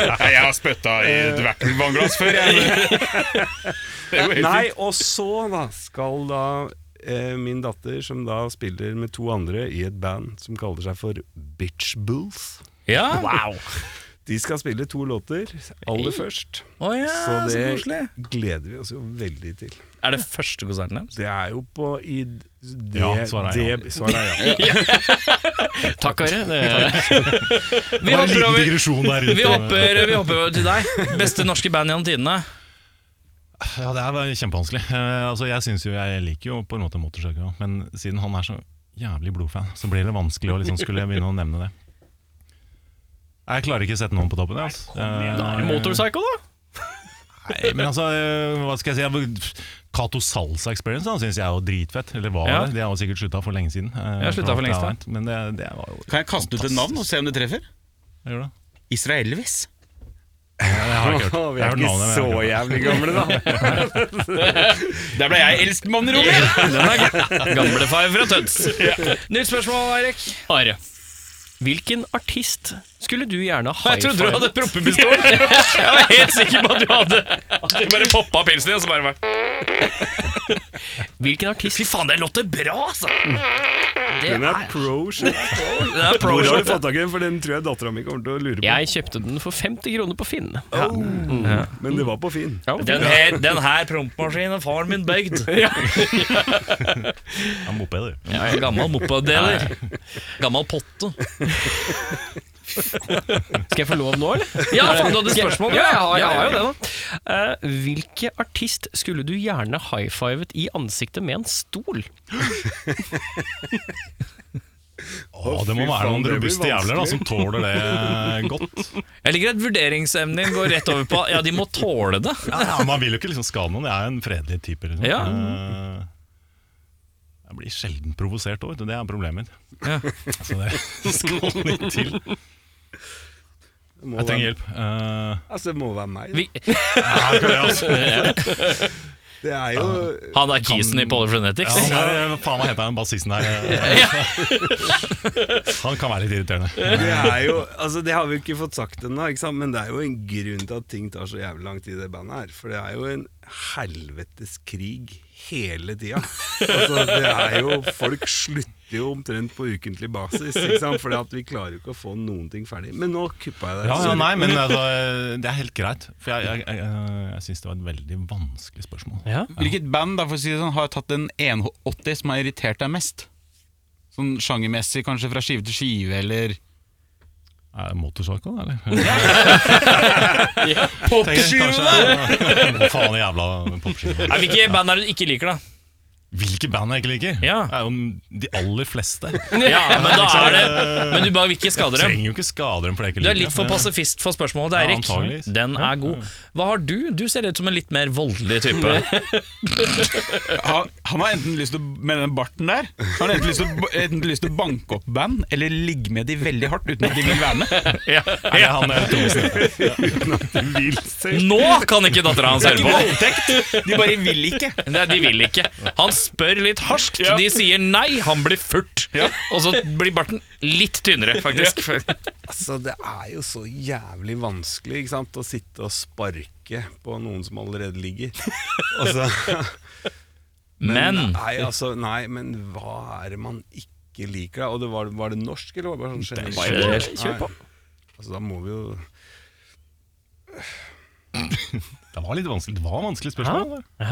S3: Nei, jeg har spytta i et vertenvannglass før, jeg.
S8: Nei, og så da skal da eh, min datter, som da spiller med to andre i et band som kaller seg for Bitch Bulls
S2: Ja,
S8: De skal spille to låter aller først,
S2: Å ja,
S8: så
S2: så koselig.
S8: det gleder vi oss jo veldig til.
S2: Er det første konserten deres?
S8: Det er jo på i det,
S7: Ja, svaret er ja.
S8: det- svaret er ja.
S1: Takk, Are. Det-
S2: Vi
S7: Det var en
S2: hopper
S7: liten
S2: over,
S7: digresjon der ute.
S2: vi hopper, vi hopper over til deg. Beste norske band gjennom tidene.
S7: Ja, det er bare kjempevanskelig. Eh, altså, jeg synes jo, jeg liker jo på en måte motorsøker, ja. men siden han er så jævlig blodfan, så blir det vanskelig å liksom skulle begynne å nevne det. Jeg klarer ikke å sette noen på toppen. jeg, Altså. Eh,
S1: Motorcycle, da?
S7: nei, men altså, eh, hva skal jeg si? Cato Salsa Experience han synes jeg er jo dritfett. Eller var
S2: Ja.
S7: det? De har jo sikkert slutta for lenge siden. eh,
S2: Ja, slutta
S7: fra
S2: for lengst,
S7: alt jeg
S2: da.
S7: har vært, Men det, det var jo
S3: Kan jeg kaste ut et navn og se om det treffer?
S7: Hva gjør du?
S3: Israelvis.
S7: Jeg har ikke hørt
S8: Å, Vi
S7: Jeg
S8: er
S7: har hørt
S8: ikke
S7: navnet, men jeg
S8: så
S7: har ikke
S8: jævlig gamle, da.
S3: Der ble jeg eldstemann i rommet!
S2: Gamlefar fra Tøns. Nytt spørsmål, Eirik.
S1: Are. Hvilken artist skulle du gjerne ha
S2: Jeg trodde du hadde proppepistol. Jeg var helt sikker på at du hadde at du bare poppa pilsen din, og så bare var-
S1: Hvilken artist
S2: Fy faen, det låter bra, altså!
S8: Den er pro shit.
S2: Det er pro
S8: Hvor har du
S2: shot.
S8: fått tak i den? For den tror jeg dattera mi kommer til å lure på.
S1: Jeg kjøpte den for 50 kroner på Finn.
S8: Men det var på Finn.
S2: Den her, den her prompmaskinen faren min bygd.
S7: hørt. Ja, mopeder.
S2: Ja, gammel mopeddeler. Gammel potte.
S1: Skal jeg få lov nå, eller?
S2: Ja, faen, du hadde spørsmål?
S1: Ja, jeg har, jeg
S2: Ja,
S1: har
S2: ja,
S1: jo det, da. Eh, hvilke artist skulle du gjerne high-fivet i ansiktet med en stol?
S7: Å, det må
S8: fy
S7: være
S8: faen,
S7: noen
S8: det blir
S7: robuste jævler da, som tåler det eh, godt.
S2: Jeg liker at vurderingsemnen din går rett over på Ja, de må tåle det.
S7: Ja, ja, man vil jo ikke liksom skade noen. Jeg er jo en fredelig type. Liksom.
S2: Ja.
S7: Eh, Jeg blir sjelden provosert òg, det er problemet mitt.
S2: Ja.
S7: Så det skal litt til.
S8: Det må
S7: Jeg trenger
S8: være-
S7: hjelp. Eh,
S8: Altså, det må være meg. da.
S2: Vi,
S7: ja, det er altså.
S8: Det er jo
S2: han er kisen i Polyphrenetics.
S7: ja, han er- Hva faen hva heter han bassisten her? Eh, Han kan være litt irriterende.
S8: Det er jo Altså, det har vi jo ikke fått sagt ennå, ikke sant? men det er jo en grunn til at ting tar så jævlig lang tid i det bandet her. For det er jo en helvetes krig hele tida. Altså, det er jo Folk slutter jo omtrent på ukentlig basis, ikke sant? Fordi at vi klarer jo ikke å få noen ting ferdig. Men nå kuppa jeg deg.
S7: Ja, ja,
S8: sorry.
S7: nei, men altså, det er helt greit. For jeg, jeg, jeg, eh, jeg syns det var et veldig vanskelig spørsmål.
S3: Hvilket band da, for å si det sånn, har tatt den 180 som har irritert deg mest? Sånn sjangermessig, kanskje fra skive til skive, eller
S7: Er det motorsaga, eller? Popskive! Faen jævla popskive.
S1: Nei, Hvilke band er det du ikke liker, da?
S7: Hvilke band jeg ikke liker?
S1: Ja.
S7: Det er jo de aller fleste.
S1: Ja, Men da er det Men du bare vil ikke skade
S7: Jeg
S1: dem.
S7: trenger jo ikke skade dem for jeg ikke
S1: Du
S7: liker
S1: er litt for
S7: det.
S1: pasifist for spørsmålet til
S7: Ja,
S1: Eirik.
S7: antageligvis.
S1: Den er god. Hva har du? Du ser ut som en litt mer voldelig type.
S3: Han, han har enten lyst til å Med den barten der Han har enten lyst til å, enten lyst til å banke opp band, eller ligge med de veldig hardt uten at de vil være med.
S7: Er det han der Thomsen?
S1: Nå kan ikke dattera hans høre på!
S3: De bare vil ikke.
S1: Nei, de vil ikke. Han spør litt harskt. De sier nei, han blir furt. Og så blir barten litt tynnere, faktisk.
S8: Altså, det er jo så jævlig vanskelig ikke sant? å sitte og sparke på noen som allerede ligger. Altså,
S1: Men
S8: nei, altså, nei, men hva er det man ikke liker? da? Og det var, var det norsk, eller var det bare sånn generelt? Kjør på. Altså, da må vi jo
S7: Det var litt vanskelig, det var vanskelig spørsmål. det.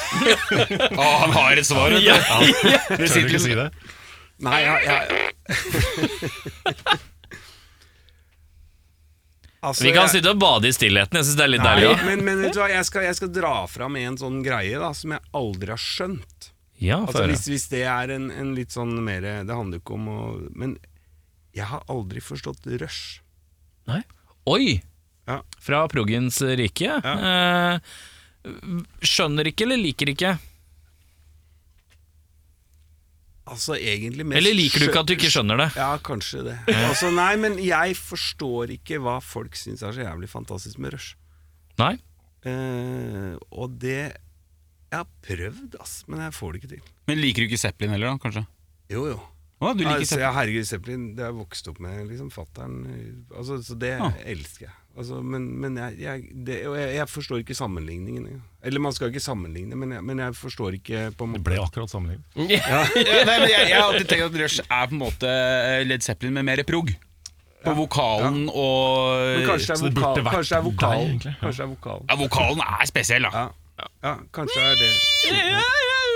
S3: han har et svar.
S7: Tør du ikke si det?
S8: Nei, jeg, jeg Altså,
S1: vi kan
S8: jeg-
S1: sitte og bade i stillheten. Jeg syns det er litt deilig.
S8: Nei,
S1: også.
S8: men, men vet du hva, jeg skal, jeg skal dra fram en sånn greie da, som jeg aldri har skjønt.
S1: Ja, få
S8: Altså,
S1: høre.
S8: hvis, hvis det er en, en litt sånn mer Det handler jo ikke om å Men jeg har aldri forstått rush.
S1: Nei. Oi!
S8: Ja.
S1: Fra proggens rike. Eh, skjønner ikke eller liker ikke?
S8: Altså egentlig mest
S1: Eller liker du ikke at du ikke skjønner det?
S8: Ja, kanskje det. Altså, nei, men jeg forstår ikke hva folk syns er så jævlig fantastisk med rush.
S1: Nei.
S8: Eh, og det Jeg har prøvd, ass, men jeg får det ikke til.
S3: Men liker du ikke Zeppelin heller, da? Kanskje?
S8: Jo, jo.
S3: Å, du liker
S8: altså,
S3: Zeppelin.
S8: ja, herregud, Zeppelin, det har jeg vokst opp med. Liksom, fatteren, altså, så det
S3: Ah.
S8: elsker jeg. Altså, men men jeg, jeg, det, og jeg, jeg forstår ikke sammenligningen. engang. Eller man skal ikke sammenligne, men jeg, men jeg forstår ikke på en
S7: Det
S8: måte
S7: ble akkurat sammenlignet.
S3: Ja, nei, men jeg, jeg har alltid tenkt at Rush er på en måte eh, Led Zeppelin med mer prog. På vokalen
S8: Men
S3: og
S8: kanskje det
S7: Så
S8: er
S7: det burde
S8: vokal.
S7: vært
S8: Kanskje det er vokal.
S7: deg, egentlig, ja.
S8: Kanskje det er vokal.
S3: ja, Vokalen er spesiell, da.
S8: Ja. ja, kanskje det er det.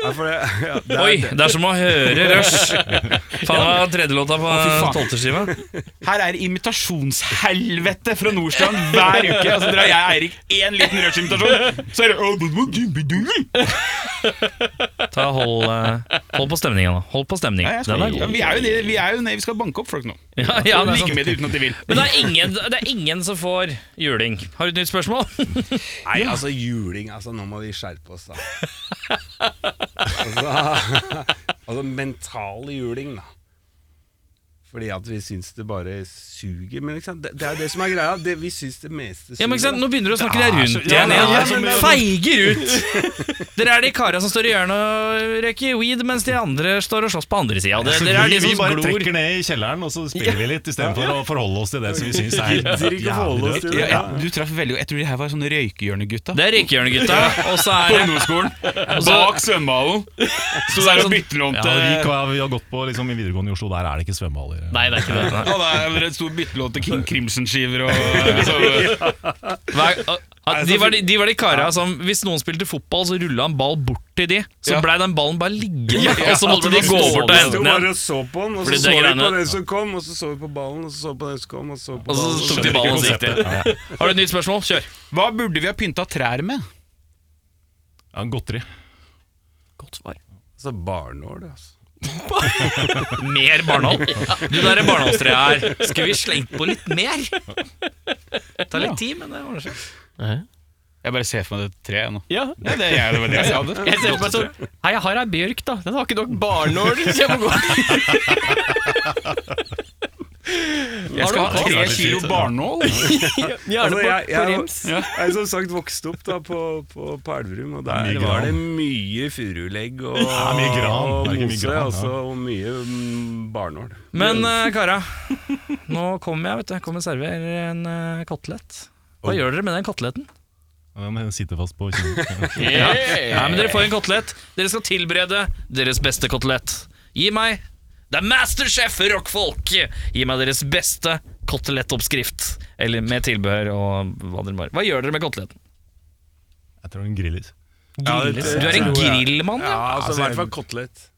S8: Ja, for det, ja, det er
S1: Oi,
S8: det.
S1: det er som å høre Rush. Faen, det var tredjelåta på
S3: fy faen.
S1: tolvteskiva.
S3: Her er imitasjonshelvete fra Nordstrand hver uke. Altså, drar jeg og Eirik én liten Rush-imitasjon, så er det «Å, det var Gimbi-Dumbi».
S1: Ta Hold, eh, hold på stemningen, da. Hold på stemningen.
S3: Ja,
S1: Den
S3: jeg skal-
S1: er god.
S3: ja, Vi er jo nede, vi, er jo nede, vi skal banke opp folk nå.
S1: Ja, ja, det er sånn.
S3: Ligge
S1: sant.
S3: med det uten at de vil.
S1: Men det er, ingen, det er ingen som får juling. Har du et nytt spørsmål?
S8: Nei, altså juling altså, Nå må vi skjerpe oss, da. Altså, altså mental juling, da. Fordi at vi syns det bare suger. Men ikke sant? Det, det er jo det som er greia. Det, vi syns det meste suger.
S1: Ja, men ikke sant? Nå
S8: da.
S1: begynner du å snakke deg rundt igjen. igjen. Feiger ut! Dere er de kara som står i hjørnet og røyker weed, mens de andre står og slåss på andre sida.
S7: Så
S1: Dere er
S7: vi,
S1: de
S7: vi
S1: som
S7: bare
S1: glor.
S7: trekker ned i kjelleren, og så spiller vi litt istedenfor å forholde oss til det som vi syns er
S8: Gidder
S7: jævlig
S8: ikke å forholde oss
S7: dødt.
S8: til det.
S3: Ja, du traff veldig Jeg tror de her var sånne røykehjørnegutta.
S1: Det er røykehjørnegutta, og så
S3: På
S1: er det
S3: ungdomsskolen.
S1: og så- Sånn-
S3: Bak svømmehallen. Så der og byttelån
S7: Ja,
S3: til
S7: vi, kan- vi har gått på liksom, i videregående i Oslo, der er det ikke svømmehaller.
S1: Nei, det er ikke det. Nei.
S3: Ja, det er en stor byttelån til King Crimson-skiver og liksom,
S1: Hver, a- a- de, var de, de var de kara som Hvis noen spilte fotball, så rulla en ball bort til de. Så
S3: Ja.
S1: blei den ballen bare liggende, og så måtte de gå bort og
S8: Vi
S1: hente
S8: sto
S1: den igjen.
S8: bare og så på den,
S1: Fordi
S8: og så
S1: det
S8: så vi
S1: greiene-
S8: på den som kom, og så så vi på ballen, og så så vi på den som kom, og så så vi på
S1: Og så
S8: ballen.
S1: tok de ballen og så gikk de. Har du et nytt spørsmål? Kjør.
S3: Hva burde vi ha pynta trær med?
S7: Ja, godteri.
S1: Godt svar.
S8: Altså barnål, altså.
S1: Mer barnål. Du, det der barnålstreet her, skulle vi slengt på litt mer? tar litt tid, men det ordner seg.
S3: Jeg bare ser for meg det treet nå.
S10: Ja.
S3: Ja, det, er- det var det jeg sa.
S10: Jeg ser på meg sånn Hei, jeg har ei bjørk, da. Den har ikke nok barnål. så jeg må gå.»
S3: Jeg skal ha tre
S7: det er
S3: kilo
S7: fint.
S3: barnål.
S10: Gjerne
S8: Altså,
S10: på,
S8: jeg,
S10: på
S8: jeg,
S10: rems.
S8: jeg, er som sagt vokst opp da på, på, på Elverum, og der
S7: mye
S8: var
S7: gran.
S8: det mye furulegg og,
S7: mye gran.
S8: og
S7: Det er ikke mye
S8: mose,
S7: gran, ja.
S8: altså, og mye mm, barnål.
S1: Men eh, kara, nå kommer jeg, vet du. Jeg kommer og serverer en eh, kotelett. Hva gjør dere med den koteletten?
S7: Ja, men Sitter fast på kinnet.
S1: Ja. Nei, men Dere får en kotelett. Dere skal tilberede deres beste kotelett. Gi meg Det er Masterchef rockfolk! Gi meg deres beste kotelettoppskrift. Eller med tilbehør og hva dere bare Hva gjør dere med koteletten?
S7: Jeg tror den grilles.
S1: Du er en grillmann, ja?
S8: Ja, altså,
S7: altså,
S8: I hvert fall
S7: jeg-
S8: kotelett.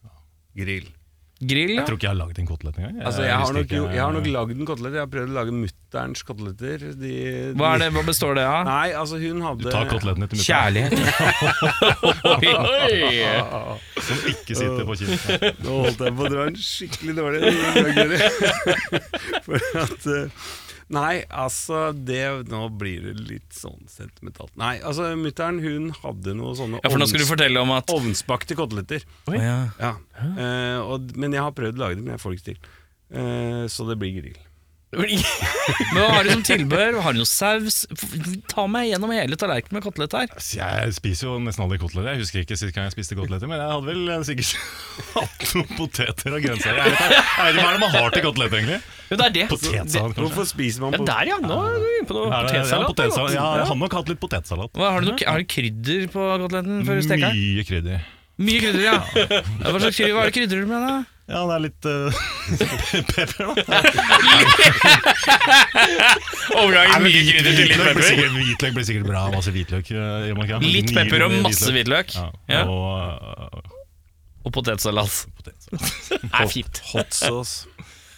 S8: Grill.
S2: Grill, ja.
S7: Jeg tror ikke jeg har lagd en kotelett engang.
S8: Altså, jeg,
S7: visste
S8: har nok,
S7: ikke-
S8: jeg har nok lagd en kotelett. Jeg har prøvd å lage mutterns koteletter. De,
S2: Hva, er det, hva består det av?
S8: Nei, altså hun hadde
S7: Du tar kotelettene til mutter'n,
S2: Kjærlighet. Oi, oi.
S7: som ikke sitter på kinnet.
S8: Nå holdt jeg på å dra en skikkelig dårlig røggere. For at eh, Nei, altså det, Nå blir det litt sånn sentimentalt. Nei, altså mutter'n hun hadde noe sånne
S2: Ja, for nå skal du
S8: ovns-
S2: fortelle om at
S8: ovnsbakte koteletter.
S2: Å, ja.
S8: Ja. Eh, og, men jeg har prøvd å lage det, men jeg får det ikke til. Eh, så det blir grill.
S2: Men Hva har du som tilbør? Har du noe saus? F- Ta meg gjennom hele tallerkenen med kotelett her.
S7: Så Jeg spiser jo nesten aldri koteletter. Jeg husker ikke sist gang jeg spiste koteletter, men jeg hadde vel eh, sikkert hatt noen poteter og grønnsaker. Jeg vet ikke jeg vet ikke hva er det man har til kotelett, egentlig.
S1: Jo, det er det.
S7: Potetsalat, kanskje.
S8: Hvorfor spiser man
S1: Ja,
S8: på
S1: der, ja. Nå er du inne på noe
S7: Ja, det- ja,
S1: potetsalat. da.
S7: potetsalat. Ja, jeg har nok hatt litt potetsalat.
S2: Hva, har, du noe, har du krydder på koteletten før du steker den?
S7: Mye krydder.
S2: Mye krydder, ja. ja. Hva slags krydder hva er det krydrer du med, da?
S7: Ja, det er litt eh, pepper, da.
S2: Overgangen mye krydder til litt
S7: Hvitløk liksom. blir
S2: pepper.
S7: sikkert, hvitløk blir sikkert bra. Masse hvitløk. eh, gjør man ikke?
S2: Litt
S7: Gniver
S2: pepper og
S7: med
S2: masse hvitløk.
S7: Ja,
S2: Ja.
S7: Og eh,
S2: Og potetsalat.
S7: potetsalat.
S1: er fint.
S8: hot sauce?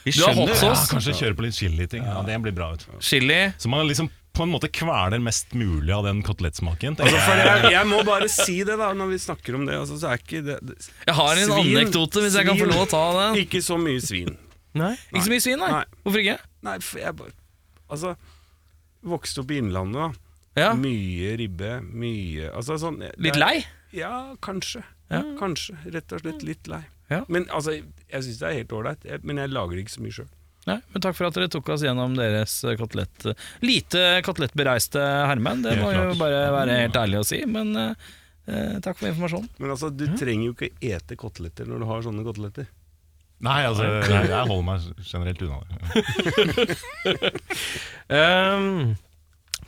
S2: Vi
S1: Du har
S2: skjønner
S1: hot
S7: Ja,
S1: sauce.
S7: kanskje kjøre på litt chili-ting. Ja, det blir bra. Ut.
S2: Chili.
S7: Så man liksom på en måte kveler mest mulig av den kotelettsmaken. tenker
S8: Altså,
S7: jeg.
S8: for jeg, jeg må bare si det, da, når vi snakker om det. Altså, så er ikke det, det
S2: Jeg har en
S8: Svin.
S2: anekdote, hvis jeg kan få
S8: Svin.
S2: lov å ta den.
S8: Ikke så mye svin.
S2: Ikke så mye svin, nei.
S8: Nei.
S2: Hvorfor ikke?
S8: Nei, for jeg bare Altså, vokste opp i Innlandet, da.
S2: Ja,
S8: Mye ribbe, mye altså, sånn, det er-
S2: Litt lei?
S8: Ja, kanskje.
S2: Ja.
S8: Kanskje. Rett og slett litt lei.
S2: Ja.
S8: Men altså, jeg syns det er helt ålreit, jeg- men jeg lager det ikke så mye sjøl.
S2: Nei, men takk for at dere tok oss gjennom deres eh, kotelett eh, Lite kotelettbereiste hermen, det
S7: Helt
S2: må jo
S7: klart.
S2: bare være helt
S1: Mm.
S2: ærlig å si, men eh, eh, takk for informasjonen.
S8: Men altså, du trenger jo ikke ete koteletter når du har sånne koteletter.
S7: Nei, altså, jeg, jeg holder meg generelt unna det.
S1: Um,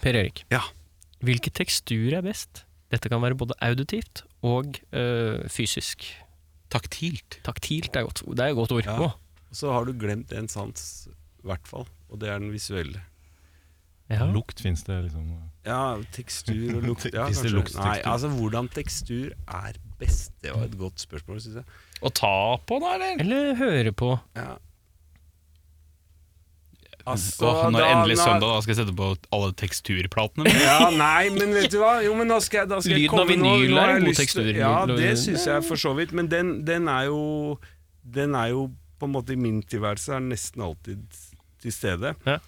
S1: per Erik,
S8: Ja.
S1: hvilke teksturer er best? Dette kan være både auditivt og øh, fysisk.
S5: Taktilt.
S1: Taktilt er godt, det er et godt ord. Å,
S8: Så har du glemt en sans, i hvert fall, og det er den visuelle.
S1: ja.
S7: Lukt fins det, liksom.
S8: Ja, tekstur og lukt. Ja,
S7: Hvis det
S8: kanskje.
S7: lukter tekstur.
S8: Nei, altså, hvordan tekstur er best, det var et godt spørsmål, syns jeg.
S2: Å ta på, da, eller?
S1: Eller høre på.
S8: Ja. Altså,
S5: Åh, nå er det
S8: da-
S5: endelig
S8: nå-
S5: søndag, da skal jeg sette på alle teksturplatene. mine.
S8: Ja, nei, men vet du hva? Jo, men da skal jeg, da skal jeg
S1: Lyden av
S8: komme nå-
S1: vinyl
S8: nå har
S1: er
S8: jeg
S1: en god
S8: lyst til-
S1: tekstur.
S8: Ja, det syns jeg for så vidt. Men den, den er jo Den er jo på en måte i min tilværelse er den nesten alltid til stede.
S1: Ja.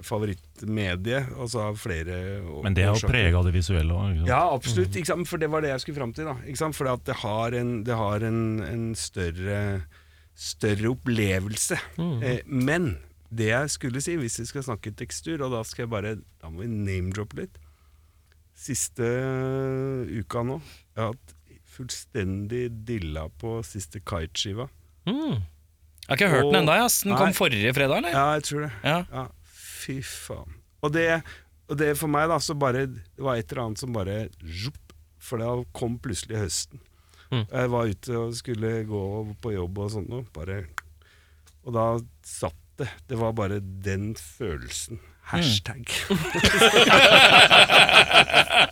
S8: Favorittmedie, altså av flere å-
S7: Men det er jo
S8: årsaker.
S7: prega av det visuelle òg.
S8: Ja, absolutt. Ikke sant? For det var det jeg skulle fram til. da ikke sant? For det har en, det har en, en større, større opplevelse.
S1: Mm.
S8: Eh, men det jeg skulle si, hvis vi skal snakke tekstur, og da skal jeg bare Da må vi name-droppe litt. Siste uka nå Jeg har hatt fullstendig dilla på siste kiteskiva.
S1: Mm.
S2: Jeg har ikke hørt den ennå, ass. Den
S8: Nei.
S2: kom forrige fredag, eller?
S8: Ja, jeg tror det.
S2: Ja.
S8: Ja, fy faen. Og det, og det for meg da, så bare Det var et eller annet som bare zjupp, For da kom plutselig høsten. Jeg var ute og skulle gå på jobb og sånt noe, bare Og da satt det. Det var bare den følelsen. Hashtag.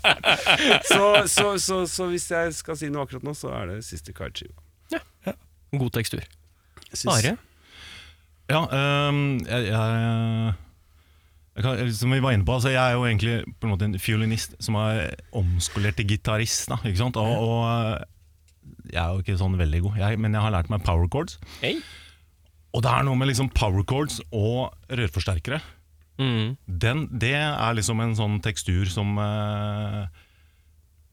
S8: så, så, så, så hvis jeg skal si noe akkurat nå, så er det siste kiteskiva.
S1: God tekstur.
S8: Jeg synes-
S1: Are?
S7: Ja, øhm, jeg, jeg, jeg kan, Som vi var inne på, altså, jeg er jo egentlig på en måte en fiolinist som er omskolert til gitarist. da, Ikke sant? Og, og jeg er jo ikke sånn veldig god, jeg, men jeg har lært meg power chords.
S1: Hey.
S7: Og det er noe med liksom power chords og rørforsterkere.
S1: Mm.
S7: Den, det er liksom en sånn tekstur som eh,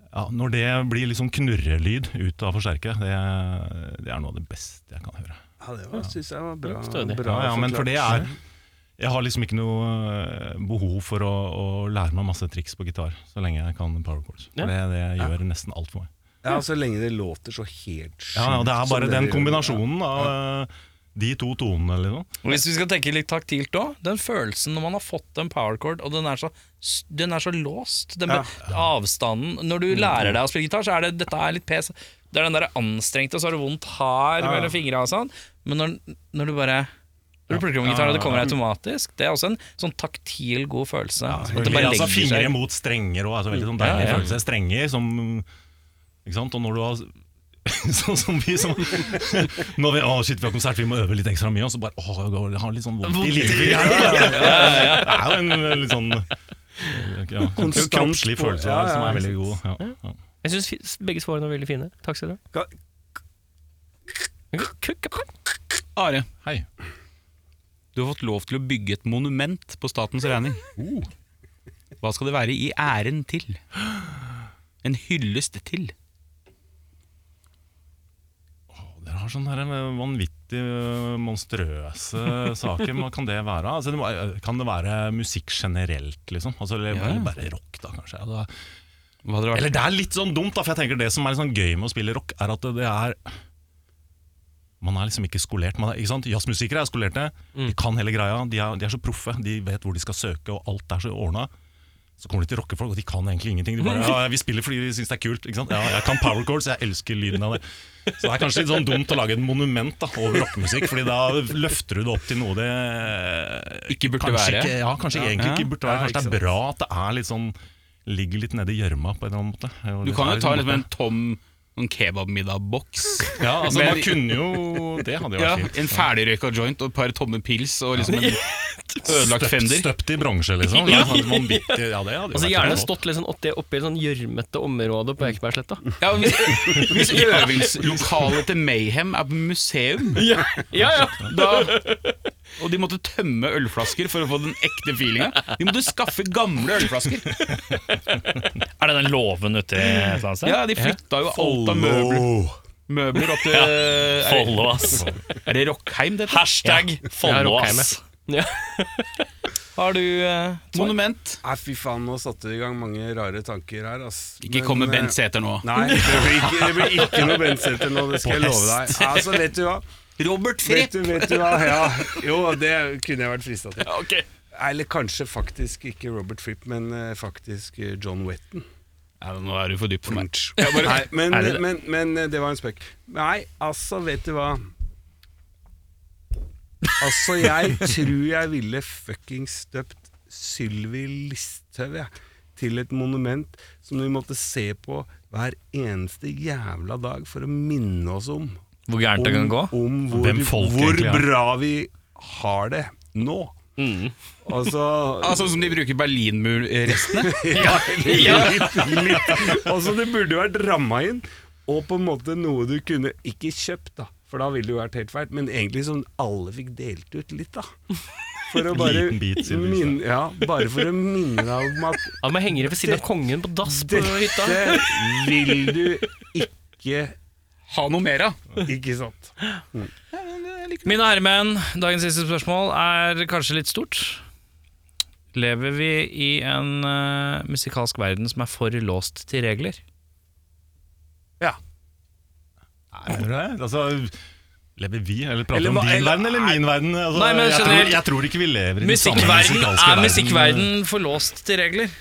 S7: ja, Når det blir liksom knurrelyd ut av forsterkeret, det, det er noe av det beste jeg kan høre.
S8: Ja, det var- synes jeg var bra.
S1: Stødig.
S8: bra
S7: Ja, ja, men for det
S8: forklart.
S7: er Jeg har liksom ikke noe eh, behov for å, å lære meg masse triks på gitar så lenge jeg kan power chords. For det, det gjør nesten alt for meg.
S8: Ja, så lenge det låter så helt sjukt.
S7: Ja, og Det er
S8: som
S7: bare
S8: det
S7: den
S8: gjør.
S7: kombinasjonen av eh, de to tonene eller noe.
S2: Og Hvis vi skal tenke litt taktilt òg, den følelsen når man har fått en powercord, og den er så, den er så låst den
S8: Ja.
S2: Avstanden Når du lærer deg å spille gitar, så er det dette er litt pes. Det er den der anstrengte, og så har du vondt her mellom fingra og sånn. Men når, når du bare når du plukker om gitar, og det kommer automatisk, det er også en sånn taktil god følelse. at det bare
S7: altså,
S2: legger
S7: fingre
S2: seg.
S7: mot strenger og altså, veldig sånn deilig
S2: Ja, ja.
S7: følelse. Strenger som Ikke sant? Og når du har sånn som vi som Når vi, å, shit, vi har konsert, vi må øve litt ekstra mye, og så bare å, jeg går- jeg har litt sånn vondt i livet. Ja, ja, ja. Det er jo en eh, litt sånn ja,
S8: Konstant-
S7: kroppslig følelse
S8: Ja,
S7: der,
S8: ja,
S7: som er
S8: ikke
S7: veldig god. Ja, ja.
S1: Jeg syns begge svarene var veldig fine. Takk skal dere
S8: Ka-
S1: ha.
S3: Are,
S7: Hei.
S3: du har fått lov til å bygge et monument på statens regning. Hva skal det være i æren til? En hyllest til.
S7: Dere har sånne her eh, vanvittig eh, monstrøse saker. Hva kan det være? Altså, det må, eh, kan det være musikk generelt, liksom? Altså, eller,
S3: Ja.
S7: eller bare rock, da, kanskje? Ja, da.
S3: Hva hadde det vært?
S7: Eller det er litt sånn dumt, da, for jeg tenker det som er litt sånn gøy med å spille rock, er at det er man er liksom ikke skolert. Man er, ikke sant? Jazzmusikere er skolerte,
S3: Mm.
S7: de kan hele greia. De er, de er så proffe, de vet hvor de skal søke, og alt er så ordna. Så kommer de til rockefolk, og de kan egentlig ingenting. De bare, ja, 'Vi spiller fordi vi syns det er kult.' Ikke sant? Ja, 'Jeg kan power chords, jeg elsker lyden av det.' Så det er kanskje litt sånn dumt å lage et monument da, over rockemusikk, Fordi da løfter du det opp til noe det
S3: Ikke burde
S7: kanskje
S3: være.
S7: Ikke, ja, kanskje egentlig
S3: Ja.
S7: ikke burde være. Kanskje det er bra at det er litt sånn ligger litt nede i gjørma på en eller annen måte. Og
S3: Du
S7: det
S3: kan
S7: er
S3: jo ta
S7: liksom-
S3: liksom en tom sånn kebabmiddagboks.
S7: Ja, altså
S3: Men-
S7: man kunne jo Det hadde jo
S3: Ja,
S7: vært fint.
S3: en ferdigrøyka joint og et par tomme pils og liksom en ødelagt
S7: Støpt-
S3: fender.
S7: Støpt i bronse, liksom. Ja, sånn vanvittig, ja, det hadde jo
S1: Altså
S7: vært
S1: Gjerne
S7: rått.
S1: stått liksom oppi, oppi et sånn gjørmete område
S2: Mm.
S1: på Ekebergsletta.
S3: Ja, hvis, hvis øvingslokalet til Mayhem er på museum,
S1: Ja, ja, ja.
S3: da og de måtte tømme ølflasker for å få den ekte feelinga. De måtte skaffe gamle ølflasker.
S9: Er det den låven ute i et eller annet sted?
S3: Ja, De flytta jo alt av møbler, møbler opp til er,
S9: Follo, ass.
S3: er det Rockheim, det heter?
S9: Hashtag Follo, ass.
S1: Har du eh,
S3: Monument.
S8: Nei, fy faen, nå satte du i gang mange rare tanker her, ass.
S3: Ikke
S8: Men,
S3: kom med
S8: eh,
S3: Bent Sæther nå.
S8: Nei, det blir ikke, det blir ikke noe Bent Sæther nå, det skal jeg love deg. Altså, vet du hva?
S3: Robert Fripp!
S8: Vet du, vet du hva? Ja, jo, det kunne jeg vært frista til. Eller kanskje faktisk ikke Robert Fripp, men eh, faktisk eh, John Wetton.
S3: Ja, nå er du for dyp for meg.
S8: Nei, men, men, men eh, det var en spøk. Nei, altså, vet du hva? Altså, jeg tror jeg ville fuckings støpt Sylvi Listhaug, jeg. Til et monument som vi måtte se på hver eneste jævla dag for å minne oss om.
S9: Hvor gærent det kan gå?
S8: Om
S7: Hvem
S8: hvor,
S7: folk
S8: hvor
S7: egentlig er.
S8: bra vi har det nå. Altså,
S3: Ja, sånn som de bruker Berlinmur-restene.
S8: altså, det burde vært ramma inn, og på en måte noe du kunne ikke kjøpt, da. For da ville det jo vært helt feil. Men egentlig som alle fikk delt ut litt, da. For å bare,
S7: Liten bit, sier du,
S8: minne, ja, bare for å minne deg om at
S1: Han må henge det ved siden av kongen på dass på hytta.
S8: dette vil du ikke
S3: Ha noe mer av.
S8: Ikke sant.
S9: Mine herremenn, dagens siste spørsmål er kanskje litt stort. Lever vi i en eh, musikalsk verden som er for låst til regler?
S7: Nei, men det er- Altså, lever vi, eller prater
S8: Eller
S7: om
S8: hva-
S7: din
S8: eller-
S7: verden eller min verden? Altså,
S9: Nei, men
S7: jeg,
S9: generelt-
S7: tror, jeg tror ikke vi lever i den samme
S9: Musikkverden,
S7: musikalske
S9: er
S7: verden.
S9: musikkverden for låst til regler?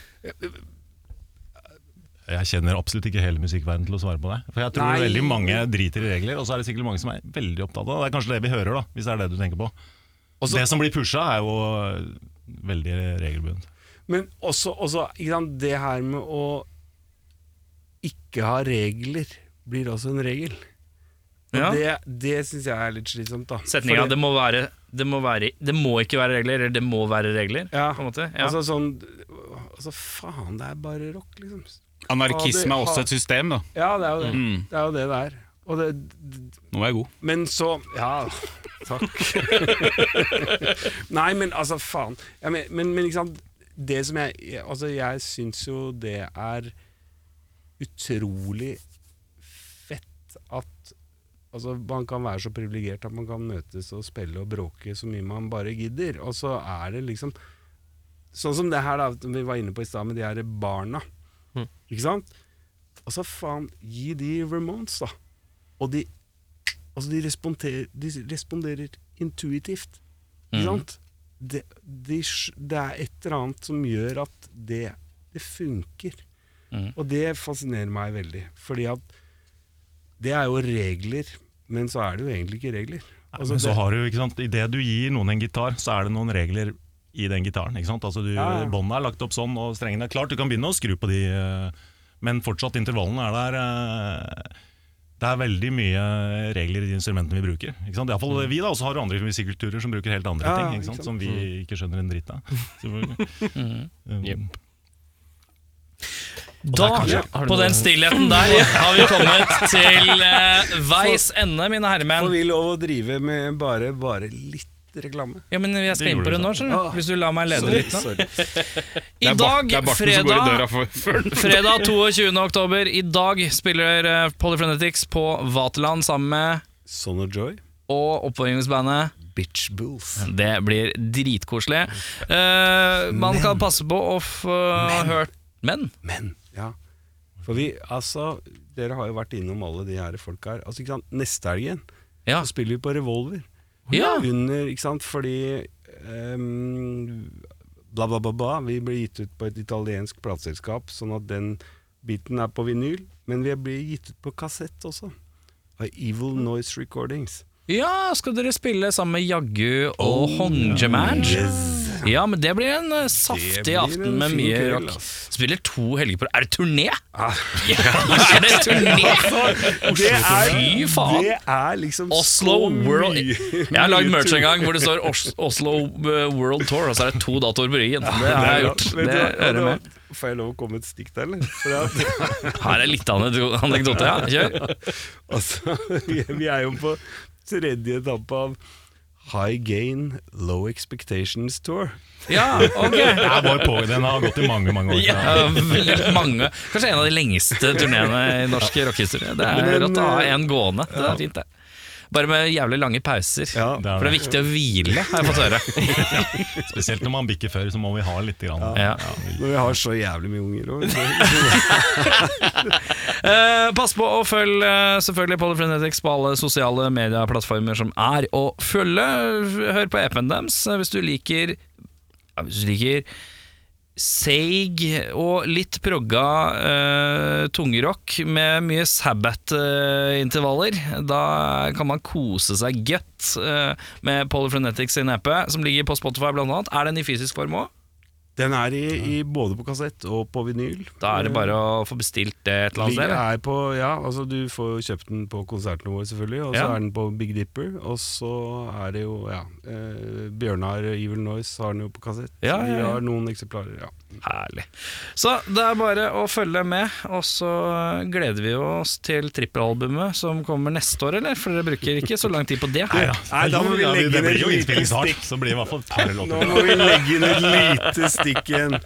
S7: Jeg kjenner absolutt ikke hele musikkverden til å svare på det. For jeg tror
S8: Nei.
S7: veldig mange driter i regler, og så er det sikkert mange som er veldig opptatt av det. Det er kanskje det vi hører, da, hvis det er det du tenker på. det som blir pusha, er jo veldig regelbundet.
S8: Men også, også ikke sant, det her med å ikke ha regler blir også en regel. Og
S9: Ja.
S8: Det, det syns jeg er litt slitsomt, da.
S9: Setninga
S8: Fordi-
S9: det, må være- det, må være- det må ikke være regler, eller det må være regler.
S8: ja,
S9: På en måte. Ja.
S8: Altså sånn Altså faen, det er bare rock, liksom.
S3: Anarkisme er også et system, da.
S8: Ja, det er jo det
S3: Mm.
S8: det, er jo det, det er. Og det, d-
S3: Nå er jeg god.
S8: men så Ja, takk. Nei, men altså, faen. Ja, men, men, men ikke sant Det som jeg jeg- Altså, jeg syns jo det er utrolig fett at Altså, Man kan være så privilegert at man kan møtes og spille og bråke så mye man bare gidder. Og så er det liksom Sånn som det her da vi var inne på i stad, med de her barna.
S7: Mm.
S8: Ikke sant? Og så faen, gi de Ramones, da. Og de, altså de, responderer, de responderer intuitivt. Ikke
S7: Mm.
S8: sant? Det, de, sk- det er et eller annet som gjør at det, det funker.
S7: Mm.
S8: Og det fascinerer meg veldig. Fordi at det er jo regler, men så er det jo egentlig ikke regler. Altså,
S7: Men så
S8: det-
S7: har du, ikke sant, Idet du gir noen en gitar, så er det noen regler i den gitaren. ikke sant? Altså, du,
S8: Ja, ja.
S7: Båndet er lagt opp sånn, og strengene er klart. Du kan begynne å skru på de, eh, men fortsatt intervallene er der. eh, det er veldig mye regler i de instrumentene vi bruker. Ikke sant? I hvert fall vi da, Og så har du andre musikkulturer som bruker helt andre
S8: Mm. Ja,
S7: ting,
S8: ikke
S7: ikke sant?
S8: sant? Mm.
S7: som vi ikke skjønner en dritt av. selvfølgelig. Um,
S2: Da, på den stillheten der, har vi kommet til eh, veis ende, mine
S8: Får
S2: herremenn.
S8: vi lov å drive med bare, bare litt reklame?
S2: Ja, men jeg skal inn på det nå, skjønner du. Hvis du lar meg lede litt. nå.
S8: Sorry.
S2: I dag,
S3: det er barten som går i
S2: fredag
S3: døra for, før den
S2: Fredag 22. oktober. I dag spiller eh, Polyphrenetics på Vaterland sammen med
S8: Son of Joy,
S2: og oppvarmingsbandet
S8: Bitch Bulls.
S2: Det blir dritkoselig. Eh, man kan passe på å få hørt Men
S8: Men, ja. For vi, altså, dere har jo vært innom alle de her folka her. Altså, ikke sant, neste helgen
S2: Ja.
S8: så spiller vi på Revolver.
S2: Ja.
S8: Under, ikke sant, fordi ehm, bla, bla, bla, bla. Vi ble gitt ut på et italiensk plateselskap, sånn at den biten er på vinyl. Men vi blir gitt ut på kassett også. Av Evil Noise Recordings.
S2: Ja, skal dere spille sammen med Jaggu
S8: Oh,
S2: og Hongemange? Ja, men det blir en eh, saftig
S8: blir en
S2: aften med
S8: fin
S2: mye
S8: kveld,
S2: rock.
S8: ass. Ah.
S2: Spiller to helger på Er det turné? Ja, er det turné?
S8: Det er,
S2: Fy faen.
S8: Det er liksom
S2: Oslo
S8: så mye-
S2: World Jeg har lagd
S8: mye
S2: merch en
S8: tull.
S2: gang hvor det står Os- Oslo eh, World Tour, og så er det to datoer på ryggen. Det har jeg gjort.
S8: Vet
S2: Det
S8: du hva, og
S2: hører
S8: det var-
S2: med.
S8: Får jeg lov å komme med et stikk der, eller? For at,
S2: Her er litt av en anekdote, ja. Kjør.
S8: altså, vi, vi er jo på tredje etappe av High Gain Low Expectations Tour.
S2: Ja, ok.
S7: det her var jo på, den har gått i mange, mange år.
S2: Ja, veldig mange Kanskje en av de lengste turneene i norsk rockehistorie. Det er
S8: Men,
S2: rått å ha
S8: eh,
S2: en gående. Det er fint, det. Bare med jævlig lange pauser.
S8: Ja.
S7: Det er
S2: For det er viktig å hvile, har jeg fått høre.
S7: Spesielt når man bikker før, så må vi ha litt. Grann.
S2: Ja.
S8: Når vi har så jævlig mye unger òg.
S2: Eh, pass på å følge eh, selvfølgelig Polyfrenetics på alle sosiale medieplattformer som er å følge. Hør på appen deres eh, hvis du liker ja, Hvis du liker seig og litt progga eh, tungerock med mye sabbat-intervaller. da kan man kose seg godt eh, med Polyfrenetics sin app, som ligger på Spotify blant annet. Er den i fysisk form òg?
S8: Den er i, i både på kassett og på vinyl.
S2: Da er det bare å få bestilt det et eller annet
S8: Ligger
S2: sted.
S8: er på, ja, altså Du får jo kjøpt den på konsertene våre, selvfølgelig. Og så
S2: Ja.
S8: er den på Big Dipper. Og så er det jo ja, eh, Bjørnar Evil Noise har den jo på kassett.
S2: Ja, ja,
S8: så vi
S2: ja.
S8: har noen eksemplarer. ja
S2: Herlig. Så det er bare å følge med, og så gleder vi oss til trippelalbumet som kommer neste år, eller? For dere bruker ikke så lang tid på det.
S7: Nei, da.
S8: Nei, da må vi
S7: Ja,
S8: legge
S7: det
S8: ned
S7: blir jo
S8: et
S7: innspilling
S8: lite
S7: snart, så blir det i hvert fall et par
S8: Nå
S7: låter.
S8: må vi legge inn et lite stikk igjen.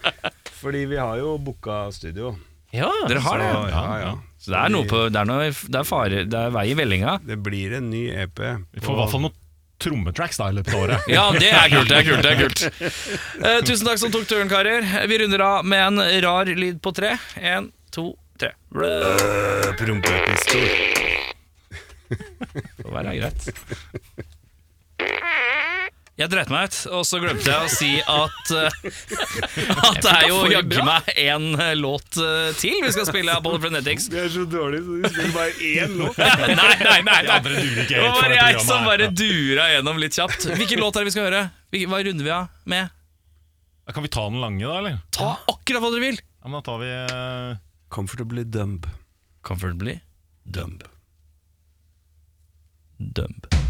S8: Fordi vi har jo booka studio.
S2: Ja, dere har det.
S8: Så, ja, ja.
S2: Så det er noe på Det er, noe, det er, fare, det er vei i vellinga.
S8: Det blir en ny E EP.
S7: Vi får i hvert fall noen trommetracks da i løpet av året.
S2: Ja, det er kult, det er kult, det er kult. Eh, tusen takk som tok turen, karer. Vi runder av med en rar lyd på tre. En, to, tre. Det får være greit. Jeg dreit meg ut, og så glemte jeg å si at eh, At det er jo jaggu meg en eh, låt eh, til vi skal spille av Polyphrenetics.
S8: Vi er så dårlige, så vi spiller bare én låt.
S2: Nei, nei, nei!
S7: De
S2: nei.
S7: andre duger ikke
S2: Det
S7: helt
S2: var
S7: for
S2: bare
S7: det
S2: jeg som
S7: programmet.
S2: bare
S7: her.
S2: dura gjennom litt kjapt. Hvilken låt er det vi skal høre? Hvilken- Hva runder vi av med?
S7: Ja. Kan vi ta den lange, da? eller?
S2: Ta akkurat hva dere vil!
S7: Ja, men da tar vi eh,
S8: Comfortably dumb.
S2: Comfortably
S8: Dumb.
S2: dump.